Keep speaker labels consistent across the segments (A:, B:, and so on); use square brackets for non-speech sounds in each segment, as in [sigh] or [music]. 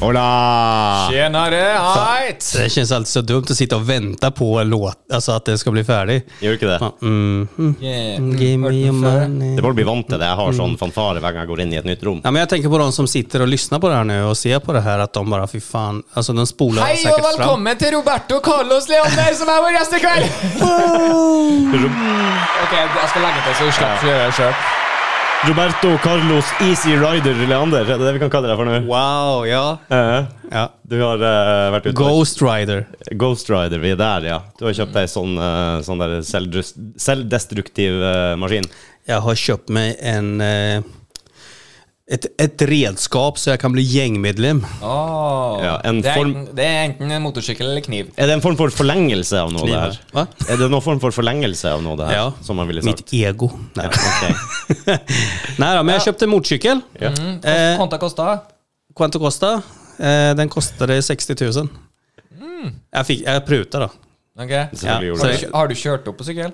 A: Hola!
B: Tjenare, heit!
C: Det känns alltid så dumt att sitta och vänta på en låt, alltså att den ska bli färdig.
A: Gjør du ikke det?
C: Man, mm, mm, give me your money.
A: Det burde bli vant til det. Jeg har sånn fanfare hver gang jeg går inn i et nytt rom.
C: Ja, men jag tänker på de som sitter och lyssnar på det här nu och ser på det här att de bara, fy fan, alltså de spolar
B: Hei og
C: säkert fram.
B: velkommen til Roberto Carlos Leander, som er vår gjest i
C: [laughs]
B: kveld! ok, jeg skal legge til, så du slipper å gjøre det sjøl.
A: Roberto Carlos Easy Rider Leander, er det det vi kan kalle deg for nå?
C: Wow, ja.
A: Eh,
C: ja.
A: Du har eh, vært ute
C: Ghost Rider.
A: Ghost Rider, vi er der, ja. Du har kjøpt deg sånn, eh, sånn der selvdrus- selvdestruktiv eh, maskin.
C: Jag har köpt mig en, eh, ett, ett redskap så jag kan bli gängmedlem.
A: Ja, en
B: Ah. det, er
A: form-
B: enten, det er enten en motorsykkel eller kniv.
C: Eh.
A: Er det en form for forlengelse av noe, det her?
C: Hva?
A: Er det noen form for forlengelse av noe, det her?
C: Ja.
A: Som man ville sagt.
C: Mitt ego. Nej.
A: Ja, ok.
C: Nej då, men jag köpte en motorcykel.
A: ja.
C: Eh,
B: Konta kosta?
C: Quanto Costa? Eh, den kostade 60 000. Jeg, fikk, jeg pruta, da.
B: Ok.
C: [laughs]
A: Selvfølgelig
C: Ja,
A: gjorde
C: så
A: du
B: Har
A: det.
B: du, har du kjørt opp på sykkel?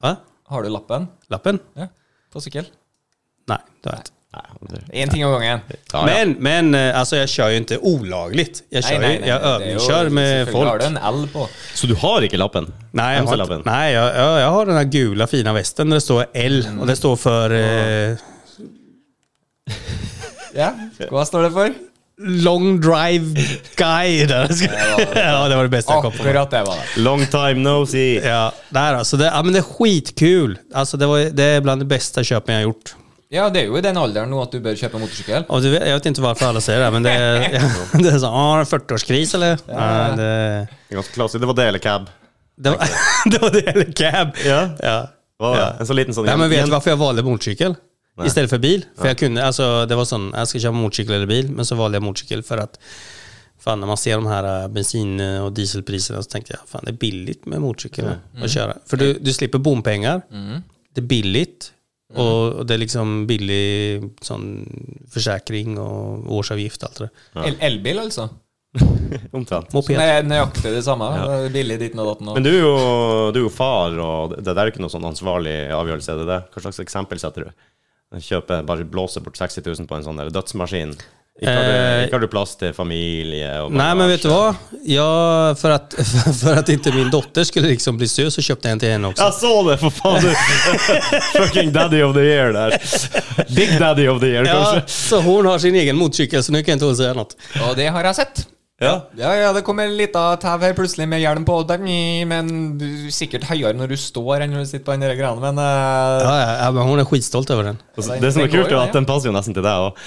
C: Hva?
B: Har du lappen?
C: Lappen?
B: Ja, på sykkel?
C: Nei, det vet jeg.
A: Nei, det-
B: Én ting om gangen.
A: Ja, ja.
C: Men, men eh, altså, jeg kjører jo ikke olaglig. Jeg, kjører, jeg
B: det er jo-
C: øvingskjører med
B: selvfølgelig har
C: folk.
B: du en L på.
A: Så du har ikke lappen?
C: Nei, jeg har, ikke-
A: MC-lappen?
C: nei jeg, jeg, jeg har den der gula, fine vesten der det står L, og det står for eh, [laughs]
B: Ja, hva står det for?
C: Long Drive Guy. [laughs] Der. ja, det var det beste jeg kom på.
B: Akkurat det var det.
A: Long time no see.
C: Ja, der, altså, det, ja, men det er skitkul. Altså, det, var, det er blant de beste kjøpene jeg har gjort.
B: Ja, det er jo i den alderen nå at du bør kjøpe motorsykkel.
C: Og du, vet- jeg vet ikke hvorfor alle sier det, men det, [laughs] det er sånn ah, 40-årskris, eller? Nei, det,
A: Ganske klassisk. Det var det eller cab.
C: det, var, [laughs] det var det hele cab.
A: Ja.
C: Ja.
A: Hva var det?
C: Ja.
A: En så liten sånn
C: Nei, men Vet du
A: gjen-
C: hvorfor jeg valgte motorsykkel i stedet for bil? For jeg kunne, altså, alltså, det var sånn, jeg skal kjøpe motorsykkel eller bil, men så valgte jeg motorsykkel for at Fan, når man ser de her eh, bensin- og dieselprisene, så tenkte jeg fan, det er billig med motorsykkel å kjøre. For du, du slipper bompenger. Det er billig. Og, og det er liksom billig sånn forsikring og årsavgift og alt det der.
B: El Elbil, alltså. altså.
A: Omtrent.
C: Moped.
B: Det er nøyaktig det samme. Det er Billig ditten og datten.
A: Men
B: Og.
A: du er, jo, du er jo far, og det det der er ikke noe sånn ansvarlig avgjørelse, er det det? Hva slags eksempel setter du? Kjøpe, bare blåse bort 60 000 på en sånn der dødsmaskin. Ikke har, du,
C: Eh,
A: ikke har du plass til familie og
C: Nej, men vet du vad? Jag, för, att, [laughs] för att inte min dotter skulle liksom bli sur så köpte jag en till henne också.
A: Jeg så det, for faen!
C: [laughs]
A: Du. Fucking daddy of the year der. Big daddy of the year,
C: Ja,
A: kanskje.
C: så hon har sin egen motorcykel så nu kan inte hon säga något.
B: og det har jeg sett.
A: Ja.
B: Ja, ja, det kom en liten tau her plutselig med hjelm på, dang, men du er sikkert høyere når du står enn når du sitter på den der greia, men eh,
C: Ja, ja, ja, men hon är skitstolt över den.
A: Og så- Det som er
B: Den går
A: kult, er
B: jo,
A: at den passer jo nesten til deg òg.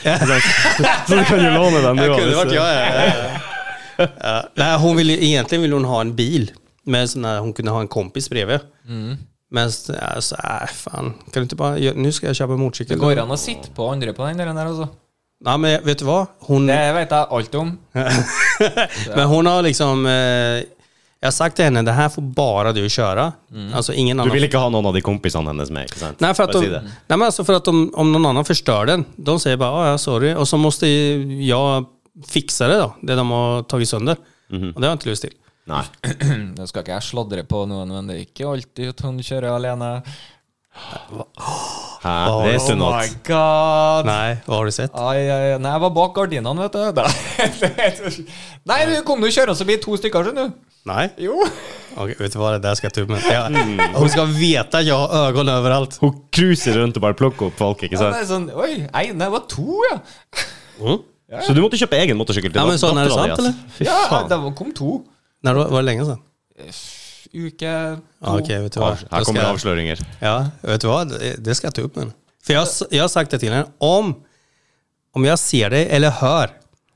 A: Så du kan jo låne den, du
C: Ja, kunde
A: også,
C: varit
A: hvis-
C: jag. Ja, ja, ja. Ja, nej, hon ville, egentligen ville hon ha en bil med sån här, hon kunde ha en kompis bredvid. Men så- ja, så, äh, fan, kan du inte bara, gö- nu ska jag köpa en
B: det
C: motorcykel.
B: går an å sitte på andre på den der, den der altså.
C: Ja, men vet du vad? Hon,
B: Det vet jeg alt om.
C: Men hon har liksom eh, Jag har sagt till henne, det här får bara du köra. Alltså ingen
A: Du
C: annan.
A: vil ikke ha noen av de kompisene hennes med, ikke sant?
C: Nej, för att,
A: Bare
C: de,
A: si det.
C: nej, men alltså för att de, om någon annan förstör den, de säger bara "Ah, ja, sorry. Och så måste ju jag fixa det då, det de har tagit sönder.
A: Mhm.
C: Och det har jag inte lust till.
A: Nei.
B: Nå skal ikke jeg sladre på noen, men det er ikke alltid at hun kjører alene.
A: Hæ? Det er
B: Oh my
A: sunnhet.
B: god.
C: Nej, vad har du sett?
B: Ai, ai, ai. Nei, jeg var bak gardinene, vet du. [laughs] Da- Nei, du kom nå kjørende forbi to stykker, skjønner du.
C: Nej.
B: Jo.
C: Okej, vet du vad det där ska jag ta upp med? Jag,
A: Mm.
C: Hon ska veta, jag har ögon överallt.
A: Hun cruiser rundt og bare plukker opp folk, ikke
B: Ja,
A: sant?
B: det er sånn, Oi, nei, nei, det var to, ja.
C: Mm.
A: Så du måtte kjøpe egen motorsykkel til
C: Ja, men sånn, er det
A: datteren
C: sant
A: din,
C: eller?
A: ass.
B: Ja, det var- kom to.
C: När då, var det länge sedan?
B: Uke
C: Ja,
B: to.
C: Okej, vet du
A: Ja,
C: vad? Då
A: Her
C: ska
A: kommer det
C: jag-
A: avsløringer.
C: Ja, vet du hva? Det- Det skal jeg ta opp med henne. For jeg, har s- jeg har sagt det til henne. Om, om jeg ser deg eller hører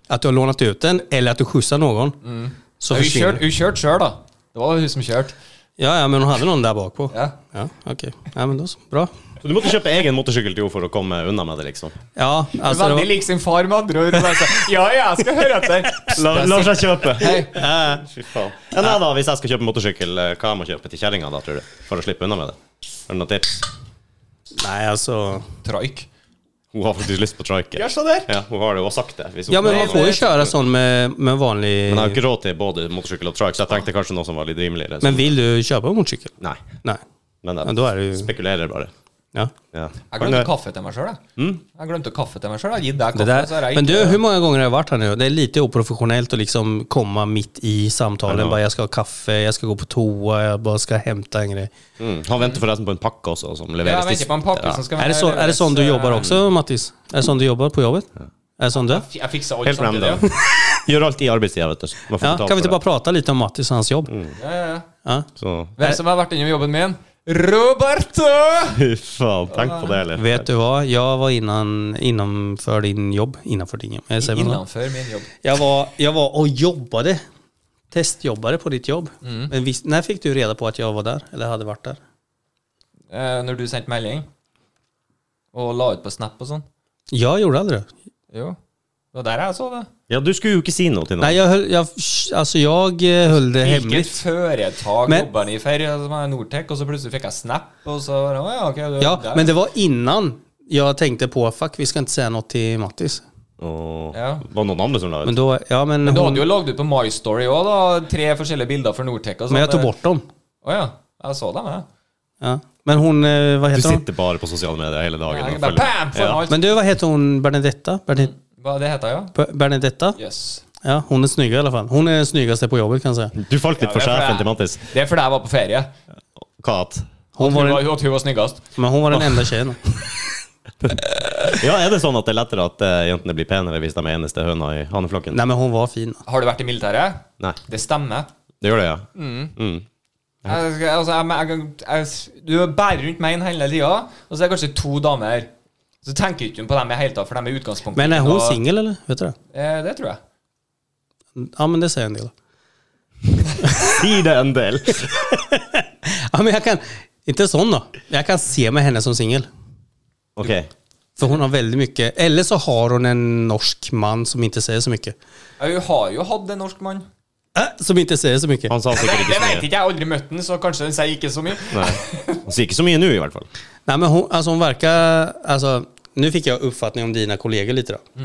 C: at du har lånt ut den, eller at du skjutser noen, så
A: Mm.
B: Hun kjørte
C: forsvinner
B: hun kjørte sjøl, da. Det var hun som kjørte.
C: Ja, ja, men hun hadde noen der bakpå.
B: Ja.
C: Ja, ok. Ja, men da så. Bra.
A: Så du måtte kjøpe egen motorsykkel til henne for å komme unna med det, liksom?
C: Ja, altså det
B: Veldig
C: var,
B: lik sin far, med andre ord. Bare sånn, Ja, ja, jeg skal høre etter.
A: lar seg kjøpe.
B: Hei.
A: Fy faen. [laughs] Ja, nei da, hvis jeg skal kjøpe motorsykkel, eh, hva jeg må kjøpe til kjerringa da, tror du? For å slippe unna med det? Har du noen tips?
C: Nei, altså
B: Traik.
A: Hun har faktisk lyst på trike.
B: Ja, se der.
A: Ja, hun har det jo sagt det. Hvis hun
C: Ja, men
A: Nei,
C: man får jo kjøre sånn med, med vanlig
A: Men jeg har ikke råd til både motorsykkel og trike, så jeg tenkte kanskje noe som var litt rimeligere.
C: Men vil du kjøpe motorsykkel?
A: Nei.
C: Nei.
A: liksom. Men
C: Ja,
A: jeg
C: da er det jo
A: spekulerer bare.
C: Ja.
A: Ja.
B: Jeg glemte kaffe til meg sjøl, jeg. Jeg glemte kaffe til meg sjøl. Jeg har gitt deg
C: Mm. Det
B: kaffe. så har
C: där,
B: jeg
C: men
B: ikke-
C: du, hur många gånger har jag varit här nu? Det är lite oprofessionellt att liksom komma mitt i
A: Ja,
C: samtalen.
A: det
C: Bara, jag ska ha kaffe, jag ska gå på toa, jag bara ska hämta en grej.
A: Mm. Han venter forresten på en pakke også, som
B: ja,
A: leveres
B: jeg venter på en pakke som skal
C: Är det, så, är det sånn
B: eh,
C: du jobbar också, Mattis? Är det sånn du jobbar på jobbet? Är det sånn du är?
B: Jeg fiksa alt
A: Helt
B: samtidig.
A: random. Gjør alt i arbeidstida, vet du. Man får
C: Ja,
A: betalt
C: kan vi
A: for
C: inte bara prata lite om Mattis och hans jobb?
B: Ja, ja, ja.
C: Ja.
A: Så [laughs]
B: Hvem som har vært innom jobben min? Roberto!
A: Fy faen, tenk på det, eller?
C: Vet du vad? Jag var innan, innanför din jobb. Innanför din jobb. Jag, säger väl så.
B: Innenfor min jobb.
C: jag, var, jag var och jobbade. Testjobbade på ditt jobb. Men visst, när fick du reda på att jag var där? Eller hade varit där?
B: Eh, når du sendte melding og la ut på Snap og sånn.
C: Jag gjorde aldrig det.
B: Jo. Det var der jeg så det.
A: Ja, du skulle jo ikke si noe til noen.
C: Nej, jag höll, jag, alltså jag eh, höll det
B: Hvilket
C: hemligt.
B: foretak
C: Men-
B: jobber han i for? Altså, det var Nortec, og så plutselig fikk jeg Snap, og så var det, «Å ja, ok, du,
C: Ja,
B: der».
C: men det var innan jag tänkte på fuck, vi ska inte säga något till Mattis.
A: Og
B: Ja.
A: var det noen andre som la
C: Men
A: ut?
C: då, ja men,
B: Men du
C: hon,
B: hadde jo lagd ut på My Story òg, da. Tre forskjellige bilder for Nortec. Og sånn.
C: men jag tog bort dem.
B: Å ja. Jeg så dem, jeg.
C: Ja. Men hon, eh, vad
A: Du
C: heter hon?
A: sitter bare på sosiale medier hele dagen.
B: Jeg
A: og
B: bare,
A: følger med.
B: bam, får
A: Ja.
B: alt.
C: Men du, vad heter hon, Bernadetta? Bernadetta?
B: Hva det heter ja?
C: Bernadetta?
B: Yes.
C: Ja, hon är snygg i alla fall. Hon är den snyggaste på jobbet kan jag säga.
A: Du falt litt for
B: Ja, det er
A: sjefen
B: fordi
A: til Mattis.
B: jeg- Det er fordi jeg var på ferie.
A: Hva at?
C: Hon
B: Hun
C: var
B: var,
C: den,
B: at hun var snyggest.
C: men hon var den enda tjejen.
A: Ja, er det sånn at det er lettere at eh, jentene blir penere hvis de er eneste høna i haneflokken?
C: Nej men hon var fin.
B: Har du vært i militæret?
A: Nei.
B: Det stemmer. alltså,
A: Det gjør det, ja. Mm.
B: Jeg, skal- altså, jeg, jeg, jeg, du bærer rundt meg inn hele tida, og så er det kanskje to damer. Så tenker ikke hun på dem i hele tatt, for de er i utgangspunktet
C: Men är
B: ikke
C: hon
B: noe-
C: singel eller? Vet du det?
B: Eh, det tror jeg.
C: Ja men det säger en del.
A: Si det en
C: [laughs]
A: del!
C: Ja men jag kan, inte sån då. Jag kan se med henne som singel.
A: Ok.
C: För hon har väldigt mycket, eller så har hon en norsk man som inte säger så mycket.
B: Ja, hun har jo hatt en norsk mann.
C: Äh, som inte säger så mycket.
A: Han sa sikkert
B: Det,
A: ikke
B: det
A: så
B: vet
A: mye.
B: ikke, jeg har aldri møtt den, så kanskje den sier ikke så mye.
A: Nei. Han sier ikke så mye nå, i hvert fall.
C: Nej men hon, alltså hon verkar, alltså nu fick jag uppfattning om dina kollegor lite då.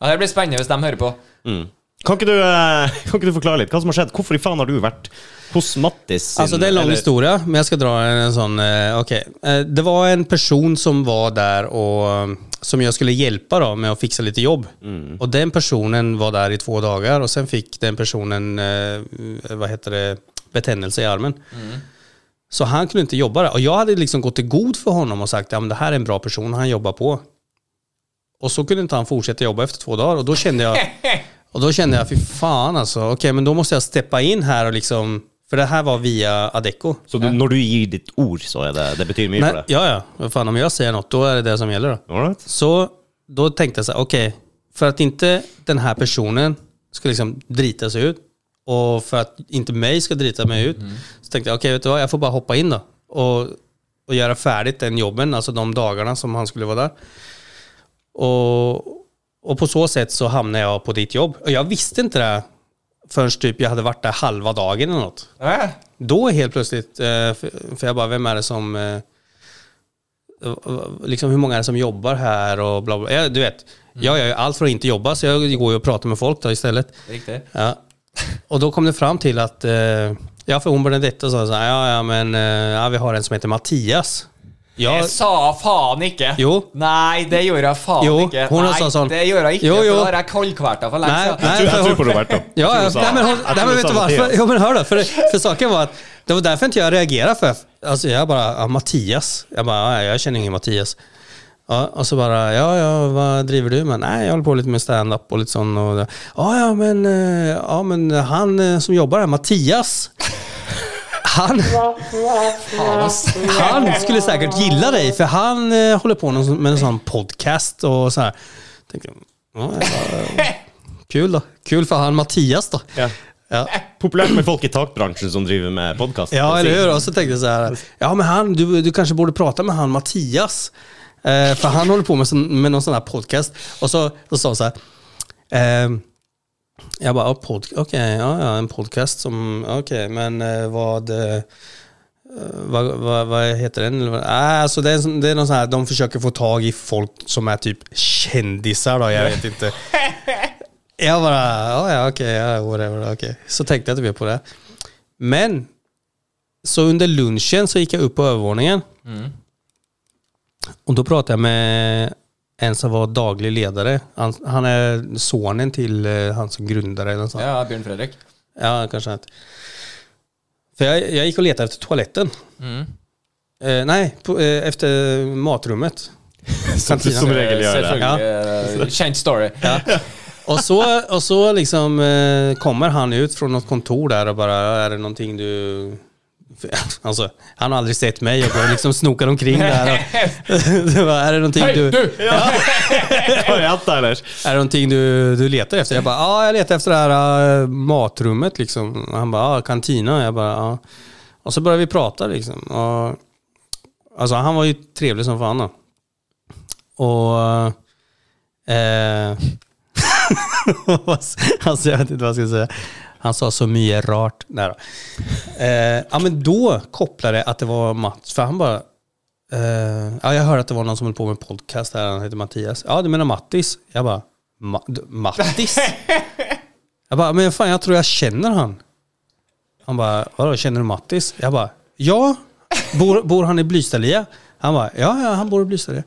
B: Ja, det blir spennende hvis de hører på.
A: Mm. Kan, ikke du, eh, kan ikke du forklare litt hva som har skjedd? Hvorfor i faen har du vært hos Mattis? sin-
C: Alltså det är en lång
A: eller-
C: historia, men jag ska dra en, en sån, eh, okej. Eh, det var en person som var där och eh, som jag skulle hjälpa då med att fixa lite jobb.
A: Mm.
C: Och den personen var där i två dagar och sen fick den personen, eh, vad heter det, betändelse i armen.
A: Mm.
C: Så han kunde inte jobba där. Och jag hade liksom gått i god för honom och sagt, ja men det här är en bra person, han jobbar på. Och så kunde inte han fortsätta jobba efter två dagar och då
A: [laughs]
C: kände jag, och då kände jag, fy fan alltså, okej men då måste jag steppa in här och liksom, för det här var via Adecco.
A: Så du, når du gir ditt ord, så er det, det betyr mye
C: Nej,
A: for deg?
C: ja, ja, vad fan om jag säger något, då är det det som gäller då.
A: All right.
C: Så då tänkte jag så här, okej, för att inte den här personen ska liksom drita sig ut och för att inte mig ska drita mig ut så tänkte jag, okej vet du vad, jag får bara hoppa in då och, och göra färdigt den jobben, alltså de dagarna som han skulle vara där. Och, och på så sätt så hamnade jag på ditt jobb. Och jag visste inte det här förrän typ jag hade varit där halva dagen eller något.
B: Eh,
C: Då helt plötsligt, eh, för för jag bara, vem är det som... eh, Liksom hur många är det som jobbar här och bla bla. Ja, du vet, jag gör ju allt för att inte jobba så jag går ju och pratar med folk då istället.
B: riktig.
C: Ja. Och då kom det fram till att, eh, ja för hon Benedetta sa så här, ja ja men eh, ja, vi har en som heter Mattias. Ja,
B: Jeg sa faen ikke.
C: Jo.
B: Nei, det gjorde jeg faen
C: Jo,
B: ikke.
C: hun
B: nei,
C: sa sånn.
B: Det gjorde jeg ikke,
C: Jo, jo.
B: for da har jeg kaldkverta for lenge
C: nej,
B: siden.
C: nej,
A: Jeg
C: för
A: tror, jeg
C: hon-
A: tror på Roberto. Jeg tror
C: Ja,
A: du
C: ja.
A: sa-
C: Nej, men, hon,
A: jeg tror
C: nej, men
A: du
C: vet
A: sa
C: du
A: Mathias.
C: varför? Jo, men hör då, för, för saken var att det var därför inte jag reagerade för. Alltså jag bara, ja, Mattias. Jag bara, ja, jag känner ingen Mattias. Ja, och så bara, ja, ja, vad driver du med? Nej, jag håller på lite med stand-up och lite sånt. Och, ja, ja, men, eh, ja, men han eh, som jobbar här, Mattias. Han,
B: Faen, ass.
C: han skulle säkert gilla dig, för han eh, håller på någon- med en sån podcast och så här. Tänkte, ja,
A: [laughs]
C: ja, kul då. Kul för han Mattias då.
A: Ja.
C: Ja.
A: Populært med folk i takbransjen som driver med podkast.
C: Ja, eller hur? Och så tänkte jag så här, ja men han, du, du kanske borde prata med han Mattias. Eh, för han håller på med, sån, med någon sån här podcast. Och så, så sa han så här, ehm, jag bara, ja, pod, okej, ja, ja, en podcast som, okej, men eh, vad, eh, vad, vad, vad heter den? Eller vad- Ah, alltså det, är, en sån- det är någon sån här, de försöker få tag i folk som är typ kändisar då, jag vet inte. Jag bara, ja, ja okej, ja, whatever, okej. Så tänkte jag typ på det. Men så under lunchen så gick jag upp på övervåningen. Och då pratade jag med en som var daglig ledare. Han, han är sonen till eh, han som grundade den. Ja.
B: Ja, Bjørn Fredrik.
C: ja, kanske inte. För jag, jag gick och letade efter toaletten.
B: Mm.
C: Eh, nej, på, eh, efter matrummet.
A: [laughs] Som, som regel gjør det.
C: Ja.
B: Selvfølgelig. eh, Kjent story.
C: Och så, och så liksom eh, kommer han ut från något kontor där och bara, är det någonting du... [laughs] Alltså, han har aldrig sett mig, jag går och liksom snokar omkring där. Och, [laughs] Det var, är det någonting
B: Hei,
C: du...
B: du!
A: [laughs] Har jeg hatt det, eller?
C: Är det någonting du, du letar efter? Jag bara, ja, jag letar efter det här eh, matrummet liksom. Och Han bara, ja, kantina. Jag bara, ja. Och så började vi prata liksom. Och, alltså han var ju trevlig som fan då. Och... Eh, [laughs] alltså jag vet inte vad jag ska säga. Han sa så mycket rart. Nej då. Eh, ja men då kopplade jag att det var Mats, för han bara Eh, ja, jag hörde att det var någon som höll på med en podcast här, han heter Mattias. Ja, du menar Mattis? Jag bara, Ma d- Mattis? jag bara, men fan jag tror jag känner han. Han bara, vadå känner du Mattis? Jag bara, ja. Bor, bor han i Blystadlia? Han bara, ja, ja han bor i Blystadlia.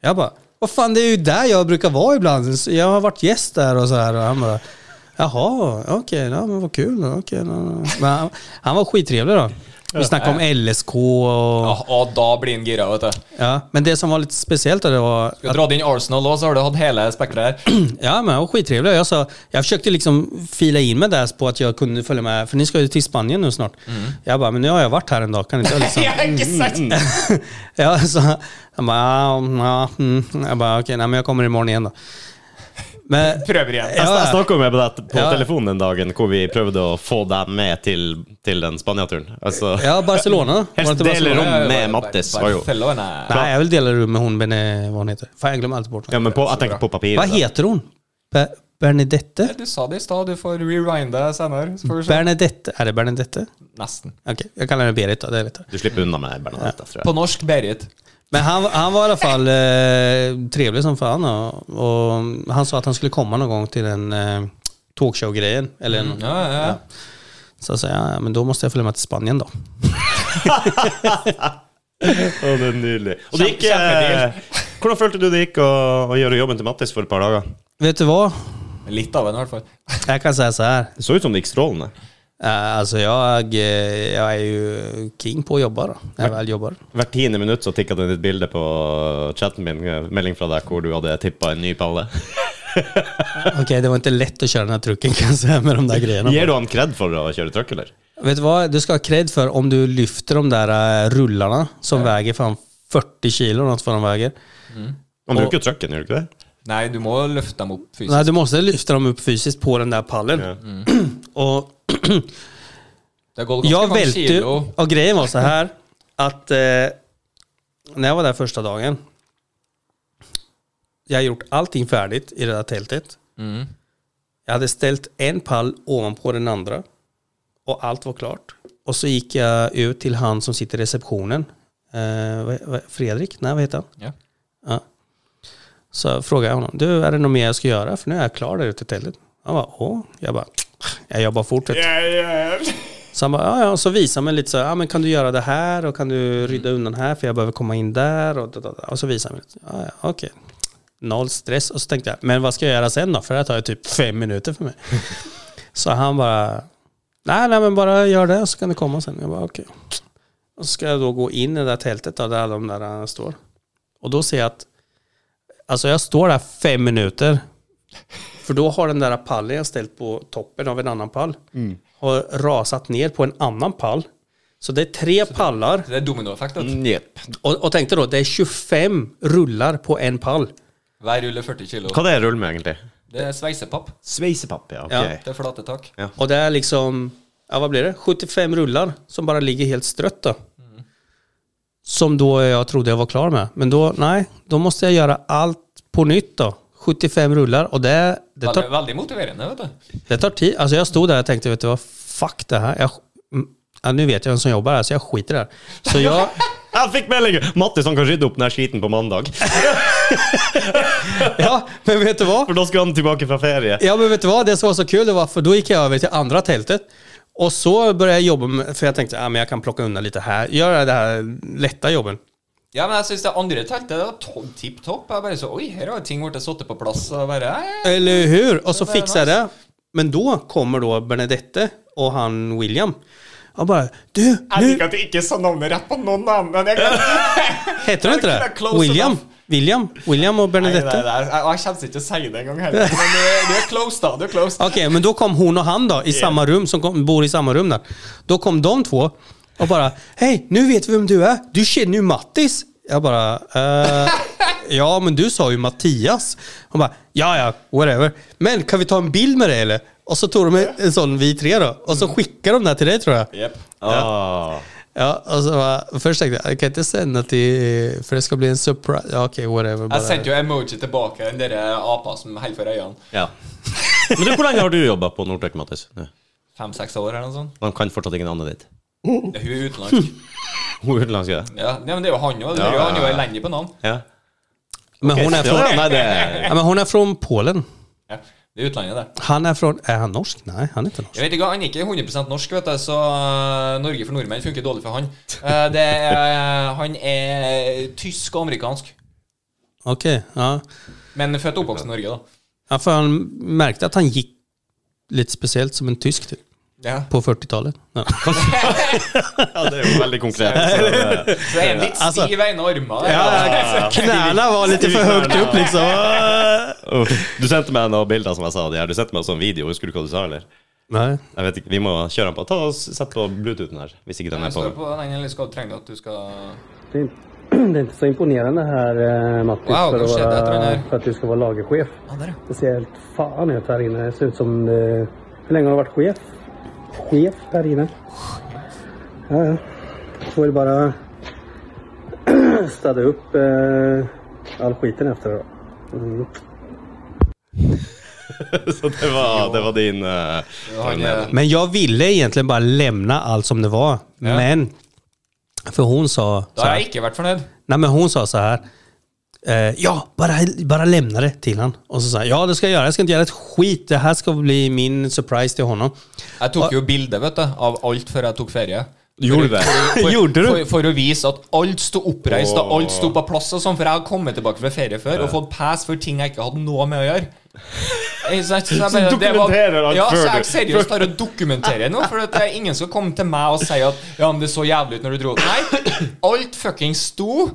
C: Jag bara, vad fan det är ju där jag brukar vara ibland. Så Jag har varit gäst där och så här. Och han bara, jaha, okej, ja, men vad kul. Okay, Men han, han var skittrevlig då. Vi snackade om LSK och...
B: Ja, og da blir han gira, vet du.
C: Ja, men det som var lite speciellt då, det var...
B: Skal dra inn Arsenal òg, så har du hatt hele spekteret [laughs] her.
C: Ja, men det var skittrevliga. Jag, sa, jag försökte liksom fila in mig där på att jag kunde följa med, för ni ska ju till Spanien nu snart.
A: Mm.
C: Jag bara, men nu har jag varit här en dag, kan inte
A: [laughs]
C: jag liksom...
B: Ja, ikke sant?
C: [laughs] ja, så, han bara, ja, ja, mm. Jag bara, okej, nej men jag kommer imorgon igen då. Men,
B: Prøver igjen.
A: Jeg,
C: Ja,
A: snak-
C: ja.
A: jeg snakka med deg på
C: Ja.
A: telefonen den dagen hvor vi prøvde å få deg med til, till den Spania-turen. Altså,
C: ja, Barcelona. Var det inte
A: Helst delar
C: Barcelona?
A: om. med Mattis var jo-
B: Barcelona.
C: Nej, jag vill dela rum med hon, Bene, vad hon heter. Fan, jag glömmer alltid bort henne.
A: ja, men på, jeg tenker på papiret.
C: Vad heter hon? Be- Bernadette?
B: Du sa det i stad, du får rewinde senere. Så får du se.
C: Bernadette? Är det Bernadette?
B: Nesten.
C: Okej, jag kallar henne Berit då, det är lättare.
A: Du slipper unna med Bernadette, tror
B: På
A: jeg.
B: norsk Berit.
C: Men han, han var i alla fall eh, trevlig som fan. Och, och han sa att han skulle komma någon gång till den eh, talkshow-grejen. Eller en,
B: Ja, ja, ja.
C: Så jag sa jag, ja, men då måste jag följa med till Spanien då.
A: Å, det er nydelig. Og det gikk,
B: Kjempe-
A: eh, hvordan følte du det gikk å, å gjøre jobben til Mattis for et par dager?
C: Vet du vad?
B: Litt av en, i hvert fall. [laughs]
C: Jag kan säga så här.
A: Det så ut som det gikk strålende.
C: Eh, alltså jag, eh, jag är ju king på att jobba då, när jag väl jobbar.
A: Hvert tiende minutt så tikka det inn et bilde på chatten min, eh, melding fra deg hvor du hadde tippa en ny palle.
C: Okej, det var inte lätt att köra den här trucken kan jag säga med de där grejerna.
A: Gir du han kred for å kjøre truck, eller?
C: Vet du vad? Du ska ha cred för om du lyfter de där eh, rullarna som väger fan 40 kilo, något vad de väger.
A: Han bruker jo trucken, gjør du ikke det?
B: Nei, du må løfte dem opp fysisk.
C: Nej, du måste lyfta dem upp fysiskt på den där pallen.
A: Ja.
B: Mm.
C: [clears throat] Och
B: Det går ganske
C: jag
B: mange
C: välte ju,
B: kilo.
C: och grejen var så här att eh, när jag var där första dagen, jag hade gjort allting färdigt i det där tältet.
B: Mm.
C: Jag hade ställt en pall ovanpå den andra och allt var klart. Och så gick jag ut till han som sitter i receptionen. Eh, vad- vad- Fredrik? Nej, vad heter han?
B: Ja.
C: Ja. Så frågade jag honom, du är det något mer jag ska göra? För nu är jag klar där ute i tältet. Han bara, åh. Jag bara, jag jobbar fort vet du." Så han bara, ja, ja. Och så visade han mig lite så här, ja men kan du göra det här och kan du rydda undan här för jag behöver komma in där och, da, da, da. och så visade han mig lite, ja, ja okej. Noll stress. Och så tänkte jag, men vad ska jag göra sen då? För det här tar ju typ fem minuter för mig. så han bara, nej nej men bara gör det och så kan du komma sen. Jag bara okej. Och så ska jag då gå in i det där tältet då, där alla de där eh, står. Och då ser jag att, alltså jag står där fem minuter. För då har den där pallen jag ställt på toppen av en annan pall har rasat ner på en annan pall. Så det är tre pallar.
B: Det er dominoeffekt. vet du.
A: Mm, Jepp.
C: Och, och tänkte då, det är 25 rullar på en pall.
B: Hver rulle 40 kilo.
A: Hva det er rull med, egentlig?
B: Det er sveisepapp.
A: Sveisepapp, ja.
C: Ja.
A: ok.
B: Det er flate tak.
C: Och det är liksom, ja vad blir det? 75 rullar som bara ligger helt strött då. Som då jag trodde jag var klar med. Men då, nej, då måste jeg göra allt på nytt då. 75 rullar och det, det,
B: Veldig,
C: tar,
B: veldig motiverende, vet du.
C: det tar tid. Alltså jag stod där och tänkte, vet du vad, fuck det här. Jag, mm, ja, nu vet jag vem som jobbar här så jag skiter i det här. Så jag,
A: Jeg fikk melding! Mattis han kan rydde opp den her skiten på mandag.
C: ja, men vet du vad?
A: For da skal han tilbake fra ferie.
C: Ja men vet du vad, det som var så kul det var för då gick jag över till andra tältet. Och så började jag jobba med, för jag tänkte att men jag kan plocka undan lite här, göra det här lätta jobben.
B: Ja, men jeg syns det andre teltet det var to tipp topp. Jeg bare så Oi, her har ting blitt satt på plass. Og bare, eh.
C: Eller hur? Och så
B: Det var
C: fixar det. Men då kommer då Benedette och han William. Alltså, Han bara, du,
B: Jeg
C: nu
B: liker at jeg ikke sa navnet rett på noen, da. Men jeg glemte
C: heter han inte
B: Jeg
C: det?
B: kunne close
C: William?
B: enough.
C: William? William och
B: Nei, det,
C: Benedette?
B: det, er- jeg, jeg kommer ikke til å si det engang heller. Men du, du er close, da. Du er close.
C: Okej, men då kom hon och han då, i samma rum, som kom, bor i samma rum där. Då kom de två och bara, hej, nu vet vi vem du är. Du känner ju Mattis. Jag bara, eh, ja men du sa ju Mattias. Hon bara, ja ja, whatever. Men kan vi ta en bild med dig eller? Och så tog de en- en sån, vi tre då. Och
B: Mm.
C: så skickade de den här till dig tror jag.
B: Jep.
A: Ah.
C: Ja, alltså, og så var, først tenkte jeg Jeg kan ikke sende til For det skal bli en surprise Ja, ok, whatever
B: Jeg
C: bare.
B: sendte jo emoji tilbake, den der apa som holder for øynene.
A: Ja. Men du, hvor lenge har du jobba på Nortec, Mattis? Nå.
B: Fem-seks år eller noe sånt.
A: De kan fortsatt ikke navnet ditt.
B: Ja, Hun er utenlandsk.
A: Hun er utenlandsk, ja.
B: Ja, ja, men det er jo han òg.
A: Ja, ja,
B: Han er jo
A: ja.
B: elendig på navn.
A: ja.
C: Men hun er
A: Ja,
C: fra
A: nei, det
C: ja, men hun er fra Polen
B: Ja, det er utlandet, det.
C: Han er fra Er han norsk? Nei, han er ikke norsk
B: Jeg vet ikke, Han er ikke 100 norsk, vet du, så øh, Norge for nordmenn funker dårlig for han. Eh, det er, han er tysk og amerikansk,
C: Ok, ja
B: men født og oppvokst i Norge, da.
C: Ja, for han merkte at han gikk Litt spesielt som en tysk typ
B: Ja.
C: På 40-tallet ja. [laughs]
A: Ja, det er jo veldig konkret. så det-
B: Så er han litt
C: Altså-
B: stiv i ene armer.
C: Knæna var litt for høyt opp liksom
A: Uff. Du sendte meg noen bilder som jeg sa de her. Du sendte meg også en video. Husker du hva du sa, eller?
C: Nei
A: Jeg vet ikke, Vi må kjøre den på. Ta og s- Sett på Bluetoothen her, hvis ikke den er
B: Jeg står
A: på.
B: på den, eller skal trenger du at du skal
D: Det är, inte, det är inte så imponerande här eh, Mattis
B: Wow,
D: för,
B: vad
D: att
B: skedde? Jag tror den
D: vara,
B: är-
D: för att du ska vara lagerchef.
B: Ja, der, ja.
D: Det ser helt fan ut här inne. Det ser ut som... Eh, hur länge har du varit chef? Chef här inne. Ja, ja. Får väl bara [clears throat] städa upp eh, all skiten efter det då. Mm.
A: [laughs] Så det var, det var din eh,
B: Han er
C: Men jag ville egentligen bara lämna allt som det var Men För hon sa så
B: Da har
C: här,
B: jeg ikke vært fornøyd.
C: Nej men hon sa så här. Eh, ja, bara, bara lämna det till han. Och så sa han, ja det ska jag göra. Jag ska inte göra ett skit. Det här ska bli min surprise till honom.
B: Jeg tok jo bilde vet du, av alt før jeg tok ferie.
A: Gjorde du det?
C: Gjorde du?
B: For, for å vise at alt sto oppreist og alt sto på plass. og sånn, For jeg hadde kommet tilbake fra ferie før og fått pass for ting jeg ikke hadde noe med å gjøre. Eh, Så, jeg- så, jeg
A: Så du
B: det var-
A: dokumenterer alt
B: ja,
A: før
B: så jeg
A: du-
B: seriøst tar og dokumenterer nå. For at eh, ingen skal komme til meg og si at Ja, men det så jævlig ut når du dro. Nei, alt fucking sto.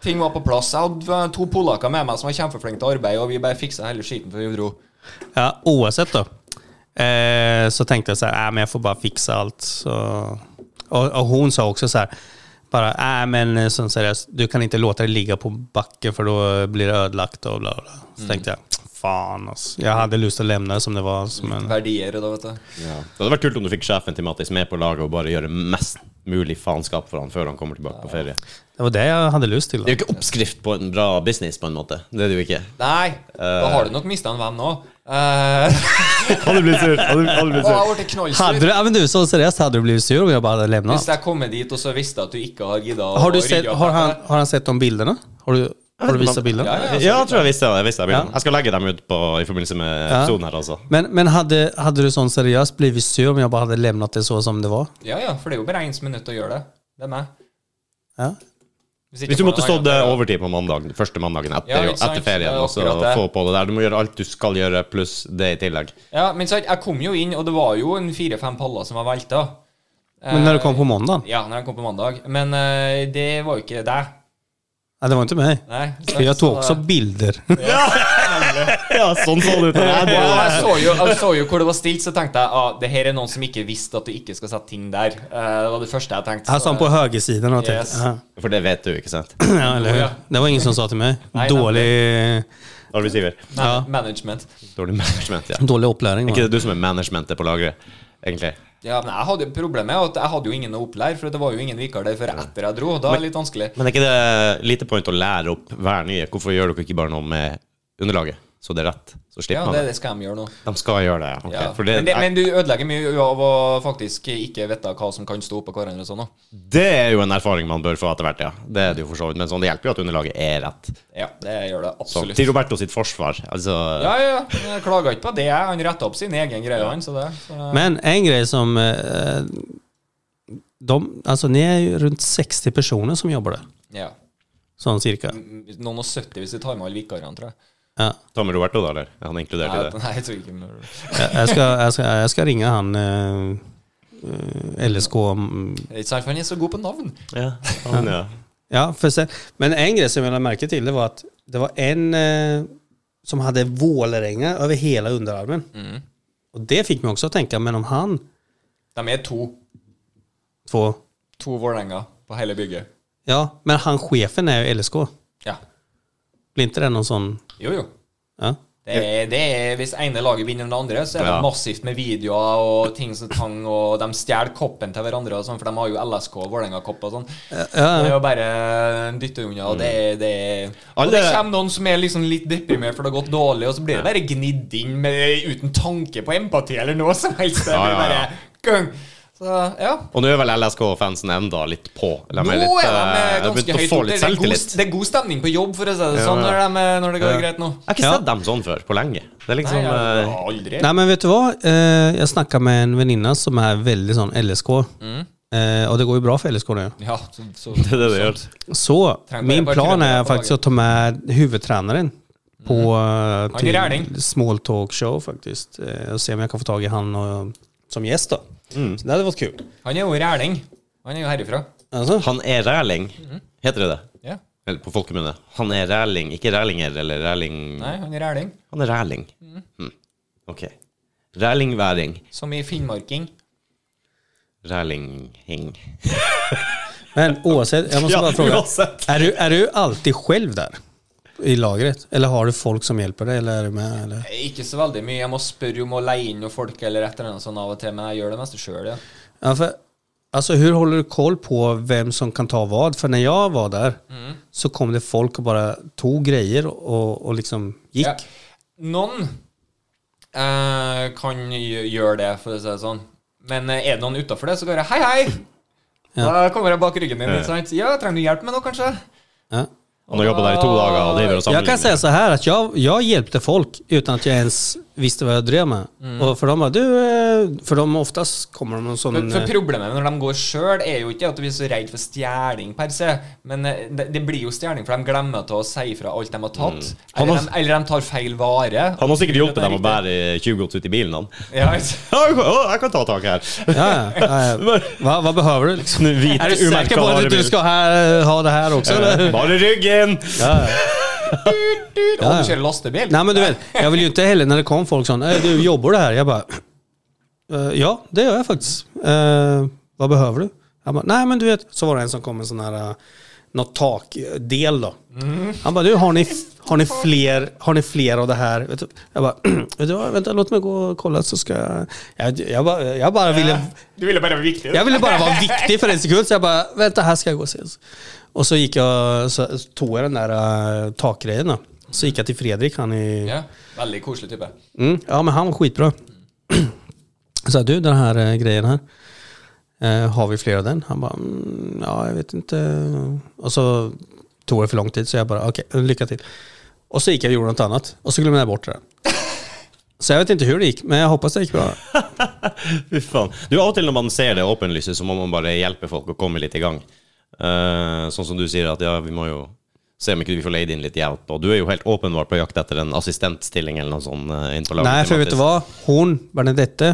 B: Ting var på plass. Jeg hadde eh, to polakker med meg som var kjempeflinke til arbeid, og vi bare fiksa hele skiten før vi dro.
C: Ja, oavsett då. Eh, så tänkte jag så här, äh, men jag får bara fixa allt. Så, och, och hon sa också så här, bara, äh, men eh, som seriöst, du kan inte låta det ligga på backen för då blir det ödelagt och bla bla. bla."
B: Mm.
C: Så tänkte jag, fan alltså. Jag hade lust att lämna det som det var. alltså, Men,
B: Verdier da, vet du.
A: Det hadde vært kult om du fikk sjefen til Mattis med på laget og bare gjøre mest mulig faenskap for han før han kommer tilbake på ferie.
C: det var det jeg hadde lyst til.
A: Det er
C: Da.
A: jo ikke oppskrift på en bra business, på en måte. Det er det jo ikke.
B: Nei,
C: Eh.
B: da har du nok mista en venn òg. Uh,
A: Hadde blitt sur. Hadde blitt
B: og jeg ble knallsur
C: Alltså, Hade du, ja, men du, så seriöst, hade du blivit sur om jag bara hade lämnat?
B: hvis jeg kommer dit og så visste at du ikke har gidda å
C: Har, du
B: rydde
C: sett,
B: opp
C: har, han,
B: etter deg.
C: har han sett de bilderna? Har du, har du visat bilden?
B: Ja, ja,
A: Ja, jeg tror jeg visste det. Jeg, visste det.
C: Ja.
A: jeg skal legge dem ut på, i forbindelse med episoden alltså. her, altså.
C: Men, men hade, hade du sån seriöst blivit sur om jag bara hade lämnat det så som det var?
B: ja, ja, for det er jo bare én som er nødt til å gjøre det. Det er meg.
C: Ja.
B: Hvis, ikke
A: Hvis du
B: får
A: måtte
B: noen annen
A: stått eh,
B: til å-
A: overtid på mandag, første mandagen etter,
B: Ja, ikke sant?
A: etter ferien,
B: Det er
A: og så
B: akkurat det.
A: få på det der. Du må gjøre alt du skal gjøre, pluss det i tillegg.
B: Ja, men sant, jeg kom jo inn, og det var jo en fire-fem paller som var velta.
C: Men när du
B: Eh,
C: kom på måndagen?
B: Ja, når jeg kom på mandag. Men eh, det var jo ikke deg.
C: Ja, det var inte mig.
B: Nei. så-
C: För jag tog
B: så- [laughs]
C: också bilder.
A: Ja, sånn så det ut.
B: Og jeg så, jo, jeg så jo hvor det var stilt, så tenkte jeg ah, det her er noen som ikke visste at du ikke skal sette ting der. Eh, det var det første jeg tenkte.
C: Här
B: så-
C: sa han Alltså, på högersidan och
B: Yes.
C: yes. ja.
A: For det vet du, ikke sant?
C: [clears throat]
A: [clears throat]
C: ja, eller hur?
B: Ja.
C: Det var ingen som sa till mig.
B: Nej,
C: dålig,
A: Arbeidsgiver.
B: Man
C: Ja.
B: Management.
A: Dårlig management, ja.
C: dårlig upplärning.
A: Er
C: var det.
A: ikke det du som er managementet på laget, egentlig?
B: Ja, men jeg hadde Problemet er at jeg hadde jo ingen å opplære, for det var jo ingen vikar der før etter jeg dro. og Da er det litt vanskelig.
A: Men er ikke det lite point å lære opp hver nye? Hvorfor gjør dere ikke bare noe med underlaget, så det er rett? Så
B: Ja,
A: slipper man
B: det,
A: det.
B: det skal de gjøre nå.
A: De skal gjøre det, ja. Ok,
B: Ja.
A: For det,
B: men, det, men du ødelegger mye av å faktisk ikke vite hva som kan stå oppå hverandre og sånn. da.
A: det er jo en erfaring man bør få etter hvert, ja. Det er det jo for så vidt. Men sånn, det hjelper jo at underlaget er rett.
B: Ja, det gjør det
A: Sånn,
B: absolutt.
A: til Roberto sitt Alltså, forsvar. Altså,
B: Ja, ja, ja. Jeg klager ikke på det. Han retta opp sin egen greie, han. Så det, så.
C: Men en grej som... eh, De, alltså, ni är ju runt 60 personer som jobbar där.
B: Ja.
C: Sånn cirka.
B: Noen og 70 hvis vi tar med alle vikarene, tror jeg.
C: Ja.
A: Ta med Roberto, da, eller? Er han inkludert i
B: Nei,
A: det?
B: nei, jeg tror ikke men-
C: Jeg, jeg, skal, jeg, skal, jeg skal ringe han eh, eh, LSK mm,
B: Det er Ikke sant, for han er så god på navn.
A: Ja. Han, ja.
C: Ja, för sen, men en grej som jag lade märke till det var att det var en eh, som hade Vålerenga över hela underarmen. Och det fick mig också att tänka, men om han
B: De er to.
C: två,
B: To Vålerenga på hele bygget.
C: ja, men han chefen är ju LSK.
B: Ja.
C: Blir inte det någon sån,
B: Jo, jo.
C: ja?
B: Det er, det er, hvis ene laget vinner enn det andre, så er det
A: Ja.
B: massivt med videoer og ting som tang, og de stjeler koppen til hverandre, og sånn, for de har jo LSK og Vålerenga-kopp og sånn. Det er jo bare dytte unna, og det er, det er
A: Mm.
B: Og
A: Alle-
B: det kommer noen som er liksom litt deprimert for det har gått dårlig, og så blir det bare gnidd inn med, uten tanke på empati eller noe som helst. Det
A: Ja,
B: blir
A: ja, ja.
B: bare gung. Så ja.
A: Og nå er vel LSK-fansen enda litt på. Eller
B: Nå
A: de er
B: er de
A: litt,
B: eh,
A: eh,
B: ganske
A: begynt å
B: høyt
A: få
B: oppe. Det,
A: litt
B: er god-
A: selvtillit.
B: det er god stemning på jobb, for å si det sånn,
A: Ja.
B: når, de, når det går greit nå.
A: Jeg har ikke
C: Ja.
A: sett dem sånn før på lenge. Det er
B: Nei,
A: liksom
B: jeg,
A: eh,
B: aldri.
C: Nej men vet du vad, eh, jag snackade med en väninna som är väldigt sån LSK. Eh, och det går ju bra för LSK nu.
B: Ja, så,
A: [laughs]
B: så,
A: Det er det det gjør.
C: Så
B: Tränare
C: min
B: bara
C: plan
B: killar
C: är
B: på laget.
C: faktiskt
B: Mm.
C: att ta med huvudtränaren på eh,
B: är lärling.
C: till small talk show faktiskt. eh, Och se om jag kan få tag i han och, som gäst då.
B: Mm.
C: Så det hade varit kul.
B: Han er jo ræling. Han er jo herifra.
C: Alltså,
A: Han er ræling. Heter det det?
B: Ja.
A: Eller på folkemunne. Han er ræling. Ikke rælinger, eller ræling
B: Nei, han er ræling.
A: Han er ræling. Mm. OK. Rælingværing.
B: Som i finnmarking.
A: Rælinghing.
C: men oavsett, jag måste
A: Ja,
C: bara fråga.
A: oavsett.
C: Är du, är du alltid själv där? I lagret? Eller har du folk som hjälper dig? Eller är du med? Eller?
B: Ikke så veldig mye. Jeg må spørre om å leie inn noen folk eller et eller annet sånn av og til, men jeg gjør det meste sjøl, ja.
C: Ja, för, alltså, hur håller du koll på vem som kan ta vad? För när jag var där
B: Mm.
C: så kom det folk och bara tog grejer och, og liksom gick.
B: ja. Noen eh, kan gj- gjøre det, for å si det sånn. Men eh, er det noen utafor det, så går jeg hei, hei! Da kommer jeg bak ryggen din. Ikke sant? Ja, trenger du hjelp med noe, kanskje?
C: Ja.
A: Han har jobba der i to dager og driver og
C: Jag kan
A: sammenligner.
C: säga så här att jag, jag hjälpte folk utan att jag ens visste vad jag drev med. Och för de bara, du, eh," för de oftast kommer de med en sån...
B: For, for
C: eh,
B: Problemet når de går sjøl, er jo ikke at de blir så redd for stjeling per se, men eh, det, det blir jo stjeling, for de glemmer til å si ifra alt de har tatt.
A: Han
B: Eller,
A: har-
B: de, eller de tar feil vare.
A: Han har sikkert hjulpet dem å
B: Riktig.
A: bære 20 gods ut i bilen, han.
B: Ja, [laughs] ikke-
A: Ja, jeg kan- å, jeg kan ta tak her.
C: ja, ja, ja. Va, vad behöver du liksom?
A: Sånn hvit
C: Är du
A: urmerket
C: säker på att
A: varebil.
C: du ska här, eh, ha det här också? Eller?
A: Eh, Bare ryggen!
C: Ja.
B: Å, du kjører lastebil?
C: Nej men du vet, jag vill ju inte heller när det kom folk sån, "Eh, du jobbar du här? Jag bara, "Eh, ja det gör jag faktiskt. Eh, vad behöver du? Han bara, nej men du vet, så var det en som kom med en sån här, eh, något takdel då. Han bara, du har ni, har ni fler, har ni fler av det här? Vet du? Jag bara, [clears throat] vet du vad, vänta låt mig gå och kolla så ska jag, jag, jeg bara, jag bara ville,
B: Du ville bare være viktig?
C: jag ville bara vara viktig för en sekund så jag bara, vänta här ska jag gå och se. Och så gick jag, så tog jag den där eh, takgrejen då. Så gick jag till Fredrik, han i
B: Ja, Veldig koselig type.
C: Mm, ja, men han var skitbra. [clears throat] Så du, den här eh, grejen här. Eh, har vi fler av den? Han bara, mm, ja, jag vet inte. Och så tog det för lång tid, så jag bara, okej, lycka till. Och så gick jag och gjorde något annat. Och så glömde jag bort det. Så jag vet inte hur det gick, men jag hoppas det gick bra.
A: Fy faen. Du, Av og til når man ser det åpenlyset, så må man bare hjelpe folk å komme litt i gang. Eh, sånn som du sier, at ja, vi må jo se om ikke vi får leid inn litt hjelp. Og du er jo helt åpenbart på jakt etter en assistentstilling eller noe sånt. eh, inn på laget
C: Nej, för vet du
A: tematisk.
C: vad? Hon, Bernadette,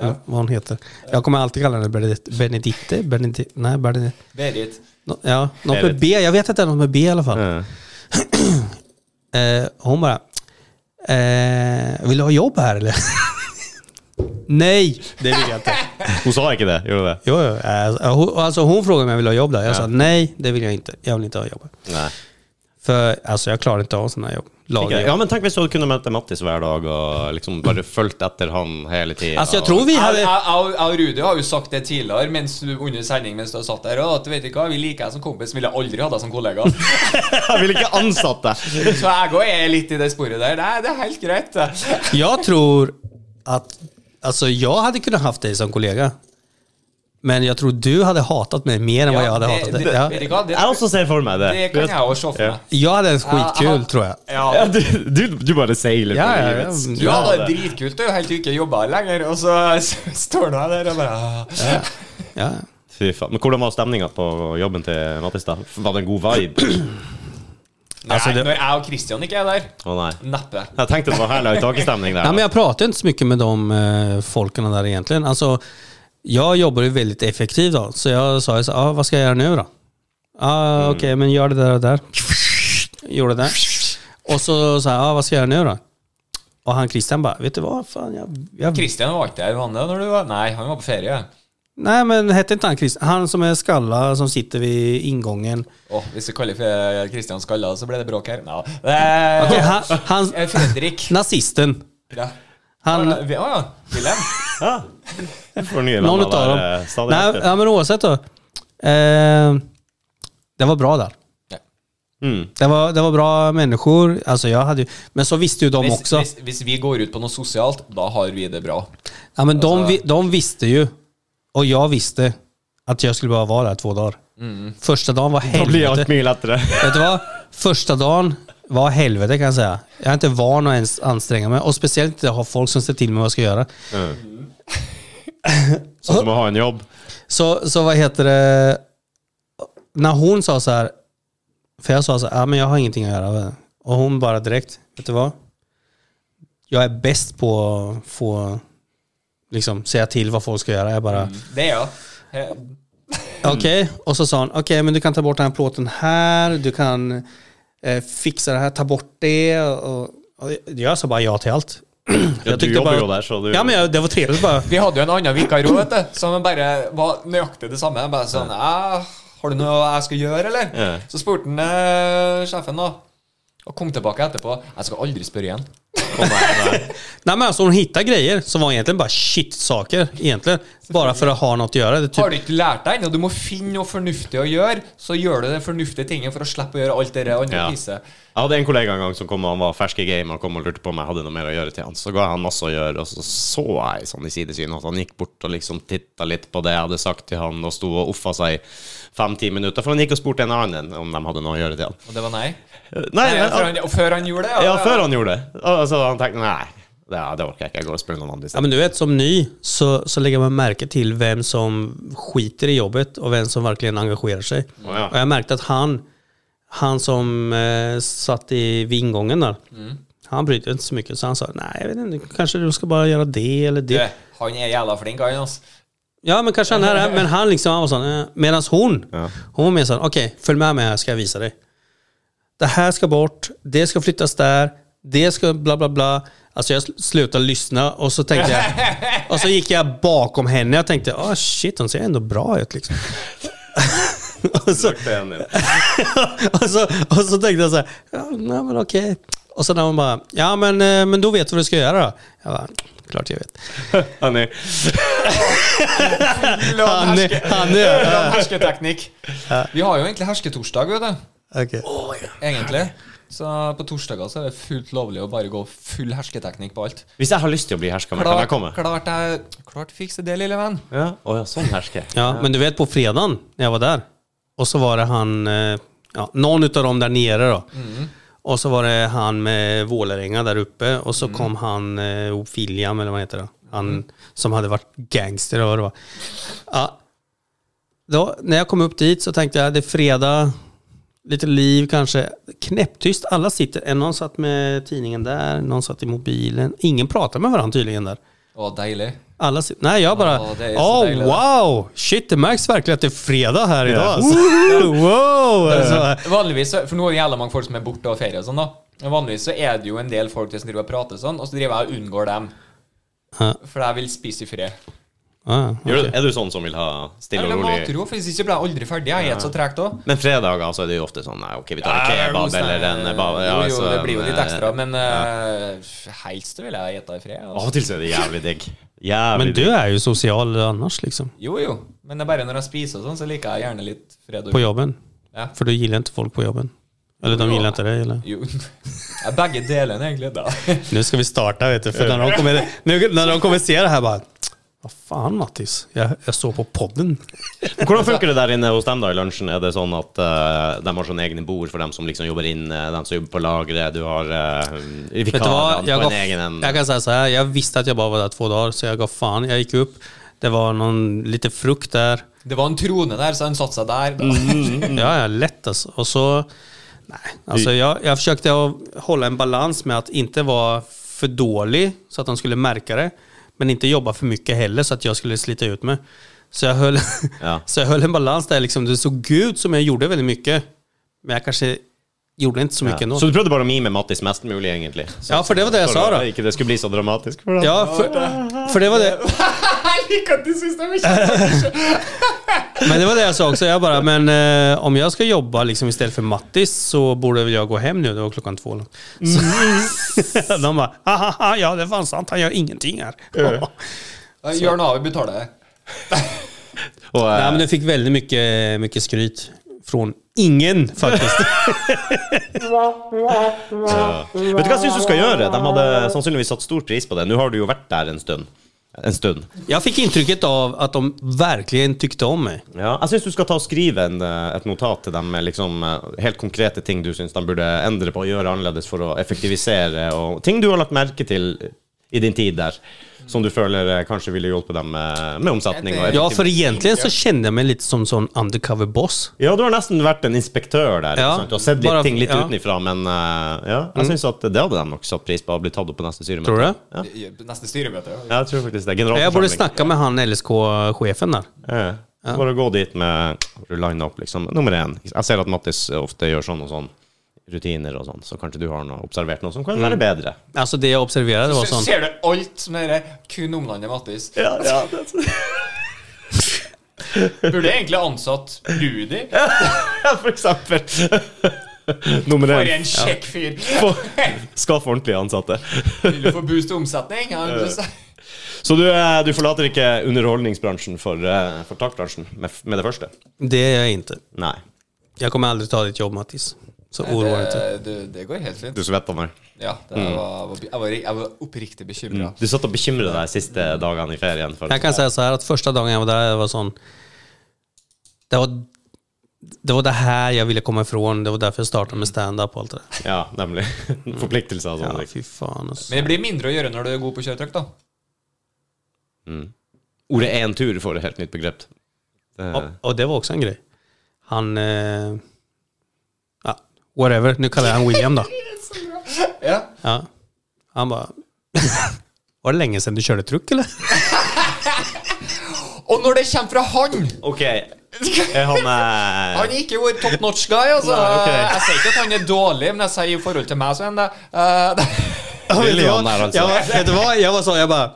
C: eller vad hon heter. Jag kommer alltid kalla henne Beneditte. Beneditte? Beneditte? Nej, Beneditte.
B: Berit.
C: Nå- Ja, något med
A: Berit.
C: B. Jag vet att det är något med B i alla fall.
A: Eh,
C: Eh, hon bara, eh, vill du ha jobb här eller? [laughs] Nej, det vill
A: [laughs]
C: jeg inte.
A: hun sa ikke det, gjorde hun det?
C: Jo, jo, eh, hon, alltså, hon frågade om jag ville ha jobb där. Jag sa nej, det vill jag inte. Jag vill inte ha jobb.
A: Nei.
C: För alltså, jag klarar inte av sådana här jobb.
A: Ikke.
C: Lagerjobb.
A: Ja, men tenk hvis du hadde kunnet møte Mattis hver dag og liksom bare fulgt etter han hele tida.
C: Alltså jag
A: [laughs]
C: tror vi
B: Jeg
C: hade...
B: jeg- jeg- jeg og Rudi har jo sagt det tidligere mens du, under sending mens du har satt der. Og at vet du hva, vi liker deg som kompis, ville aldri hatt deg som kollega.
A: Jeg ville ikke ansatt deg!
B: Så jeg òg er litt i det sporet der. Nei, det er helt greit. det.
C: Jag tror att... Alltså jag hade kunnat haft dig som kollega. Men jag tror du hade hatat mig mer än vad jag hade
B: det-
C: hatat
B: det-
C: dig. Ja.
B: vet du hva, det-
A: Jeg også ser for meg det.
B: Det kan jeg òg se for
A: Ja.
B: meg.
C: Jag hade haft skitkul tror jag.
B: Ja.
A: Ja, du, du, du bare seiler
C: Ja,
A: på
C: ja, ja.
A: livet.
B: Du hadde det [laughs] dritkult du, helt til du ikke jobba lenger, og så s- står du her der og bare ah.
C: Ja.
A: Fy faen. Men hvordan var stemninga på jobben til Mattis, da? Var det en god
C: [clears throat]
A: vibe?
B: Nei,
C: Alltså, det-
B: når jeg og Christian ikke er der.
A: Å nei.
B: Neppe.
A: Jeg tenkte det var herlig takestemning der.
C: Nej, men jag pratar inte så mycket med de eh, folken där egentligen. Alltså, jag jobbar ju väldigt effektivt då, så jag sa ju så ah, vad ska jag göra nu då? Ah, Okej, men gör det där och där. Gjorde det. Och så sa jag, ah, vad ska jag göra nu då? Och han Christian bara, vet du vad? Fan, jag, jag...
B: Christian var ikke der, var han det? Når du var? Nei, han var på ferie.
C: Nej, men hette inte han Christian? Han som är skalla, som sitter vid ingången.
B: Åh, hvis du kaller fe- Christian skalla, så blir det bråk her. Nei. Eh,
C: Okej, han, han,
B: eh, Fredrik.
C: nazisten.
B: Ja.
C: Han,
B: Å ja. Wilhelm.
A: Ja. Du får nye
C: Någon
A: venner
C: utav
A: der
C: dem.
A: eh, stadig.
C: Nej,
A: etter.
C: ja, men oavsett då. Eh, det var bra där.
A: Mm.
C: Det var, det var bra människor. Alltså jag hade ju, men så visste ju de
B: Hvis,
C: också.
B: hvis, hvis vi går ut på noe sosialt, da har vi det bra.
C: ja, men de,
B: alltså-
C: vi- de visste ju. Och jag visste att jag skulle behöva vara där två dagar. Första dagen var
A: Da blir
C: helvete.
A: alt mye lettere.
C: Vet du vad? Första dagen var helvete kan jag säga. Jag är inte van att ens anstränga mig. Och speciellt inte ha folk som ser till mig vad jag ska göra.
A: Sånn som å ha en jobb.
C: Så, så vad heter det? När hon sa så här, för jag sa så här, ah, men jag har ingenting att göra. Och hon bara direkt, vet du vad? Jag är bäst på att få liksom, säga till vad folk ska göra. Jag
A: Mm.
C: bara,
B: Det er jo eh,
C: okej. Och så sa hon, okej men du kan ta bort den här plåten här, du kan eh, fixa det här, ta bort det. Och, och jag sa bara ja till allt. [clears throat]
A: Ja, du
C: tyckte
A: jobbar
C: bara-
A: ju där, så du-
C: Ja men jag, det var trevligt bara.
B: Vi hadde jo en annen vikar òg, vet du, som bare var nøyaktig det samme. Bare sånn «Ah, 'Har du noe jeg skal gjøre, eller?'
A: Ja.
B: Så spurte han eh, sjefen, da. Og kom tilbake etterpå. 'Jeg skal aldri spørre igjen'.
A: Å, nei, nei.
C: Nej men alltså hon hittade grejer som var egentligen bara shit-saker. Egentligen. Bara för att ha något att göra. Det är typ,
B: Har du ikke lært deg ennå? Du må finne noe fornuftig å gjøre. Så gjør du det fornuftige tinget for å slippe å gjøre alt det der andre
A: Ja.
B: pisset.
A: Jeg hadde en kollega en gang som kom og han var fersk i gamet og kom og lurte på om jeg hadde noe mer å gjøre til han. Så ga jeg han masse å gjøre, og så så jeg sånn i sidesynet at han gikk bort og liksom titta litt på det jeg hadde sagt til han, og sto og offa seg i fem-ti minutter. For han gikk og spurte en annen om de hadde noe å gjøre til han.
B: Og det var nei?
A: Nei,
B: nei
A: jeg,
B: før, han, og før han gjorde det?
A: ja, før han gjorde det. Og Så han tenkte nei, det, det orker jeg ikke, jeg går og spør noen andre i
C: Ja,
A: stedet.
C: men du vet, som ny så, så lägger man märke till vem som skiter i jobbet och vem som verkligen engagerar sig.
A: Å, ja.
C: Och jag märkte att han, han som eh, satt i vingången där,
A: Mm.
C: han brydde sig inte så mycket. Så han sa, nej jag vet inte, kanske du ska bara göra det eller det.
B: Du, han er jævla flink, han, altså.
C: Ja men kanske han är det. Men han liksom, han var sån, eh. Medans hon,
A: Ja.
C: hon var mer sån, okej följ med mig här ska jag visa dig. Det här ska bort, det ska flyttas där, det ska bla bla bla. Alltså jag sl- slutade lyssna och så tänkte jag, och så gick jag bakom henne. Jag tänkte, ah shit hon ser ändå bra ut liksom. [laughs] och, så,
A: Lukte en inn.
C: och, så, och så tänkte jag så här, ja, nej men okej. Och så när hon bara, ja men, eh, men då vet du vad du ska göra då. Jag bara, klart jag vet.
A: [laughs] Han er-
C: Han är, han
B: [laughs]
C: är,
B: La han Hersketeknikk. Vi har jo egentlig hersketorsdag, vet du.
C: Okej.
B: Egentlig. Så på torsdager så er det fullt lovlig å bare gå full hersketeknikk på alt.
A: Hvis jeg har lyst til å bli herska med, kan jeg
B: Klart,
A: komme?
B: klart jeg Klart fikse det, lille venn.
A: Ja, å ja, sånn hersker jeg.
C: Ja, men du vet på fredagen när jag var där. Och så var det han, eh, ja, någon utav dem där nere då. Och så var det han med Vålerenga där uppe och så kom han eh, William eller vad heter det? Han som hade varit gangster eller vad det var. Ja. Då, när jag kom upp dit så tänkte jag det är fredag, lite liv kanske. Knäpptyst, alla sitter. En någon satt med tidningen där, någon satt i mobilen. Ingen pratar med varandra tydligen där.
B: Å, deilig.
C: Alla sit- Nej, jag bara...
B: Ja,
C: Åh,
B: det er så deilig, det.
C: wow! Shit, det märks verkligen att det är fredag här idag.
A: Ja.
C: Alltså. [laughs] wow!
A: Eh.
C: Alltså.
B: Vanligvis, så- for nå er det jævla mange folk som er borte og ferie og sånn, da. Men vanligvis så er det jo en del folk som driver og prater sånn, og så driver jeg og unngår dem.
C: Ja.
B: For jeg vil spise i fred.
C: Ja, ja.
A: Gjør du- Er du sånn som vil ha
B: Jeg
A: stille
B: vil ha
A: og rolig
B: matro, for hvis ikke blir jeg aldri ferdig. Jeg spiser så tregt òg.
A: Men fredager altså, er det jo ofte sånn Nei, ok, vi tar en
B: Ja,
A: kebab
B: rosa-
A: eller en ba- ja,
B: jo, jo,
A: altså,
B: det blir jo
A: en,
B: litt ekstra,
A: eh,
B: men eh, helst vil jeg gjette i fred.
A: Av
B: Altså.
A: og til så er det jævlig digg. Jævlig
C: Men du är ju social annars liksom,
B: Jo, jo. Men det er bare når jeg spiser og sånn, så liker jeg gjerne litt fred og
C: på jobben.
B: Ja.
C: För du gillar inte folk på jobben. Eller de gillar inte dig eller?
B: Jo. [laughs] Ja, begge delene, egentlig. da.
C: Nu ska vi starta vet du, för när de kommer, nu, när de kommer se det här bara... Vad fan Mattis, jag, jag står på podden.
A: digg. Hvordan funker det der inne hos dem da i lunsjen? Er det sånn at eh, de har sånne egne bord for dem som liksom jobber inne, dem som jobber på lageret, du har uh,
C: Vet du vad?
A: vikarene
C: Jag,
A: på
C: gav,
A: en egen en?
C: jag kan säga så här, jag visste att jag bara var där två dagar så jag gav fan. Jag gick upp, det var någon lite frukt där.
B: Det var en trone der, så han satte seg der. Da.
C: Mm.
A: Mm,
C: Ja, ja, lätt alltså. Och så, nej, alltså jag, jag försökte att hålla en balans med att inte vara för dålig så att de skulle märka det, men inte jobba för mycket heller så att jag skulle slita ut mig. Så jag höll, [laughs]
A: Ja.
C: så jag höll en balans där liksom, det såg ut som jag gjorde väldigt mycket, men jag kanske gjorde inte så mycket ändå.
A: Så du prøvde bare å mime Mattis mest mulig, egentlig? Så,
C: Ja, for det var det jeg
A: for
C: sa, da.
A: at Ikke det skulle bli så dramatisk. For deg.
C: Ja, för, för det var [laughs] det.
B: Jeg liker at du syns det er kjekt.
C: [laughs] Men det var det jag sa också. Jag bara, men eh, om jag ska jobba liksom istället för Mattis så borde väl jag gå hem nu. Det var klockan två. Så, [laughs] de bara, haha, ja det var sant. Han gör ingenting här. [laughs]
B: Jørn Avi betaler det.
A: Og, eh,
C: Nej, men det fick väldigt mycket, mycket skryt från ingen [laughs] faktiskt.
A: Vet du hva jeg syns du skal gjøre? De hadde sannsynligvis satt stor pris på det. Nå har du jo vært der en stund. En stund.
C: Jag fick intrycket av att de verkligen tyckte om mig.
A: Ja, jeg syns Alltså, du skal ta og skrive en, eh, et notat til dem med liksom, eh, helt konkrete ting du syns de burde endre på og gjøre annerledes for å effektivisere, og ting du har lagt merke til i din tid der, som du føler eh, kanskje ville hjulpet dem eh, med omsetning. Og
C: Ja,
A: effektiv-
C: för egentligen så kände jag mig lite som sån undercover boss.
A: ja, du har nesten vært en inspektør der ikke
C: Ja,
A: sant? og sett litt
C: bare-
A: ting litt
C: ja. Mm.
A: utenifra, men eh, ja, jeg syns at det hadde de nok satt pris på å bli tatt opp på neste styremøte.
C: Tror du det?
A: Ja.
B: Neste styremøte. ja.
A: Ja, jeg tror faktisk det.
C: Jag borde
A: Generalforsamling.
C: snacka med han LSK-chefen där.
A: Ja. Bare gå dit med line up, liksom. Nummer én. Jeg ser at Mattis ofte gjør sånn og sånn. Rutiner og sånn, så kanskje du har noe, observert noe som kan være bedre.
C: Alltså det jag observerade var
B: Så
C: sånt.
B: ser du alt som er kun omlandet Mattis.
A: Ja, [laughs] ja.
B: Burde egentlig ansatt Rudi.
A: For [laughs] eksempel. Nummer
B: For
A: én.
B: en kjekk fyr.
A: Skaff ordentlige ansatte. [laughs]
B: Vil du få boost i omsetning? Ja, men så-
A: Så du, eh, du forlater ikke underholdningsbransjen for, eh, for takbransjen med, f- med det første?
C: Det gör jag inte.
A: Nei.
C: Jag kommer aldrig ta ditt jobb Mattis. Så oroa dig inte.
B: det, Eh, det, det går helt fint.
A: Du svetter meg.
B: Ja, det var, jeg, var, jeg var oppriktig bekymra.
A: Du satt og bekymret deg siste dagene i ferien. For,
C: Jag kan säga så här att första dagen jag var där, det var sån... Det var det, var det här jag ville komma ifrån, det var därför jag startade med stand-up og allt det där.
A: Ja, nemlig. [laughs] Forpliktelser og sånn.
C: Ja, fy fan alltså.
B: Men det blir mindre å gjøre når du er god på kjøretøy, da.
A: Ordet én tur får et helt nytt begrep. Det-
C: Och, och det var också en grej. Han... Eh, ja, whatever, nu kallar jag han William då.
B: Ja.
C: Ja. Han bara... [laughs] Var det länge sedan du körde truck eller?
B: Og når det kommer fra han
A: Ok, er han eh,
B: Han er ikke vår top notch guy, alltså. Eh, altså.
A: Nei, ok.
B: Jeg sier ikke at han er dårlig, men jeg sier i forhold til meg, så er han det. Eh, [laughs]
A: Ja, vet du William vad? där alltså.
C: Jag, var- vet du vad? Jag var så, jag bara...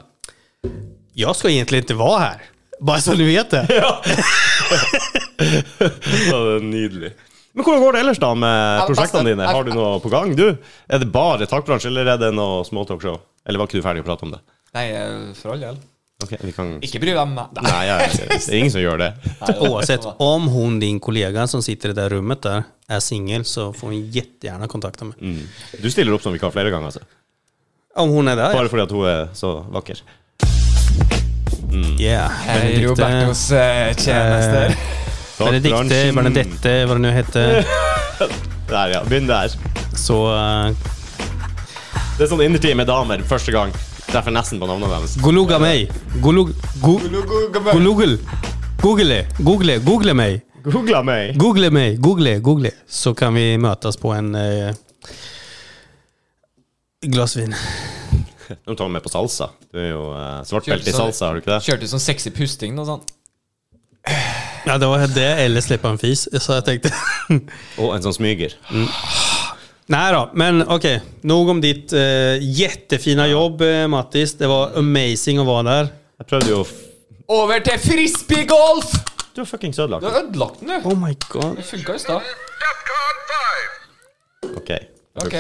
C: Jag ska egentligen inte vara här. Bara så du vet det.
A: [laughs] Ja, det er nydelig. Men hvordan går det ellers da med
B: Jeg-
A: prosjektene
B: jeg-
A: dine? Har du noe på gang, du? Er det bare takbransje, eller er det noe småtalkshow? Eller var ikke du ferdig å prate om det?
B: Nei, eh, for all del.
A: Ok, vi kan...
B: Ikke bry deg om meg.
A: Nei, ja, ja, det er ingen som gjør det.
B: Nei, det var-
C: Oavsett, om hon, din kollega som sitter i det där rummet där, är singel så får hon jättegärna kontakta
A: Mm.
C: mig.
A: Du stiller opp som vikar flere ganger, altså.
C: Om hon är där,
A: Bare fordi at hun er så vakker.
C: yeah.
B: Hei,
C: Benedikte,
B: Robertos eh, tjenester.
C: Benedikte,
A: Takbransjen.
C: Benedette, vad det nu hette.
A: [laughs] Der, ja. Begynn der.
C: Så eh,
A: Det er sånn innertid med damer første gang. Treffer nesten på navnet deres.
C: gologa mig. Golog, go, gologel. Google, google, google mig.
A: Googla meg!
C: Google mig, google, google. Så kan vi mötas på en eh, glas vin.
A: Nå tar vi med på salsa. Du er jo eh, svart
B: Kjørte
A: belte i
B: sånn-
A: salsa, har du ikke det?
B: Kjørte sånn sexy pusting og sånn.
C: Ja, det var det eller släppa en fis. Så jag tänkte... [laughs]
A: Og en sånn smyger.
C: Nej då, men okej. Nog om ditt eh, jättefina jobb eh, Mattis. Det var amazing att vara där.
A: Jeg prøvde jo... f-
B: Over til frisbeegolf!
A: Du har fucking sødelagt.
B: Du har ødelagt den, du.
C: Oh my god.
B: Det funka i stad.
E: DEFCON 5!
A: Ok.
B: Ok.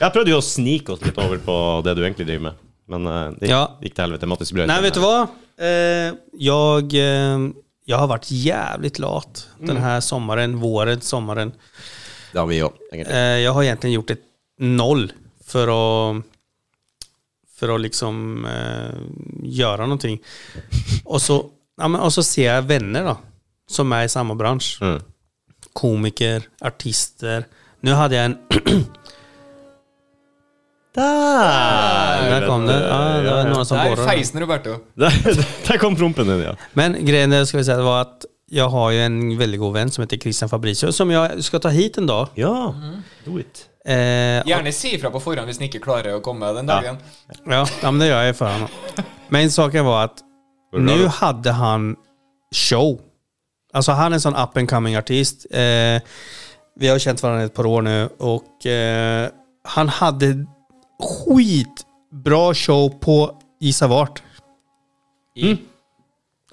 A: Jeg prøvde jo å snike oss litt over på det du egentlig driver med, men eh, det gikk,
C: Ja.
A: gikk til helvete. Mattis brøt.
C: Nej,
A: den
C: vet du
A: her.
C: vad? Eh, jag, eh, jag har varit jävligt lat den här sommaren, våren, sommaren.
A: Mm. Det har vi jo, egentlig.
C: Eh, jag har egentligen gjort ett noll för att för att liksom eh,
A: [laughs]
C: göra någonting. Och så, ja, men, och så ser jag vänner då, som är i samma bransch.
A: Mm.
C: komiker, artister. Nu hade jag en... [clears throat] Där kom det. Ja, det var några som
B: Der
C: borrade.
B: feisen Roberto.
A: [laughs] Der, der kom prompen din, ja.
C: Men grejen är, ska vi säga, det var att jag har ju en väldigt god vän som heter Christian Fabricius som jag ska ta hit en dag.
A: Ja, Mm. do it.
C: Eh,
B: Gjerne si ifra på forhånd hvis han ikke klarer å komme den
A: Ja.
B: dagen.
C: Ja, ja men det gör jag ju för honom. Men saken var att
A: det bra
C: nu
A: då?
C: hade han show. Alltså han är en sån up and coming artist. Eh, vi har känt varandra ett par år nu och eh, han hade skitbra show på Gissa vart. Mm.
B: I-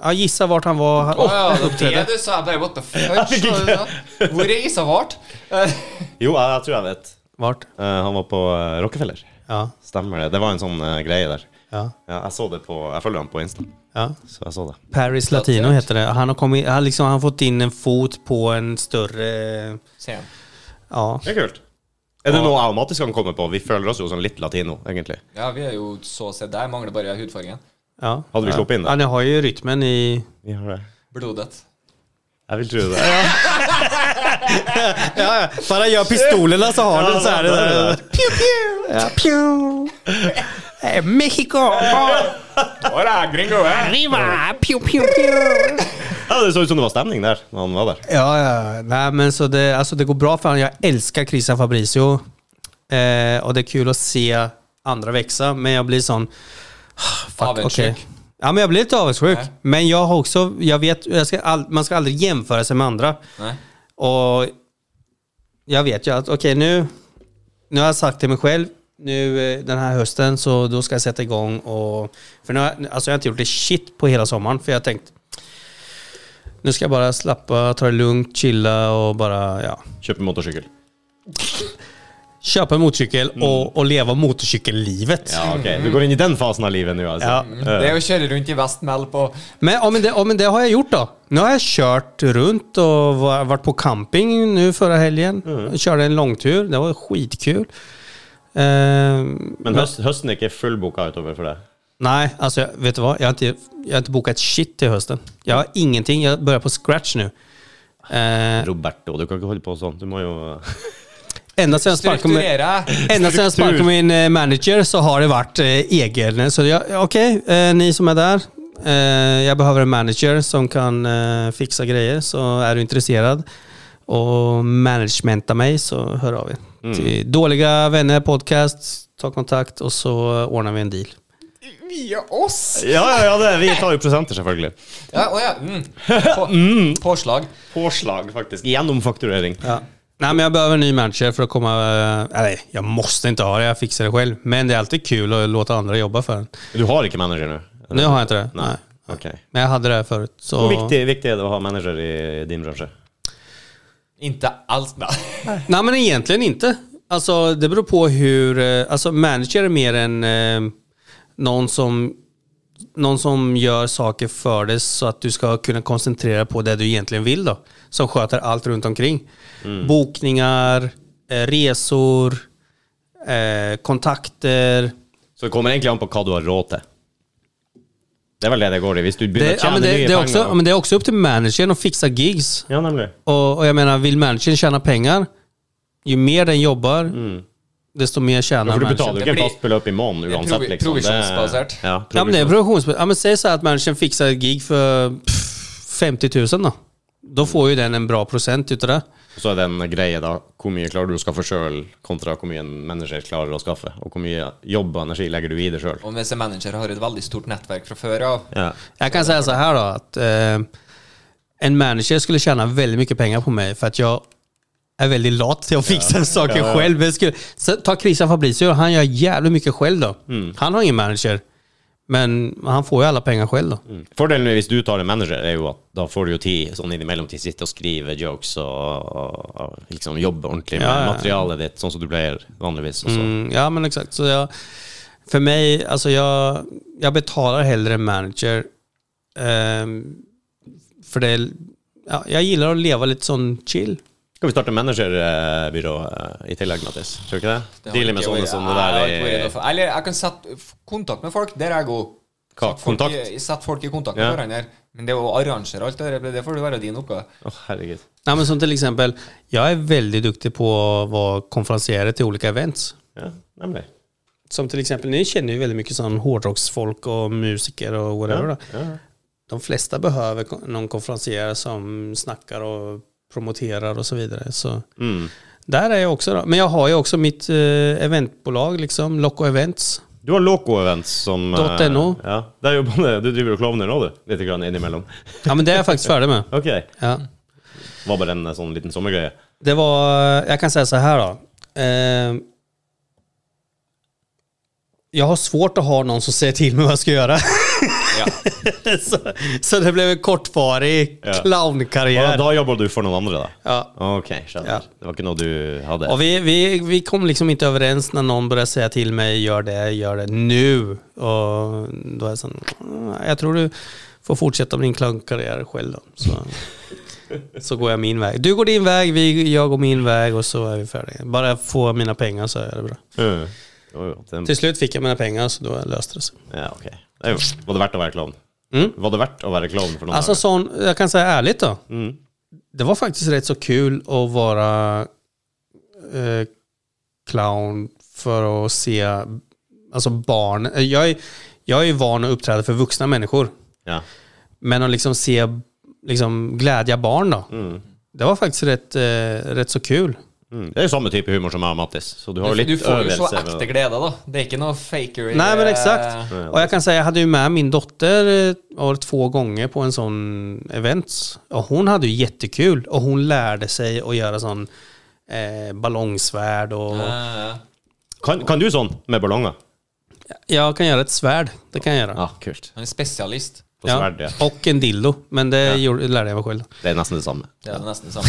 C: Ja, gissa vart han var.
B: Å ja, det var det du sa. Jeg bare what the fuck? Hvor er Isavart? [laughs]
A: Jo, jeg, jeg tror jeg vet.
C: Vart?
A: Eh, han var på eh, Rockefeller.
C: Ja,
A: Stemmer det. Det var en sånn eh, greie der.
C: ja,
A: Ja, jeg så det på Jeg følger han på Insta,
C: ja.
A: så jag så det.
C: Paris Latino heter det. Han har, kommit, han liksom, han har fått in en fot på en större...
B: Sen.
C: Ja,
A: Det er kult. Er det noe jeg og Mattis kan komme på? Vi føler oss jo som litt latino, egentlig.
B: Ja, vi er jo så å se der. Mangler bare hudfargen.
C: ja.
A: Hade vi sluppit in det?
C: Ja, ni har ju rytmen i...
A: Vi har det.
B: Blodet.
A: Jeg vil tro det.
C: Ja, ja. Bara gör pistolerna så har du så här det där. Pew, pew. Ja, pew. Eh, Mexico!
A: eh.
C: Arriba! Pew, pew, pew.
A: Ja, det så ut som det var stemning der når han var der.
C: Ja, ja. Nej, men så det, alltså det går bra för honom. Jag älskar Christian Fabricio. Eh, och det är kul att se andra växa, men jag blir sån... Fuck,
B: Avundsjuk.
C: okej. Ja, men jag blir lite avundsjuk.
B: Nej.
C: Men jag har också... Jag vet, jag ska all, man ska aldrig jämföra sig med andra.
B: Nei.
C: Och jag vet ju att okej nu, nu har jag sagt till mig själv nu eh, den här hösten så då ska jag sätta igång och... För nu har, jag- alltså jag har inte gjort det shit på hela sommaren för jag har tänkt nu ska jag bara slappa, ta det lugnt, chilla och bara ja,
A: Kjøpe motorsykkel.
C: köpa en motorcykel
B: Mm.
C: och, och leva motorcykellivet.
A: Ja, ok. Du går inn i den fasen av livet alltså. Eh, nå, altså.
C: Ja.
B: Mm. Det er å kjøre rundt i Vestmel på
C: Men, ja, men, det, ja, men det har jag gjort då. Nu har jag kört runt och var- varit på camping nu förra helgen. Körde en långtur, det var skitkul. Ehm,
A: Men høst, høsten er ikke fullboka utover for deg.
C: Nej, alltså jag- vet du vad? Jag har, inte, jag har inte bokat shit till hösten. Jag har ingenting. Jag börjar på scratch nu. Eh,
A: Roberto, du kan ikke holde på sånn. Du må jo
C: ända sedan jag sparkade med,
B: Strukturere.
C: ända sedan
A: Struktur.
C: jag sparkade min eh, manager så har det varit eh, egen. Så jag- okej, eh, ni som är där. Eh, jag behöver en manager som kan eh, fixa grejer. Så är du intresserad och managementa mig så hör av er.
A: Mm.
C: Till Dåliga vänner podcast, ta kontakt och så eh, ordnar vi en deal.
B: Via oss!
A: [laughs] Ja, ja, ja, det, vi tar jo prosenter, selvfølgelig.
B: Ja, å ja. Mm. På, Påslag.
A: Påslag, faktisk. Gjennom fakturering.
C: Ja. Nej, men jag behöver en ny manager för att komma... eh, Nej, jeg måste inte ha det, jag fixar det själv. Men det är alltid kul att låta andra jobba för en.
A: Du har ikke manager nå?
C: Nu har jag inte det. Nej.
A: Ok.
C: Men jag hade det här förut. Så...
A: Hvor viktig, viktig er det å ha manager i din bransje?
B: Inte alls, da. [laughs]
C: Nej, men egentligen inte. Alltså, det beror på hur... eh, Alltså, manager är mer en... Eh, någon som... Någon som gör saker för dig så att du ska kunna koncentrera på det du egentligen vill då. Som sköter allt runt omkring.
A: Mm.
C: Bokningar, eh, resor, eh, kontakter.
A: Så det kommer egentlig an på hva du har råd til. Det er vel det det går i. Hvis du begynner å
C: Det, ja,
A: tjene
C: men det,
A: mye
C: det, är
A: penger
C: också, ja, men det är också upp till managern att fixa gigs.
A: Ja, nemlig.
C: Och, och jag menar, vill managern tjäna pengar, ju mer den jobbar, desto mer tjänar
A: For Mm. du
C: managern.
A: betaler jo ikke
B: Det
A: en
B: blir-
A: fast beløp i måneden
B: er
A: uansett,
B: provi-
A: liksom. Det er-
B: provisjonsbasert.
A: Ja,
C: Ja, men det är
A: provisjon.
C: produktions... Ja, men säg så här att managern fixar ett gig för pff, 50 000 då. Då får ju den en bra procent utav det.
A: Så er det en greie, da. Hvor mye klarer du å skaffe sjøl, kontra hvor mye en manager klarer å skaffe? Og hvor mye jobb og energi legger du i det sjøl?
B: Og hvis en manager har et veldig stort nettverk fra før av
A: Ja.
C: Jag kan säga så här då, att eh, en manager skulle tjäna väldigt mycket pengar på mig för att jag är väldigt lat till att fixa [laughs] saker själv. Jag skulle, så ta Christian Fabricio, han gör jävligt mycket själv då. Han har ingen manager, men han får ju alla pengar själv då.
A: Fordelen med hvis du tar en manager, er jo at da får du jo tid sånn innimellom til å sitte og skrive jokes og, og, og liksom jobbe ordentlig med
C: Ja, ja.
A: materialet ditt, sånn som du pleier vanligvis. Og så.
C: Mm, ja, men exakt. Så jag, för mig, alltså jag, jag betalar hellre en manager. ehm, för det, ja, jag gillar att leva lite sånn chill.
A: Skal vi starte managerbyrå eh, i tillegg, Mattis? Tror du ikke det? Dealer med sånne som det der
B: jeg,
A: i
B: Eller jeg kan sette f- kontakt med folk. Der er jeg god.
A: Hva?
B: Sette folk i-
A: Kontakt?
B: Sette folk i kontakt med
A: Ja.
B: hverandre. Men det å arrangere alt det der, det får jo være din oppgave.
A: Å, herregud.
C: Ja, men som till exempel, jag är väldigt duktig på att vara konferencier till olika events.
A: Ja, nemlig.
C: Som till exempel, ni känner ju väldigt mycket sån hårdrocksfolk och musiker och whatever. då. de flesta behöver ko- någon konferencier som snackar och promoterar och så vidare. Så
A: Mm.
C: där är jag också då. Men jag har ju också mitt eh, eventbolag, liksom, Loco Events.
A: Du har Loco Events som eh,
C: .no.
A: Ja, der jobber du. Du driver og klovner nå, du. Litt grann innimellom.
C: Ja, men det är jag faktiskt färdig med.
A: Ok.
C: Ja.
A: Var bare en eh, sånn liten sommergreie.
C: Det var, jag kan säga så här då. Eh, jag har svårt att ha någon som säger till mig vad jag ska göra. [laughs] så, så det blev en kortvarig
A: Ja. Ja,
C: clownkarriär.
A: da jobber du for noen andre, da?
C: Ja.
A: Ok, skjønner.
C: Ja.
A: Det var ikke noe du hadde?
C: Och vi, vi, vi kom liksom inte överens när någon började säga till mig gör det, gör det nu. Och då är jag sån, "Mm, jag tror du får fortsätta med din clownkarriär själv då. Så, så går jag min väg. Du går din väg, vi, jag går min väg och så är vi färdiga. Bara jag får mina pengar så är det bra.
A: Mm. Jo, jo, den-
C: Till slut fick jag mina pengar så då löste det sig.
A: Ja, ok. Det er jo- Var det verdt å være klovn?
C: Mm.
A: Var det verdt å være klovn for noen
C: Alltså sån, jag kan säga ärligt då.
A: dager? Mm.
C: Det var faktiskt rätt så kul att vara eh, clown för att se alltså barn. eh, Jag är, jag är ju van att uppträda för vuxna människor.
A: Ja.
C: Men att liksom se liksom glädja barn då.
A: Mm.
C: Det var faktiskt rätt, eh, rätt så kul.
A: Mm. Det er jo samme type humor som meg og Mattis, så du har jo
B: Du,
A: litt
B: du får jo så
A: øvelse med
B: ekte
A: å-
B: glede, da. Det er ikke noe fakery.
C: Nej men
B: eh,
C: exakt. Och jag kan säga jag hade ju med min dotter eh, var det två gånger på en sån event. Och hon hade ju jättekul och hon lärde sig att göra sån eh, ballongsvärd och
B: eh,
A: Kan, kan du sånn med ballonger?
C: Jag kan göra ett svärd, det kan jag göra.
A: Ja, kult.
B: Han er spesialist.
A: På sverd, ja.
C: Och en dildo, men det gjorde, lärde jag mig själv. [laughs]
A: Det er nesten det samme.
B: Det er det nesten det [laughs] samme.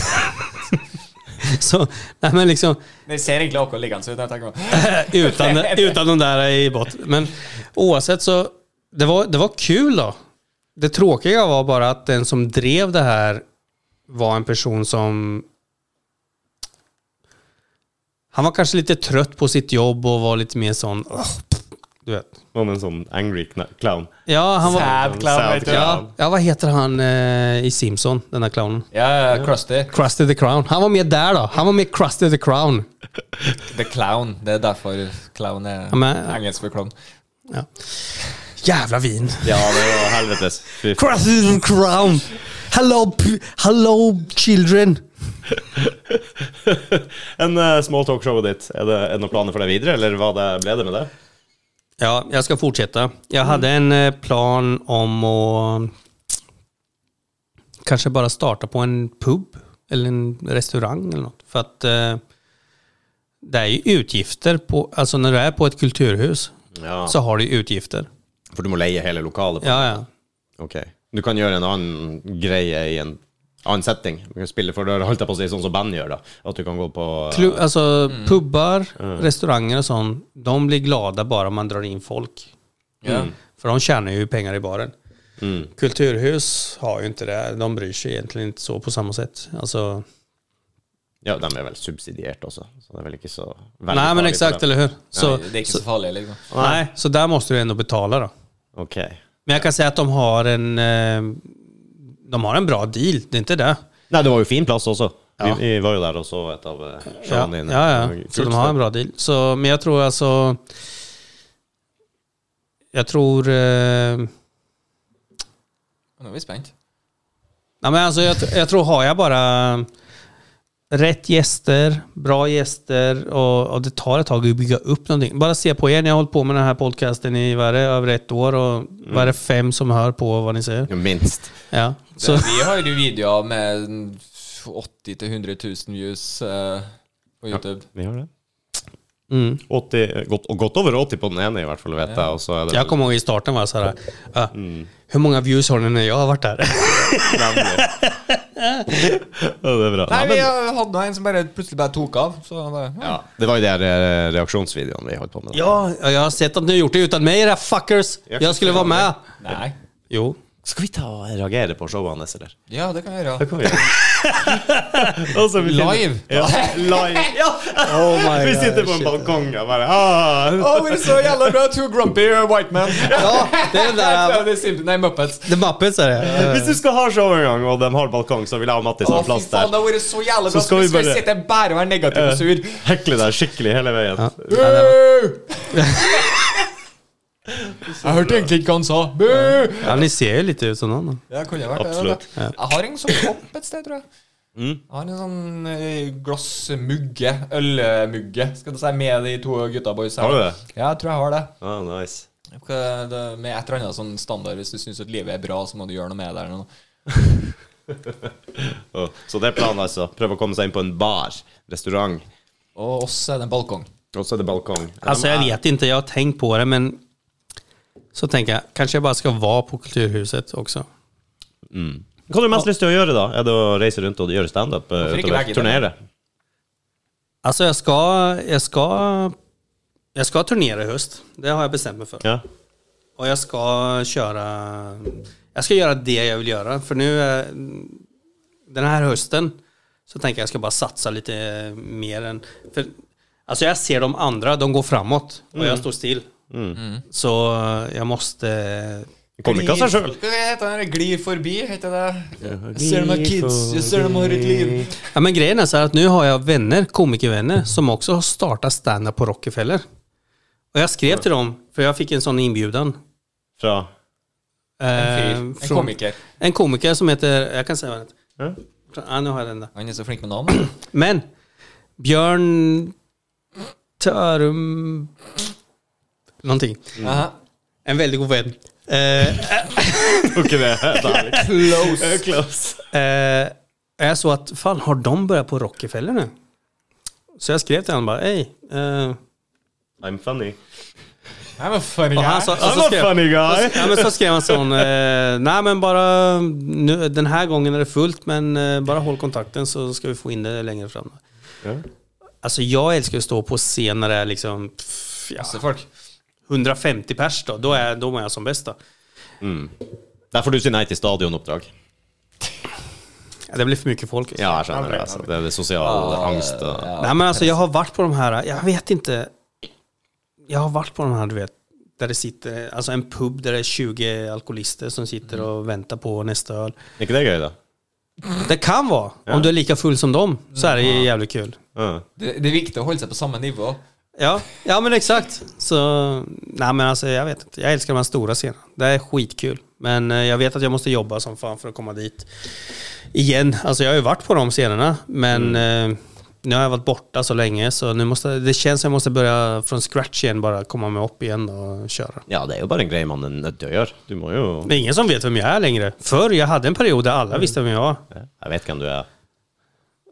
C: Så, nej men liksom, [laughs]
B: Det ser egentlig akkurat liggende ut. når jeg tenker på det.
C: utan, utan de där i bort. Men oavsett så, det var, det var kul då. Det tråkiga var bara att den som drev det här var en person som... Han var kanske lite trött på sitt jobb och var lite mer sån... "Åh, pff", Du vet.
A: Han er en sånn angry kna- clown.
C: Ja, han var...
B: Sad clown,
A: Sad
B: vet du.
A: clown.
C: Ja, ja, vad heter han eh, i Simpson, den där clownen?
B: [laughs] Ja, ja, Krusty.
C: Crusty the Crown. Han var med där då. Han var med Crusty the Crown.
B: The Clown. Det er derfor clown er
C: Ja, men-
B: engelsk for klovn.
C: Ja. Jävla vin.
A: Ja, det var helvetes. Fy f-
C: Crusty the Crown. Hello, p- hello children.
A: En uh, small talk-showet ditt, er det, er det noen planer for deg videre, eller hva det ble det med det?
C: Ja, jag ska fortsätta. Jag hade en eh, plan om att kanske bara starta på en pub eller en restaurang eller något. För att eh, det är ju utgifter på, alltså när du är på ett kulturhus
A: Ja.
C: så har du ju utgifter.
A: For du må leie hele lokalet?
C: Ja, ja.
A: Ok. Du kan gjøre en annen greie i en annen setting. Du kan spille for døra, holdt jeg på å si, sånn som band gjør, da. At du kan gå på eh,
C: Klu, alltså pubbar, restauranger och sånt, de blir glada bara man drar in folk.
B: Ja.
C: För de tjänar ju pengar i baren. Mm. Kulturhus har ju inte det. De bryr sig egentligen inte så på samma sätt. Alltså,
A: Ja, de er vel subsidiert også, så det er vel ikke så veldig
C: nej men
A: farlig
C: exakt,
A: for dem.
C: eller hur? Så,
B: det er ikke så farlig, liksom.
C: nej, så där måste du ändå betala då.
A: Ok.
C: Men jag kan säga att de har en, eh, de har en bra deal, det är inte det.
A: Nei, det var jo fin plass også.
C: Ja.
A: Vi, vi var jo der og så et av eh,
C: Ja,
A: showene dine.
C: ja, ja.
A: Kult
C: Så de har en bra deal. Så, men jag tror alltså... Jag tror... Eh,
B: Nå er vi spent.
C: Nej, men alltså, jag, jag tror har jag bara rätt gäster, bra gäster och, och det tar ett tag att bygga upp någonting. Bara se på er, ni har hållit på med den här podcasten i vad är det, över ett år och vad är det fem som hör på vad ni säger?
A: sted. Minst.
C: Ja,
B: Så.
C: så,
B: Vi har jo videoer med 80 000-100 000 views eh, på YouTube.
A: Vi har det.
C: mm.
A: 80, godt, og godt over 80 på den ene, i hvert fall, vet jeg. Og så er det
C: Jag kommer ihåg i starten var jag så här, ah, hur många views har ni när jag har varit [laughs] där?
A: [laughs] Ja, det er bra.
B: Nei,
A: Ja,
B: vi
A: men,
B: eh, hadde nå en som bare plutselig bare tok av. Så han bare, ja.
A: ja, det var jo de her eh, reaksjonsvideoene vi holdt på med. da.
C: ja, jag har sett att ni har gjort det utan mig era fuckers. Jag skulle vara med.
B: Nei.
C: Jo.
A: Skal vi ta og reagere på showet hans, eller?
B: Ja, det kan vi gjøre.
A: kan vi gjøre. [laughs] altså, vi finner-
B: Live?
A: Ja, live.
C: Oh
A: vi sitter på en balkong og bare ah.
B: Å, det er så jævla bra! Two grumpy eh, white men. [laughs]
C: Ja, det är den
B: Ja,
C: där,
B: det er Simp- Nei, Muppets.
C: det är Muppets är det.
A: Hvis du skal ha show en gang, og de har balkong, så vil jeg og Mattis ha
B: Å, fy
A: plass
B: faen, det
A: der.
B: har vært så jævla
A: Så
B: bra.
A: skal vi
B: Skal vi
A: bare-
B: sitte bare og være negativ og sur?
A: Hekle deg skikkelig hele veien.
C: Ja, det var-
B: Øh! Jeg hørte egentlig ikke hva han sa. Bø!
C: Ja, ni ser ju lite ut som någon.
B: Ja, kunne vært det,
A: Absolutt.
B: vet du. Jeg har en sånn kopp et sted, tror jeg.
A: Mm.
B: Jeg har en sånn eh, glassmugge, ølmugge, skal du si, med de to gutta boys her.
A: Har du det?
B: Ja, jeg tror jeg har det.
A: Ah, nice.
B: Hva- det med et eller annet sånn standard. Hvis du syns at livet er bra, så må du gjøre noe med det. eller noe.
A: Å, så det alltså. er planen, altså. Prøve å komme seg inn på en bar, restaurant.
B: Og oss er det en balkong.
A: Og så er det balkong.
C: Alltså jag vet inte, jag har tänkt på det men så tänker jag, kanske jag bara ska vara på Kulturhuset också.
A: Hva har du mest lyst til å gjøre, da? Er det å reise rundt og gjøre standup? eh,
B: Hvorfor ikke
A: utover?
B: begge
A: Turnere?
B: deler?
C: Alltså jag ska, jag ska, jag ska turnera i höst. Det har jag bestämt mig för.
A: Ja.
C: Och jag ska köra, jag ska göra det jag vill göra. För nu, eh, den här hösten, så tänker jag jag ska bara satsa lite mer än, för alltså jag ser de andra, de går framåt och jag står still. Så eh, jag måste,
A: Kommer ikke av seg sjøl.
B: Hva heter den? Glir forbi, heter det. Jeg ser dem har kids, jeg ser dem har et liv.
C: ja men grejen är så här att nu har jag vänner, komikervänner, som också har startat stand-up på Rockefeller. Och jag skrev till dem, för jag fick en sån inbjudan.
A: Fra
B: Fyr.
C: eh,
B: En
C: från-
B: komiker.
C: En komiker som heter, jag kan säga vad han
A: ja.
C: heter. Ja, nu har jag den där.
B: Han er så flink med navn.
C: Men Bjørn Tørum Någonting.
B: Aha.
C: En veldig god venn. Eh,
A: Ok, [laughs] det er deilig.
B: Close.
A: Close.
C: [laughs] eh, jeg så at faen, har de begynt på Rockefeller nå? Så jeg skrev til han bare Hei. Eh,
A: I'm funny.
B: I'm a funny
C: og han
B: guy.
C: sa, og
A: I'm
C: så
A: a
C: skrev,
A: funny guy.
C: ja, men så skrev han sånn eh, Nei, men bare nu, Den her gangen er det fullt, men eh, bare hold kontakten, så skal vi få inn det lenger fram. Alltså,
A: Ja.
C: Altså, jeg elsker å stå på scen når det er liksom pff, ja,
B: Masse folk.
C: 150 pers, da. Da er, da er jeg som best, da.
A: Derfor du sier nei til stadionoppdrag.
C: Ja, det blir för mycket folk.
A: Ja, jeg skjønner det. Altså. Det er det sosial angst og
C: Nej, men alltså, jag har varit på de här, jag vet inte. Jag har varit på de här, du vet, där det sitter, alltså en pub där det är 20 alkoholister som sitter
A: Mm.
C: och väntar på nästa öl.
A: Er ikke det gøy, da?
C: Det kan vara, om du är lika full som dem, så är det jävligt kul.
A: Ja.
B: Det, det er viktig å holde seg på samme nivå.
C: Ja, ja men exakt. Så, nej men alltså jag vet inte, jag älskar de här stora scenerna. Det är skitkul. Men eh, jag vet att jag måste jobba som fan för att komma dit igen. Alltså jag har ju varit på de scenerna, men eh, nu har jag varit borta så länge så nu måste, det känns som jag måste börja från scratch igen, bara komma mig upp igen och köra.
A: ja, det er jo bare en greie man er nødt til å gjøre. Du må jo
C: Det är ingen som vet vem jag är längre. Förr, jag hade en period där alla visste vem jag var.
A: Jeg vet hvem du er.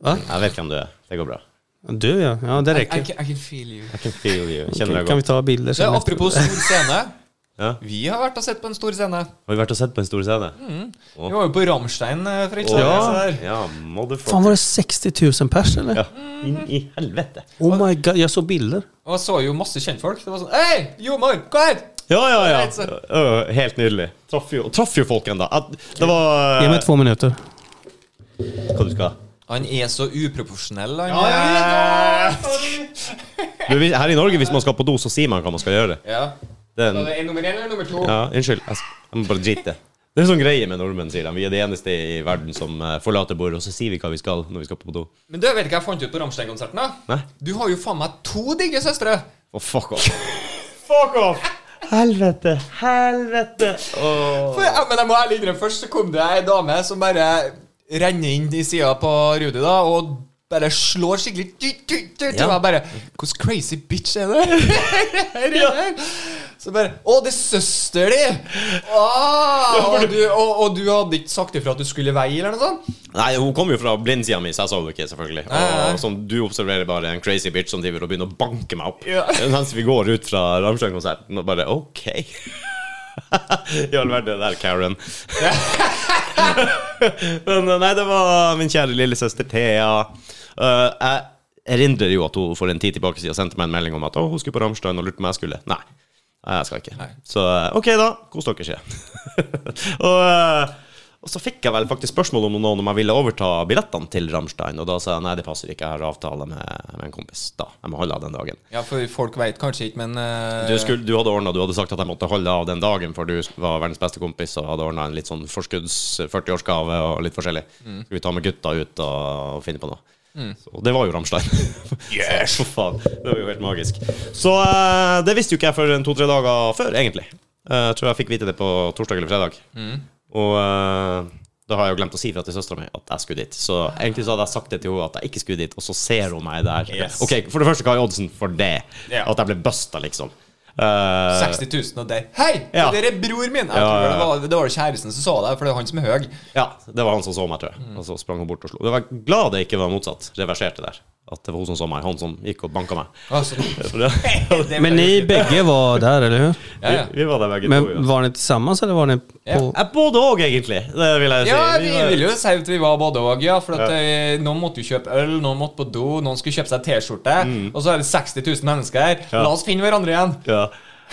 C: Va?
A: Jeg vet hvem du er. Det går bra.
C: Du ja, ja det
B: I, I,
C: räcker.
B: can, I can feel you.
A: I can feel you. Kjenner deg
C: Kan vi
A: godt.
C: ta bilder
B: Så,
C: sen?
B: apropos stor scene.
A: Ja.
B: Vi har vært og sett på en stor scene.
A: Har vi vært og sett på en stor scene?
B: Vi var jo på Ramstein eh, for ikke
A: Å,
B: så lenge siden.
A: ja,
C: Fan var
A: motherfucker.
C: det 60 000 pers eller?
A: Ja. Inn i helvete.
C: Oh my god, jeg så bilder.
B: Og så jo masse kjentfolk. Det var sånn Hei, Jomar, hva er det?
A: Ja, ja, ja.
B: Det er
A: Ø, ø, helt nydelig. Traff jo, traff jo folk ennå. Det var
C: Ge mig två minuter.
A: Hva du skal?
B: Han er så uproporsjonell, han.
A: Du, vi- her i Norge, hvis man skal på do, så sier man hva man skal gjøre.
B: eh, ja.
A: Det er
B: Så
A: en,
B: det er nummer én eller nummer to?
A: ja, unnskyld. Jeg, sk- jeg må bare drite. Det er en sånn greie med nordmenn, sier de. Vi er det eneste i verden som eh, forlater bordet, og så sier vi hva vi skal når vi skal på do.
B: Men du, vet du hva jeg fant ut på Ramstein-konserten? da?
A: Nei?
B: Du har jo faen meg to digge søstre!
A: Å, fuck off.
B: [laughs]
A: fuck off! Helvete. Helvete.
B: For, ja, men jeg må ærlig innrømme, først så kom det ei dame som bare renner inn i sida på Rudi, da, og bare slår skikkelig tut, tut, tut,
A: Ja.
B: Og jeg bare Hvordan crazy bitch er det? [laughs] Her er det. Så bare Å, det er søster di! Ah, og, du, og, og du hadde ikke sagt ifra at du skulle vei, eller noe sånt?
A: Nei, hun kom jo fra blindsida mi, så jeg så det ikke, selvfølgelig.
B: Nei, nei.
A: Og som du observerer, bare en crazy bitch som driver og begynner å banke meg opp
B: Ja.
A: [laughs] mens vi går ut fra Ramstein-konserten, og bare OK. [laughs] I all verden, det der, Karen. [laughs] Men nei, det var min kjære lillesøster Thea. Eh, jeg erindrer jo at hun for en tid tilbake siden sendte meg en melding om at å, hun skulle på Ramstein og lurte på om jeg skulle. Nei, Nei, jeg skal ikke. Så eh, OK, da. Kos dere, [laughs] sier jeg. og, eh, og så fikk jeg vel faktisk spørsmål om noen om jeg ville overta billettene til Ramstein, og da sa jeg nei, det passer ikke, jeg har avtale med, med en kompis. Da, Jeg må holde av den dagen.
B: Ja, for folk veit kanskje ikke, men eh,
A: Du, skulle, du hadde ordnet, du hadde sagt at jeg måtte holde av den dagen, for du var verdens beste kompis og hadde ordna en litt sånn forskudds 40-årsgave og litt forskjellig. Skal vi ta med gutta ut og, og finne på noe? Så det var jo Rammstein. [laughs] yes! For faen. Det var jo helt magisk. Så eh, det visste jo ikke jeg for en to-tre dager før, egentlig. Eh, Jeg tror jeg fikk vite det på torsdag eller fredag. Og eh, da har jeg jo glemt å si fra til søstera mi at jeg skulle dit. Så egentlig så hadde jeg sagt det til henne at jeg ikke skulle dit, og så ser hun meg der.
B: Yes.
A: Ok, For det første, hva er oddsen for det?
B: Ja.
A: At jeg ble busta, liksom. Eh,
B: 60 000 og der. Hei!
A: Ja.
B: Det der er bror min! Jeg
A: Ja,
B: tror
A: ja, ja.
B: Det, var, det var kjæresten som så deg, for det er han som er høy.
A: ja, det var han som så meg, tror jeg.
B: Mm.
A: Og så sprang hun bort og slo. Jeg var glad det ikke var motsatt. Reverserte der. At det var hun som så meg. Han som gikk og banka meg.
B: Altså,
A: For det, [laughs]
B: det-
C: Men ni begge var der, eller hur?
B: ja, ja.
A: Vi, vi var der begge to.
C: Men
A: Ja.
C: var ni tillsammans, eller var ni på
A: Ja, både òg, egentlig. Det vil jeg si.
B: Ja,
A: Vi
B: vi
A: var-
B: vil jo si at vi var både og, ja. For at eh, noen måtte jo kjøpe øl, noen måtte på do, noen skulle kjøpe seg T-skjorte. Og så er det 60 000 mennesker her.
A: Mm. Ja.
B: La oss finne hverandre igjen.
A: Ja.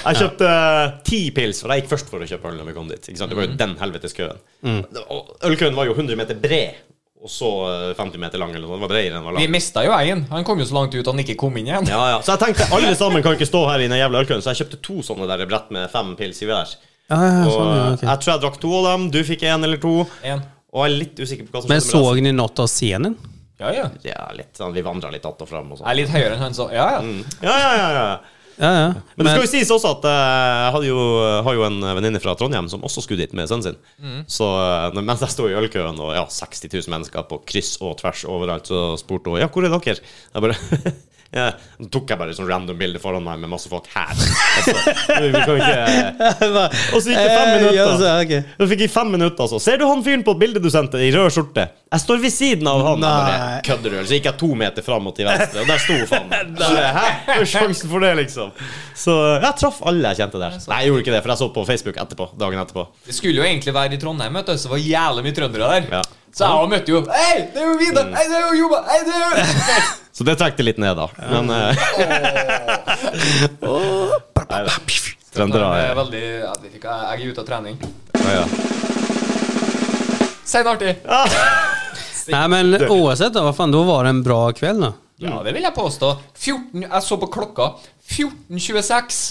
A: Jeg kjøpte eh, ti pils, for jeg gikk først for å kjøpe øl når vi kom dit. Ikke sant? Det
B: Mm.
A: var jo den helvetes køen. Det- og Ølkøen var jo 100 meter bred, og så eh, 50 meter lang. Eller noe. Den var bredere enn den var
B: Vi
A: lang.
B: mista jo én. Han kom jo så langt ut at han ikke kom inn igjen.
A: Ja, ja. Så jeg tenkte alle sammen kan ikke stå her i den jævla ølkøen, så jeg kjøpte to sånne der brett med fem pils i hver.
C: Ja, ja,
A: Og
C: sånn, Ah,
A: eh,
C: ja, ok.
A: jeg tror jeg drakk to av dem. Du fikk én eller to.
B: En.
A: Og jeg er litt usikker på hva som
C: Men
A: skjedde med
C: såg ni något av scenen?
B: Ja, ja.
A: resten. Ja, litt sånn, Vi vandra litt att og fram og
B: Jeg
A: sånn.
B: er litt høyere enn han, så ja, ja.
A: Ja, ja, ja, ja.
C: Ja, ja.
A: Men det skal jo sies også at eh, jeg hadde jo, har jo en venninne fra Trondheim som også skulle dit med sønnen sin.
C: Mm.
A: Så eh, mens jeg sto i ølkøen og ja, 60 000 mennesker på kryss og tvers overalt, så spurte hun ja, hvor er dere? Jeg bare [laughs] ja, Så tok jeg bare et sånt random bilde foran meg med masse folk her. Altså, vi kan
C: [laughs]
A: ikke... Og så gikk det fem minutter.
C: Eh, Ja, så, ok.
A: Så fikk jeg fem minutter, altså. Ser du han fyren på bildet du sendte, i rød skjorte? Jeg står ved siden av han. Jeg
C: Nei.
A: Bare, Kødder du? eller? Så gikk jeg to meter fram og til venstre, og der sto faen meg. Så jeg, Hæ? Hva er sjansen for det, liksom? Så jeg traff alle jeg kjente der. Nei, jeg gjorde ikke det, for jeg så på Facebook etterpå. Dagen etterpå.
B: Det skulle jo egentlig være i Trondheim, vet du, så det var jævlig mye trøndere der.
A: Ja. Mm.
B: Så jeg også møtte jo Hei, det er jo Vidar! Hei, det er jo Juba! Hei, det
A: [laughs]
B: er jo
A: Så det trakk det litt ned, da. Men eh, Nei, da. Trøndere
B: Jeg er
A: er
B: veldig Jeg vet ikke, jeg er ute av trening.
A: ja, ja.
B: Si det artig.
C: Nej men oavsett då, vad fan, då var det en bra kväll då.
B: Ja, det vil jeg påstå. 14, jeg så på klokka. 14.26.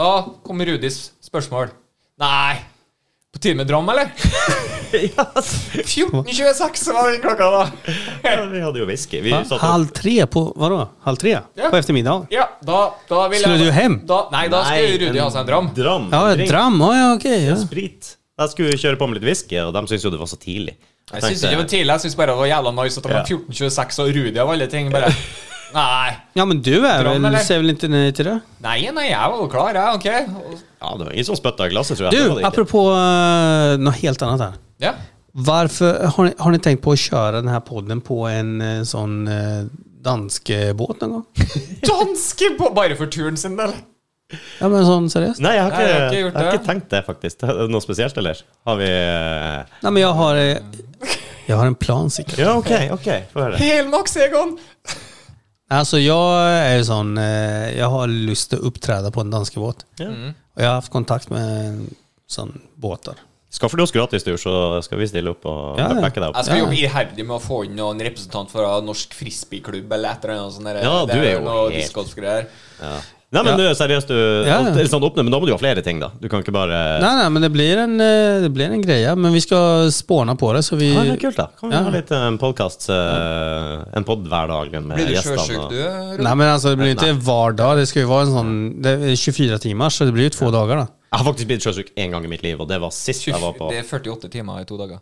B: Da kom Rudis spørsmål. Nei På tide med dram,
C: [laughs]
B: eller? 14.26 så var den klokka,
C: [laughs]
B: da.
A: Ja, Vi hadde jo whisky. Vi
C: Va?
A: satt og
C: Halv tre på, vadå? Halv tre?
B: Ja.
C: På eftermiddagen?
B: Ja, da, da vil
C: Skulle
B: jeg
C: du hjem?
B: Da, nei, da skulle
A: Nei,
B: Rudi ha seg en dram.
A: Dram.
C: Ja,
A: Drink.
C: dram, ja, ja okej. ja.
A: Sprit. Jeg skulle kjøre på med litt whisky, og de syntes jo det var så tidlig.
B: Jeg syns ikke det var tidlig, jeg syns bare det var jævla nice at det var
A: Ja.
B: 14.26 og Rudi av alle ting
C: [laughs]
B: bare Nei.
C: Ja men du är
B: Dram,
C: väl,
B: eller?
C: säger väl inte nej till det?
B: Nei, nei, jeg var jo klar, jeg. Ok. Og-
A: Ja, det var ingen som spytta i glasset, tror jeg. Det var det
C: Du,
A: ikke.
C: apropå uh, något helt annat här.
B: Ja.
C: Varför har ni, har ni tänkt på att köra den här podden på en eh, sån eh, dansk eh, båt någon gång?
B: Danske på Bare for turen sin del.
C: Ja men sån seriöst?
A: Nei, jeg har ikke,
B: Nei,
A: jeg
B: jeg
A: har
B: har
A: ikke,
B: ikke gjort det.
A: tenkt det, faktisk. Er det Noe spesielt, eller? Har vi eh,
C: Nej men jag har, eh, jag har en plan Sigge.
A: Ja, OK,
B: [laughs]
A: ok, få høre.
B: Helmaks, Egon.
C: Alltså jag är ju sån, eh, jag har lust att uppträda på en dansk båt. Och jag har haft kontakt med sån båtar.
A: Skaffer du oss gratistur, så skal vi stille opp og
C: Ja, Alltså- ja.
A: backe deg
B: Jeg
A: opp.
B: skal
C: Ja.
B: jobbe iherdig med å få inn noen representant fra Norsk Frisbeeklubb eller et eller annet sånt. der.
A: Ja,
B: Det
A: du er jo
B: noe
A: helt-
B: discgolfgreier.
A: Nei, men
C: Ja.
A: du, seriøst, du
C: Ja, ja.
A: alt- sånn åpne, Men da må du jo ha flere ting, da. Du kan ikke bare
C: Nej, nej, men det blir en, eh, det blir en grej. Men vi ska spåna på det. Så vi,
A: Ja, det er kult, da. Kan vi
C: Ja.
A: ha litt eh, en podkast, eh, en pod hver dag med
B: Blir du
A: gjestene?
B: sjøsjuk,
A: og-
B: du? Rune?
C: nej, men alltså, det blir ju inte var dag. Det ska ju vara en sån, det är 24 timmar, så det blir ju två dagar. Då.
A: Jeg har faktisk blitt sjøsjuk én gang i mitt liv, og det var sist jeg var på
B: Det er 48 timer i to dager.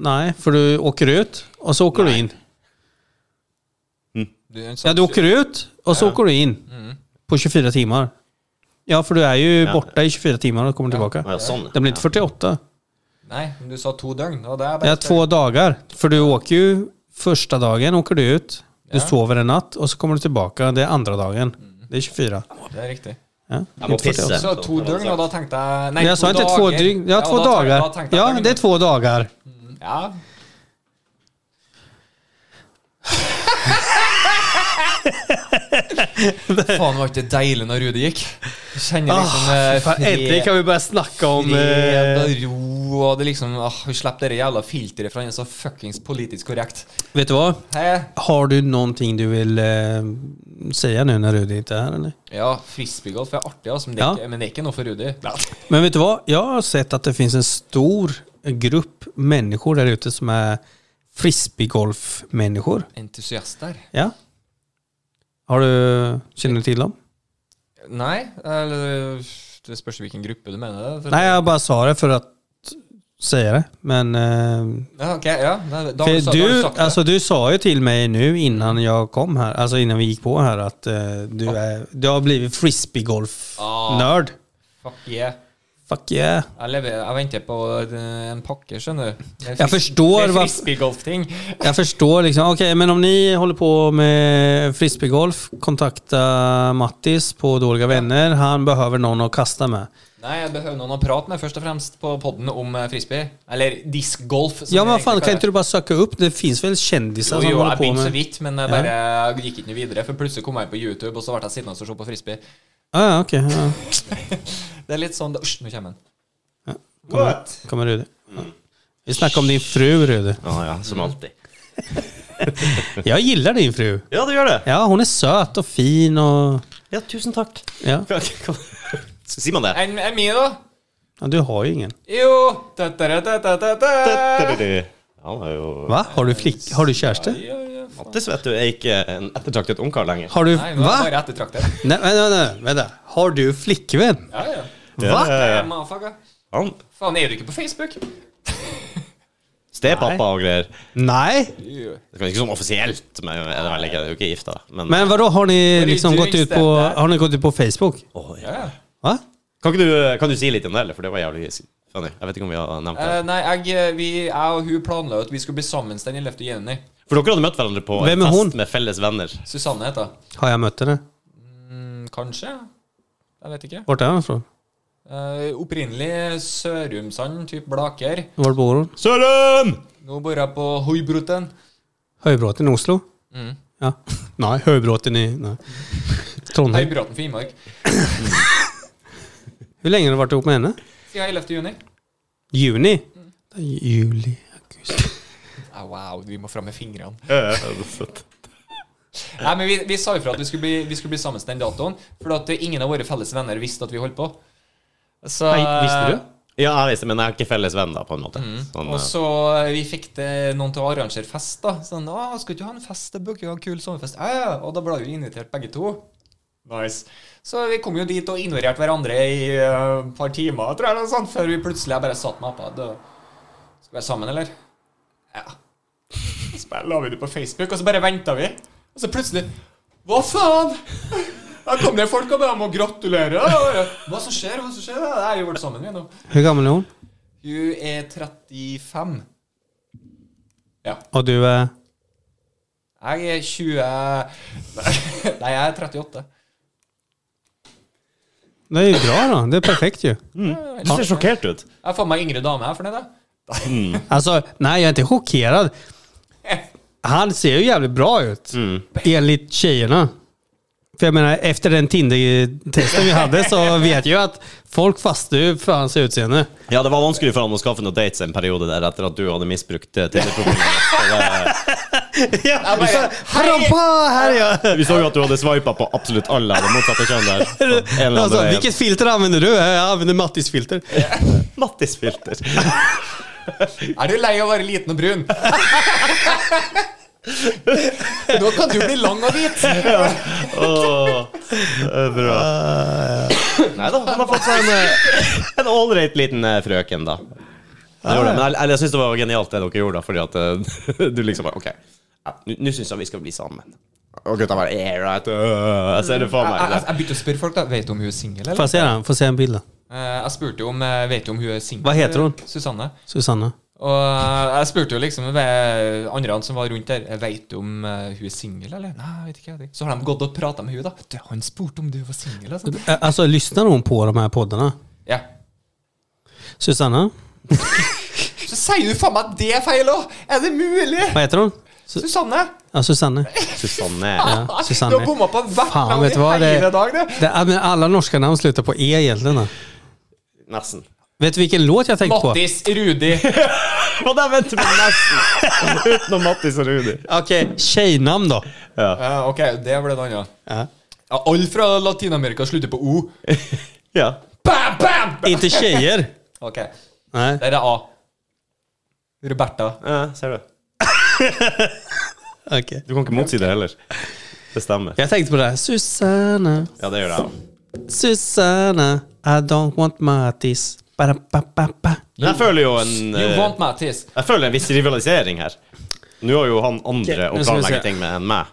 C: Nej, för du åker ut och så åker du in.
B: Du, en
C: Ja,
B: sånn-
C: du åker ut och så åker du in på 24 timmar. Ja, för du är ju borta i 24 timmar och kommer tillbaka.
A: Å, ja, Sånn.
C: Det blir inte 48.
B: Nei, men du sa to døgn. Og det er
C: Ja,
B: bare
C: två dagar. För du åker ju första dagen åker du ut. Du sover en natt och så kommer du tillbaka. Det är andra dagen.
A: Mm.
C: Det är 24.
B: Det er riktig.
C: Ja,
A: Jeg må
C: inte 48.
A: pisse.
B: Så to døgn, og da tenkte jeg Nei,
C: Men jag sa inte två dygn. Ja, två
B: da tenkte-
C: dagar.
B: da tenkte jeg
C: ja,
B: døgn.
C: det är två dagar.
B: Ja. Faen, var ikke det deilig når Rudi gikk? Jeg Kjenner
C: Ah,
B: liksom eh,
C: Fan, äntligen kan vi börja snacka om...
B: fred
C: Eh,
B: og ro og det liksom ah, Vi slipper det jævla filteret fra en så fuckings politisk korrekt.
C: vet du vad?
B: Hæ?
C: Har du någonting du vill eh, säga nu när Rudi inte är här eller?
B: Ja, frisbeegolf er artig, altså, men, det er
C: Ja.
B: ikke, men det er ikke noe for Rudi.
C: Men vet du vad? Jag har sett att det finns en stor grupp människor där ute som är frisbeegolf-människor.
B: Entusiaster?
C: Ja. Har du, känner du till dem?
B: Nei. Eller eh, Det spørs hvilken gruppe du mener det. for-
C: Nej, jag bara sa det för att säga det. Men... eh,
B: Ja, ok, ja. Da, da, har du sa-
C: För
B: da har du
C: du,
B: sagt det.
C: alltså, du sa ju till mig nu innan jag kom här, alltså innan vi gick på här att eh, du, är, du har blivit frisbeegolf-nörd.
B: Fuck yeah.
C: Fuck yeah.
B: Jeg, lever, jeg venter på eh, en pakke, skjønner du. Det er
C: Jeg
B: fris-
C: forstår
B: Det er
C: hva-
B: frisbeegolfting.
C: Jag förstår liksom, okej men om ni håller på med frisbeegolf, kontakta Mattis på Dåliga Vänner. Han behöver någon att kasta med.
B: Nei, jeg behøver noen å prate med, først og fremst, på podden om eh, frisbee. Eller diskgolf. som
C: Ja
B: det
C: men
B: egentlig
C: fan, kan
B: kalles.
C: inte du bara söka upp? Det finns väl kändisar
B: Jo,
C: som
B: jo,
C: håller
B: jeg
C: på
B: begynte så
C: med...
B: vidt, men eh, jeg bare jeg gikk ikke noe videre. For plutselig kom jeg inn på YouTube, og så ble jeg sittende og se på frisbee.
C: Ah, ja, okej. ja.
B: Det er litt sånn da- Hysj, nå kommer den.
C: Kommer, kommer Rudi. Ja. Vi snackar om din fru Rudi.
A: Ja, ja, som alltid.
C: Jag gillar din fru.
A: Ja, du gjør det.
C: Ja, hon är söt och fin och...
A: Ja, tusen takk.
C: Ja.
A: Sier man det?
B: Er den- Er min, da?
C: ja du har ju ingen.
B: Jo Ta-ta-ra-ta-ta-ta-ta.
A: Han er jo
C: Va? Har du, flick, har du kjæreste?
B: Ja, ja.
A: Mattis, vet du, er ikke en ettertraktet ungkar lenger.
C: Har du...
B: Nei, nå er jeg
C: Va?
B: bare ettertraktet.
C: Nej, vänta, vänta, vänta. Har du flickvän?
B: Ja, ja.
A: Ja, ja, ja.
B: Eh, motherfucker.
A: Han
B: Faen, er du ikke på Facebook?
A: Stepappa og greier.
C: Nej.
A: Det er kanskje ikke sånn offisielt, men jeg er vel ikke, jeg er jo ikke gifta. Men,
C: Men vadå, har ni
B: du
C: liksom gått
B: drygt
C: ut på...
B: dette?
C: Har ni gått ut på Facebook?
A: Oi.
B: Ja, ja.
C: Va?
A: kan, ikke du, eh, kan du si litt om det, eller? For det var jævlig funny. Jeg vet ikke om vi har nevnt det.
B: Eh, nei, jeg, vi, jeg og hun planla at vi skulle bli sammen den 11. juni.
A: For dere hadde møtt hverandre på
C: Hvem
A: en
C: er
A: fest
C: hun?
A: med felles venner.
B: Susanne heter hun.
C: Har jag mött henne?
B: Mm, Kanskje? Jeg vet ikke.
C: Vart är hon ifrån?
B: Eh, opprinnelig Sørumsand, typ Blaker.
C: Var bor hon?
A: Søren! [laughs]
B: Nå bor jeg på Hoibroten.
C: Höjbråten i Oslo?
B: Mm.
C: Ja. [laughs] Nej, Höjbråten i... Nej. Trondheim.
B: Høybråten Finnmark.
C: Hur länge har du varit ihop med henne?
B: Siden 11. juni.
C: Juni? Juli, augusti.
B: Ah, wow, vi må fram med fingrene.
A: Nei,
B: Nei, men vi, vi sa ifra at vi skulle bli, vi skulle bli sammen den datoen, for at ingen av våre felles venner visste at vi holdt på. Så,
C: Nej, visste du?
A: jeg visste, men jeg er ikke felles venn, da, på en måte. Sånn,
B: Mm. Og
A: eh,
B: så eh, vi fikk det noen til å arrangere fest, da. Sånn, å, 'Skal ikke du ha en fest? Det burde jo ha en kul sommerfest.' Ja, ja. Og da ble vi invitert begge to. Nice. Så vi kom jo dit og ignorerte hverandre i eh, et par timer, tror jeg, eller noe sånt, før vi plutselig jeg bare satt med apa. «Du, Skal vi være sammen, eller? Ja. Så bare la vi det på Facebook, og så bare venta vi. Og så plutselig Hva faen? Da kom det folk og ba om å gratulere. Hva som skjer? Hva som skjer? Nei, vi ble sammen, vi nå.
C: Hur gammal är hon?
B: Hun er 35. Ja.
C: Och du eh, är...
B: Jeg er 20 [laughs] Nei, jeg er 38.
C: Det är ju bra då. Det är perfekt ju.
A: Du ser sjokkert ut.
B: Jeg får meg yngre dame her fornøyd, jeg. [laughs]
C: Alltså, nej jag är inte chockerad. Han ser ju jävligt bra ut. Enligt tjejerna. För jag menar, efter den Tinder-testen vi hade [laughs] så vet jag ju att folk fastnar ju för hans [laughs] utseende.
A: Ja, det var vanskelig for han å skaffe noen dates en periode der etter at du hadde misbrukt eh, [laughs] Tinder-profilen. Så
B: Jeg bare, hei!
C: Hallå, här är jag! [laughs]
A: det- Vi så jo at du hadde swipa på absolutt alle av det motsatte kjønn der. En [laughs] eller
C: Alltså,
A: annen
C: vilket filter använder du? Jag använder Mattis filter.
A: vei. Mattis-filter.
B: Er du lei av å være liten og
C: [laughs]
B: brun? Nå kan du bli lang og
C: [laughs]
B: hvit.
A: Åh, det er bra. Ah, Nei da, han har fått seg en, eh, en ålreit liten eh, frøken, da. Det gjorde det, men jeg, eller jeg syns det var genialt det dere gjorde, da, fordi at eh, [laughs] du liksom bare OK, ja, nå- nå syns jeg vi skal bli sammen. Og gutta bare yeah, right, øh, Jeg ser det for
B: Jeg,
A: meg.
B: jeg, jeg begynte å spørre folk, da. Vet du om hun er singel,
C: Får
B: eller?
C: jag se den? Får jag se en bild då?
B: Eh, Jeg spurte jo om eh, Vet du om hun er singel?
C: Hva heter hun?
B: Susanne.
C: Susanna.
B: Og eh, jeg spurte jo liksom ved andre som var rundt der, veit du om eh, hun er singel, eller? Nei, jeg vet ikke. Jeg vet ikke. Så har de gått og prata med hun da. Du, han spurte om du var singel, altså.
C: Ä- Alltså, lyssnar hon på de här poddarna?
B: Ja.
C: Susanna?
B: Så sier du faen meg at det er feil òg! Er det mulig?
C: Vad heter hon? Su
B: Susanne!
C: ja, Susanne.
A: Alltså, Susanne.
C: [laughs] Ja, Susanne.
B: Du har bomma på hvert
C: Faen,
B: navn
C: vet
B: i
C: du hva,
B: hele
C: det-
B: dag, du!
C: Det, ja, men alla norska namn slutar på E egentligen. då.
A: Nesten.
C: Vet du vilken låt jag tänkte på?
B: Mattis, Rudi
A: Og der venter vi nesten! [laughs] Utenom Mattis og Rudi.
C: Okej, tjejnamn då.
B: Ja, Ok, det ble det andre. Ja, Alle fra Latin-Amerika slutter på O.
A: Ja.
B: Bam, bam! bam.
C: Inte tjejer.
B: Ok,
C: Nej.
B: der er A. Roberta.
A: ja, ser du.
C: Okej.
A: Du kan ikke motsi det heller. Det stemmer.
C: Jag tänkte på det här. Susanna,
A: Ja, det gjør jeg.
C: Susanna. I don't want Matis. Ba, ba, ba, ba.
A: Men jeg føler jo en
B: You
A: eh,
B: want Mattis.
A: Jeg føler en viss rivalisering her. Nå har jo han andre å
C: Ok, nå skal vi
A: planlegge
C: se.
A: ting med enn meg.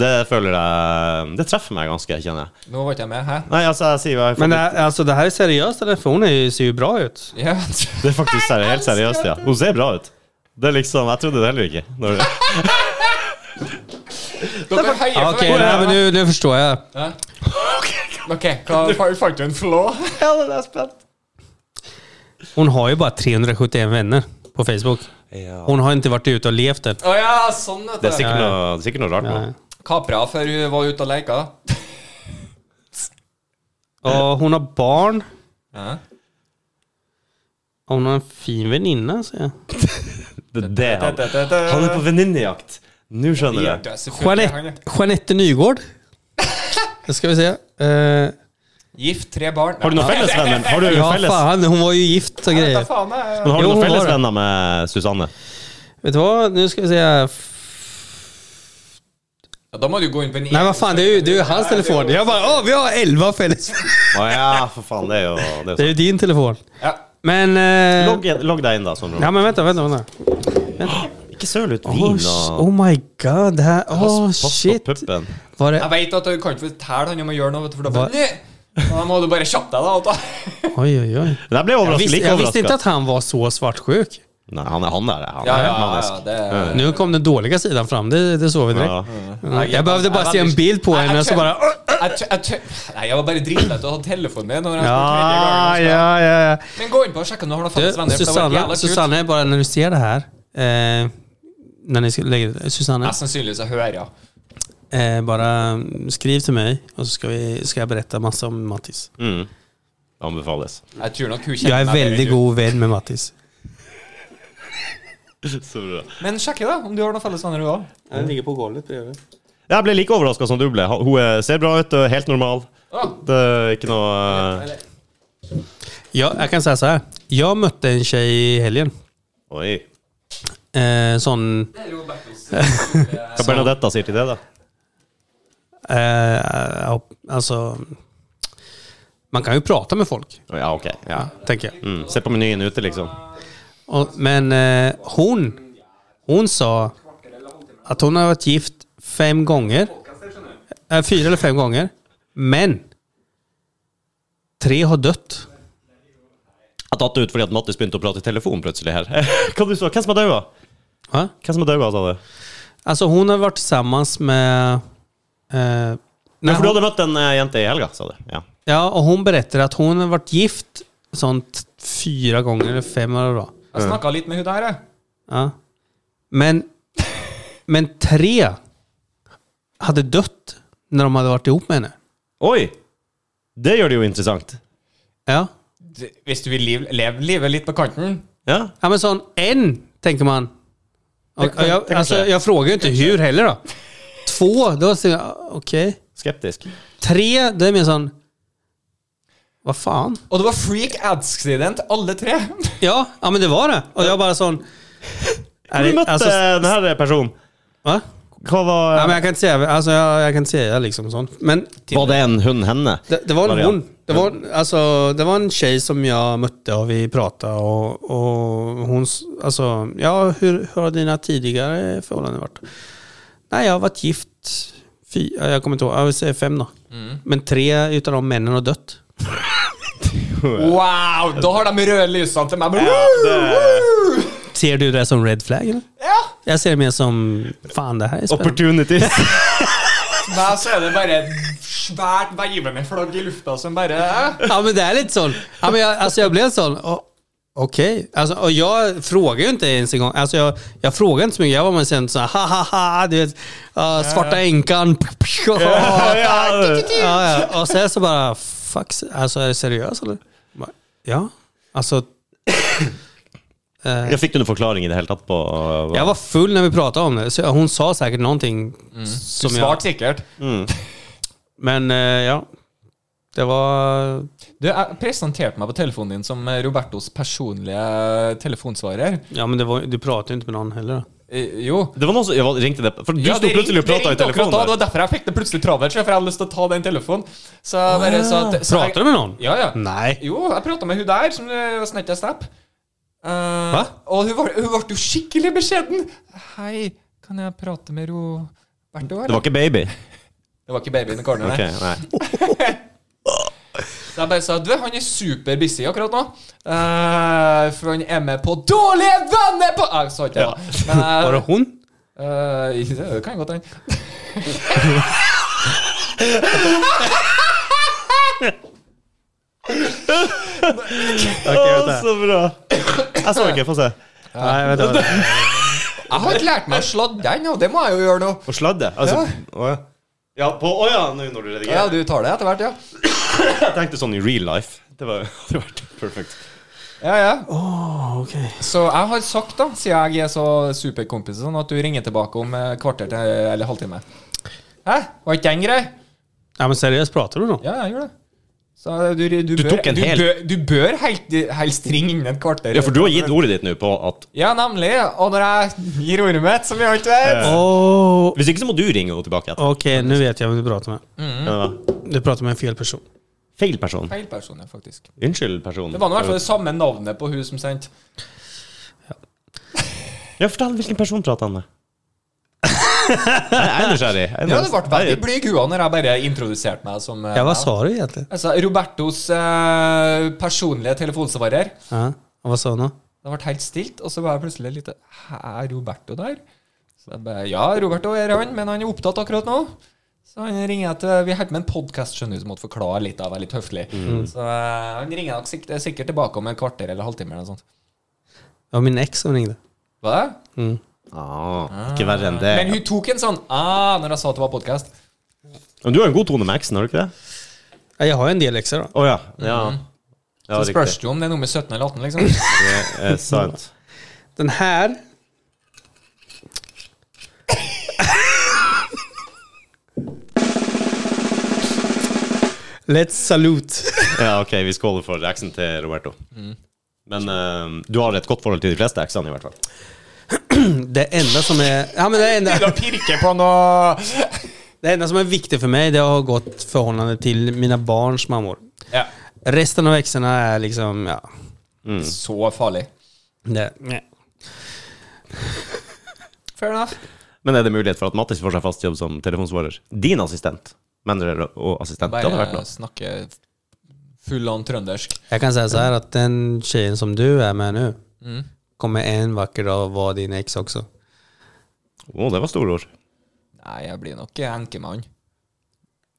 A: Det føler jeg Det treffer meg ganske, kjenner jeg.
B: Nå var ikke jeg med, hæ?
A: Nei, altså, jeg sier hva jeg får
C: Men det, er- altså, det här är seriöst eller? För hon är ju, ser ju bra ut.
B: Ja.
A: Det er faktisk seri helt seriøst, ja. Hun ser bra ut. Det er liksom, Jeg trodde det heller ikke. Når
B: Dere heier
C: Okej,
B: for
C: okay, men nu, nu förstår jag.
B: Ja. Ok, hva fa- falt du en flå?
A: ja, det er spent.
C: Hon har ju bara 371 vänner på Facebook.
A: Ja.
C: Hon har inte varit ute och levt än.
B: Å ja, sånn, vet du.
A: Det er sikkert noe, det er sikkert noe rart med
C: Nej.
A: det.
B: Kapra før hun var ute og leika.
C: Ja, hon har barn.
B: Ja.
C: Ja, Hon har en fin väninna, säger jag.
A: Det er det han Han er på
B: Han
A: venninnejakt. Nå skjønner jeg.
C: Jeanette, Jeanette Nygård. Det ska vi se. Eh,
B: Gift, tre barn.
A: Har du noen fellesvenner? Har du
C: ja,
A: felles?
C: fan, hon var ju gift och
B: Ja,
C: grejer.
B: faen, jeg-
A: Men har du
C: Jo,
A: noen
C: hun var det.
A: fellesvenner med Susanne?
C: Vet du vad? Nu ska vi se. här.
B: Ja, Da må du gå inn på en
C: Nej, vad fan, det är ju, det är ju hans telefon. Jag bara, åh, vi har 11 fälles.
A: Å ja, for faen. Det er jo det
C: Det är
A: er
C: ju din telefon.
B: Ja.
C: Men... eh,
A: Logg, inn- logg deg inn, da. Sondre.
C: Ja, men vänta, vänta, vänta.
A: Ikke søl ut
C: Oh,
A: vin
C: s-
A: og
C: oh my god, det här... Oh
A: pass på
C: shit.
A: puppen.
C: Var
B: Jeg
C: det...
B: vet at du kan ikke fortelle han om å gjøre noe, vet du, for da
C: Hva?
B: Nei, Da må du bare kjappe deg, da. Otto.
C: Oj, oj, oj.
A: Men Jeg ble
C: Jag
A: overrasket.
C: visste,
A: Like
C: jag visste inte
A: overrasket.
C: att han var så svartsjuk.
A: Nei, han er han der. Han
B: Ja,
A: er
B: ja, ja,
A: manisk.
B: ja, det er-
C: Nu kom den dårliga sidan fram, det, det såg vi direkt.
A: Ja.
C: Mm. Jag behövde bara se en bild på
B: Nej,
C: henne och så
B: jag-
C: bara... "Åh!"
B: Jeg tø- jeg tø- Nei, jeg var bare dritlett og hadde telefonen min. Når jeg spurte tredje
C: Ja,
B: gangen, altså.
C: ja, ja. ja.
B: Men gå inn på og sjekk om du har noen
C: Du,
B: felles venner. for det var jævla
C: Susanne,
B: kult.
C: Susanne, bara när du ser det här. Eh, när ni ska lägga det. Susanne,
B: Jeg sannsynligvis jeg hører ja.
C: eh, bara skriv till mig och så ska, vi, ska jag berätta massa om Mattis.
A: Mm. Anbefales. [laughs]
B: Jeg tror nok hun kjenner
C: Jag är
B: meg bedre
C: väldigt
B: enn du.
C: god vän med Mattis.
A: Så bra.
B: Men sjekk da, om du har noen felles venner, du òg.
C: Han ligger på golvet bredvid.
A: Jeg ble like overraska som du ble. Ha- Hun eh, ser bra ut, og er helt normal. Det er ikke noe eh,
C: Ja, jag kan säga så här. Jag mötte en tjej i helgen.
A: Oi.
C: Eh, sån...
A: Hva Bernadetta sier til det, da?
C: Eh, alltså... Man kan ju prata med folk,
A: Å, Ja, OK. Ja.
C: tänker jag.
A: Mm. Se på menyen ute, liksom.
C: Och, men eh, hon, hon sa att hon har varit gift fem gånger. Eh, fyra eller fem gånger. Men tre har dött.
A: Jeg tatt det ut fordi at Mattis begynte å prate i telefon plutselig her. [laughs] Hva du sa? Hvem som har daua?
C: Va?
A: Hvem som har daua, sa du?
C: Alltså hon har varit tillsammans med... Eh,
A: Ja,
C: när
A: for du
C: hon,
A: hadde møtt en eh, jente i helga, sa du. Ja.
C: ja, och hon berättar att hon har varit gift sånt fyra gånger eller fem eller vad.
B: Jeg snakka litt med hun der, jeg.
C: Ja. Men, men tre hade dött när de hade varit ihop med henne.
A: Oi! Det gjør det jo interessant.
C: Ja.
B: D- Hvis du vil liv, leve livet litt på kanten
A: Ja.
C: Ja men sån en, tänker man. Och, och jag, alltså, jag frågar ju inte hur heller då. Två, då säger jag okej.
A: Skeptisk.
C: Tre, då är min sån... Vad fan?
B: Og det var freak accident, alle tre.
C: Ja, ja men det var det. Och jag bara sån... Är
A: Hvor du
C: det,
A: møtte
C: alltså,
A: denne personen?
C: va?
A: Hva var
C: Ja, men jag kan inte säga, alltså, jag, jag kan inte säga liksom sånt. Men
A: Var det en hund henne?
C: det, det var en
A: Marianne.
C: hon. Det var, alltså, det var en tjej som jag mötte och vi pratade och, och hon, s- alltså, ja hur, hur har dina tidigare förhållanden varit? Nej, jag har varit gift, fy, ja, jag kommer inte ihåg, jag vill säga fem då. Men tre utav de männen har dött.
B: Wow! Da har de røde lysene til meg.
A: Ja, det-
C: Ser du det som red flag eller?
B: Ja,
C: Jag ser det mer som, fan det här är spännande.
A: Opportunities. [laughs]
B: For meg så er det bare et svært veivende flagg i lufta som bare
C: Ja men det är lite sån. Ja, men jag, alltså jag blev sån. Å, Okej. Alltså, och jag frågar ju inte ens en gång. Alltså jag, jag frågar inte så mycket. Jag var med sen såhär ha ha ha. Du vet, ja, svarta [laughs] änkan.
A: ja,
C: Ja,
A: ja.
C: ja. Och sen så bara fuck. Alltså är det seriöst eller? Bara, Ja. Alltså
A: Jeg fikk du noen forklaring i det hele tatt på uh,
C: jag var full när vi pratade om det. Så hon sa säkert någonting. Som jag,
B: Svart sikkert.
C: men eh, ja. Det var...
B: Du, jeg presenterte meg på telefonen din som Robertos personlige telefonsvarer.
C: Ja men det var, du pratade ju inte med någon heller.
B: Eh, Jo.
A: Det var noen som ja, hva- ringte det For du
B: Ja,
A: sto
B: det
A: plutselig og
B: ringte-
A: prata i
B: det ringte akkurat
A: telefonen.
B: Da, det
A: Der.
B: var derfor jeg fikk det plutselig travelt, for jeg hadde lyst til å ta den telefonen. Så jeg bare, så at, så jeg-
C: Pratar du med noen?
B: Ja, ja.
C: Nei.
B: Jo, jeg prata med hun der, som eh, snakket snap. Eh, Og hun, var, hun ble jo skikkelig beskjeden. Hei, kan jeg prate med ro hvert år?
A: Det var ikke baby.
B: Det var ikke babyen i corneren.
A: Ok,
B: Okay.
A: nei
B: Så jeg bare sa du, han er super busy akkurat nå. Eh, for han er med på Dårlige venner på Jeg sa ikke det, da. Men, eh,
C: Var det hun?
B: Eh, det kan jeg godt hende.
A: Å, så bra. Jeg så ikke. Få se.
C: Nei, vet du
A: [laughs]
C: hva.
B: Jeg har ikke lært meg å sladde ennå, det må jeg jo gjøre nå.
A: På sladde? Altså, å, ja. ja, på Å ja, nå når du
B: Ja,
A: redigerer.
B: du tar det etter hvert, ja.
A: Jeg tenkte sånn i real life. Det var [laughs] hadde vært perfekt.
B: Ja, ja.
C: Ok.
B: Så jeg har sagt, da, siden jeg er så superkompis, sånn at du ringer tilbake om eh, kvarter til eller halvtime. Hæ? Var ikke den grei?
C: Ja, men seriøst, prater du nå?
B: Ja, jeg gjør det. Så du, du,
A: Du
B: bør,
A: tok en
B: du
A: hel.
B: bør, du bør helt, helst ringe innen et kvarter.
A: Ja, for du har gitt ordet ditt nå på at
B: Ja, nemlig. Og når jeg gir ordet mitt, som jeg alltid vet
C: Åh,
A: Hvis ikke så må du ringe henne tilbake etterpå.
C: ok, nå vet jeg hvem du prater med.
A: Ja.
C: Du prater med en feil person.
A: Feil person.
B: Feil person, ja, faktisk.
A: Unnskyld, person.
B: Det var nå i hvert fall det samme navnet på hun som sendte.
A: Ja, fortell hvilken person prater
B: [laughs]
A: han med. Jeg er nysgjerrig. Jeg er
B: Ja, det ble veldig
A: nysgjerrig.
B: blyg hua når jeg bare introduserte meg som eh,
C: Ja, hva
B: meg.
C: sa du egentlig?
B: Jeg sa Robertos eh, personlige telefonsvarer.
C: Ja, og hva sa du nå?
B: Det ble helt stilt, og så var jeg plutselig litt Hæ, er Roberto der? Så jeg bare Ja, Roberto er han, men han er opptatt akkurat nå. Så han ringer jeg til Vi holder med en podkast, skjønner du, så måtte forklare litt, da, være litt høflig.
A: Mm.
B: Så eh, han ringer nok sikkert, sikkert tilbake om en kvarter eller halvtime eller noe sånt.
C: Det var min eks som ringde.
B: Hva er det?
A: Ah, ikke verre enn det.
B: Men hun tok en sånn ah, når jeg sa at det var podkast.
A: Men du har en god tone med eksen, har du ikke det?
C: Ja, Jeg har jo en del ekser, da.
A: Å ja. ja. ja
B: Mhm. Så spørs
A: riktig.
B: det jo om det er nummer 17 eller 18, liksom.
A: [laughs] Det er sant.
C: Den här... Let's salute.
A: Ja, ok, vi skåler for eksen til Roberto.
B: Mhm.
A: Men eh, du har et godt forhold til de fleste eksene, i hvert fall.
C: Det enda som är... Ja, men det, enda,
B: Begynner å pirke på noe
C: det enda som är viktigt för mig det har gått förhållande till mina barns mammor.
B: Ja,
C: Resten av exerna är liksom, ja...
B: Mm. så farlig.
C: Det, nej.
B: Fair enough.
A: Men er det mulighet for at Mattis får seg fast jobb som telefonsvarer? Din assistent? Mener og assistent? Det
B: Bare
A: hadde vært noe.
B: snakke full on trøndersk.
C: Jag kan säga så här att den tjejen som du är med nu kommer en vacker dag vara din ex också.
A: Å, det var store ord.
B: Nei, jeg blir nok enkemann.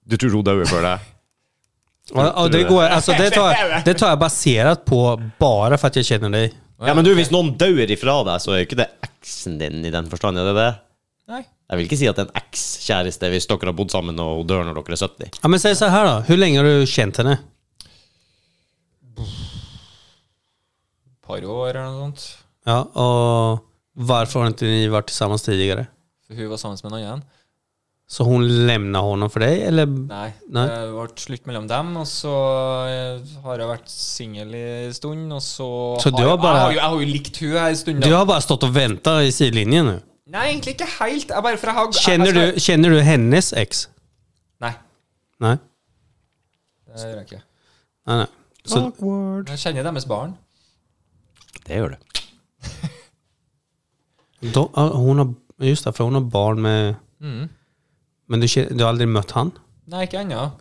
A: Du tror hun dauer før deg?
C: Ja, det, går, alltså det, tar, det tar jag baserat på bara för att jag känner dig.
A: Ja, men du, hvis noen dauer ifra deg, så er jo ikke det eksen din i den forstand, er det det?
B: Nei.
A: Jeg vil ikke si at det er en ekskjæreste hvis dere har bodd sammen og hun dør når dere er 70.
C: Ja, men säg så här då, hur länge har du känt henne?
B: Par år eller noe sånt.
C: Ja, och varför har inte ni varit tillsammans tidigare?
B: For hun var sammen med en annen.
C: Så hon lämnar honom för dig eller?
B: Nei.
C: Nei.
B: Det ble slutt mellom dem, og så eh, har jeg vært singel en stund, og så
C: Så du har
B: jo-
C: bare-
B: jeg, har jo, jeg har jo likt hun en stund. da.
C: Du har bara stått och väntat i sidlinjen nu.
B: Nei, egentlig ikke helt. Jeg bare, for jeg har,
C: Känner
B: jeg, jeg
C: du, känner du hennes ex?
B: Nei.
C: Nej?
B: Det gjør jeg ikke.
C: Nej, nej. Så,
B: Men Jeg kjenner deres barn.
A: Det gjør du.
C: de, ja, hon har, just det, för hon har barn med...
A: Mm.
C: Men du, kä- du har aldrig mött han?
B: Nei, ikke ennå.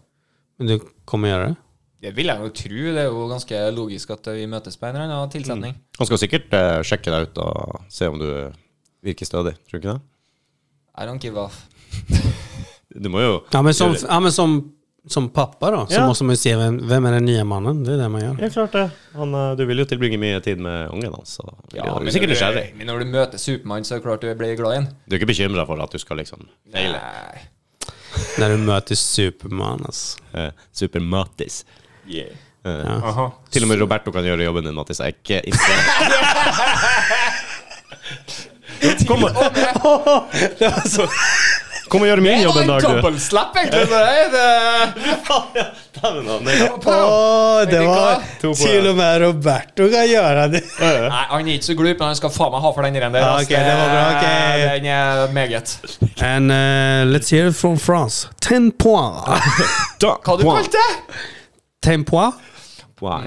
C: Men du kommer göra det?
B: Det vil jeg jo tro. Det er jo ganske logisk at vi møtes på en eller annen tilsetning.
C: Mm.
A: Han skal sikkert eh, sjekke deg ut og se om du virker stødig, tror du ikke det?
B: I don't give off.
A: Du må jo
C: Ja men som, ja, men som, som pappa då, så
A: Ja.
C: måste man ju se vem, vem är den nya mannen. Det är det man gör.
A: Ja, klart det. Han, eh, du vil jo tilbringe mye tid med ungen hans. så du er sikkert
B: når
A: nysgjerrig.
B: du, men når du møter Supermann, så er det klart du blir glad i ham.
A: Du er ikke bekymra for at du skal liksom feile?
C: När du möter Superman alltså.
A: Eh, Super-Mattis. Eh, Til og med Roberto kan gjøre jobben din, Mattis. Jeg er ikke imponert. Kom, og-
C: Det var så,
A: Kom og gjør min jobb
B: var
A: en
B: en
A: dag, du.
B: double slap, egentlig. så Det, det,
A: Dæven, da. Nei, ja.
C: Åh, det
B: Vet du
C: var
B: hva?
A: To poäng.
C: Till och med Roberto kan göra
A: [laughs]
C: det.
B: Nei, han er ikke så glup, men han skal faen meg ha for den der.
C: Ja,
B: ass.
C: ok, det var bra, ok.
B: Den er meget.
C: And uh, let's hear it from France. Ten
A: [laughs]
C: points.
B: Hva du kalte det?
C: Ten points? Ten,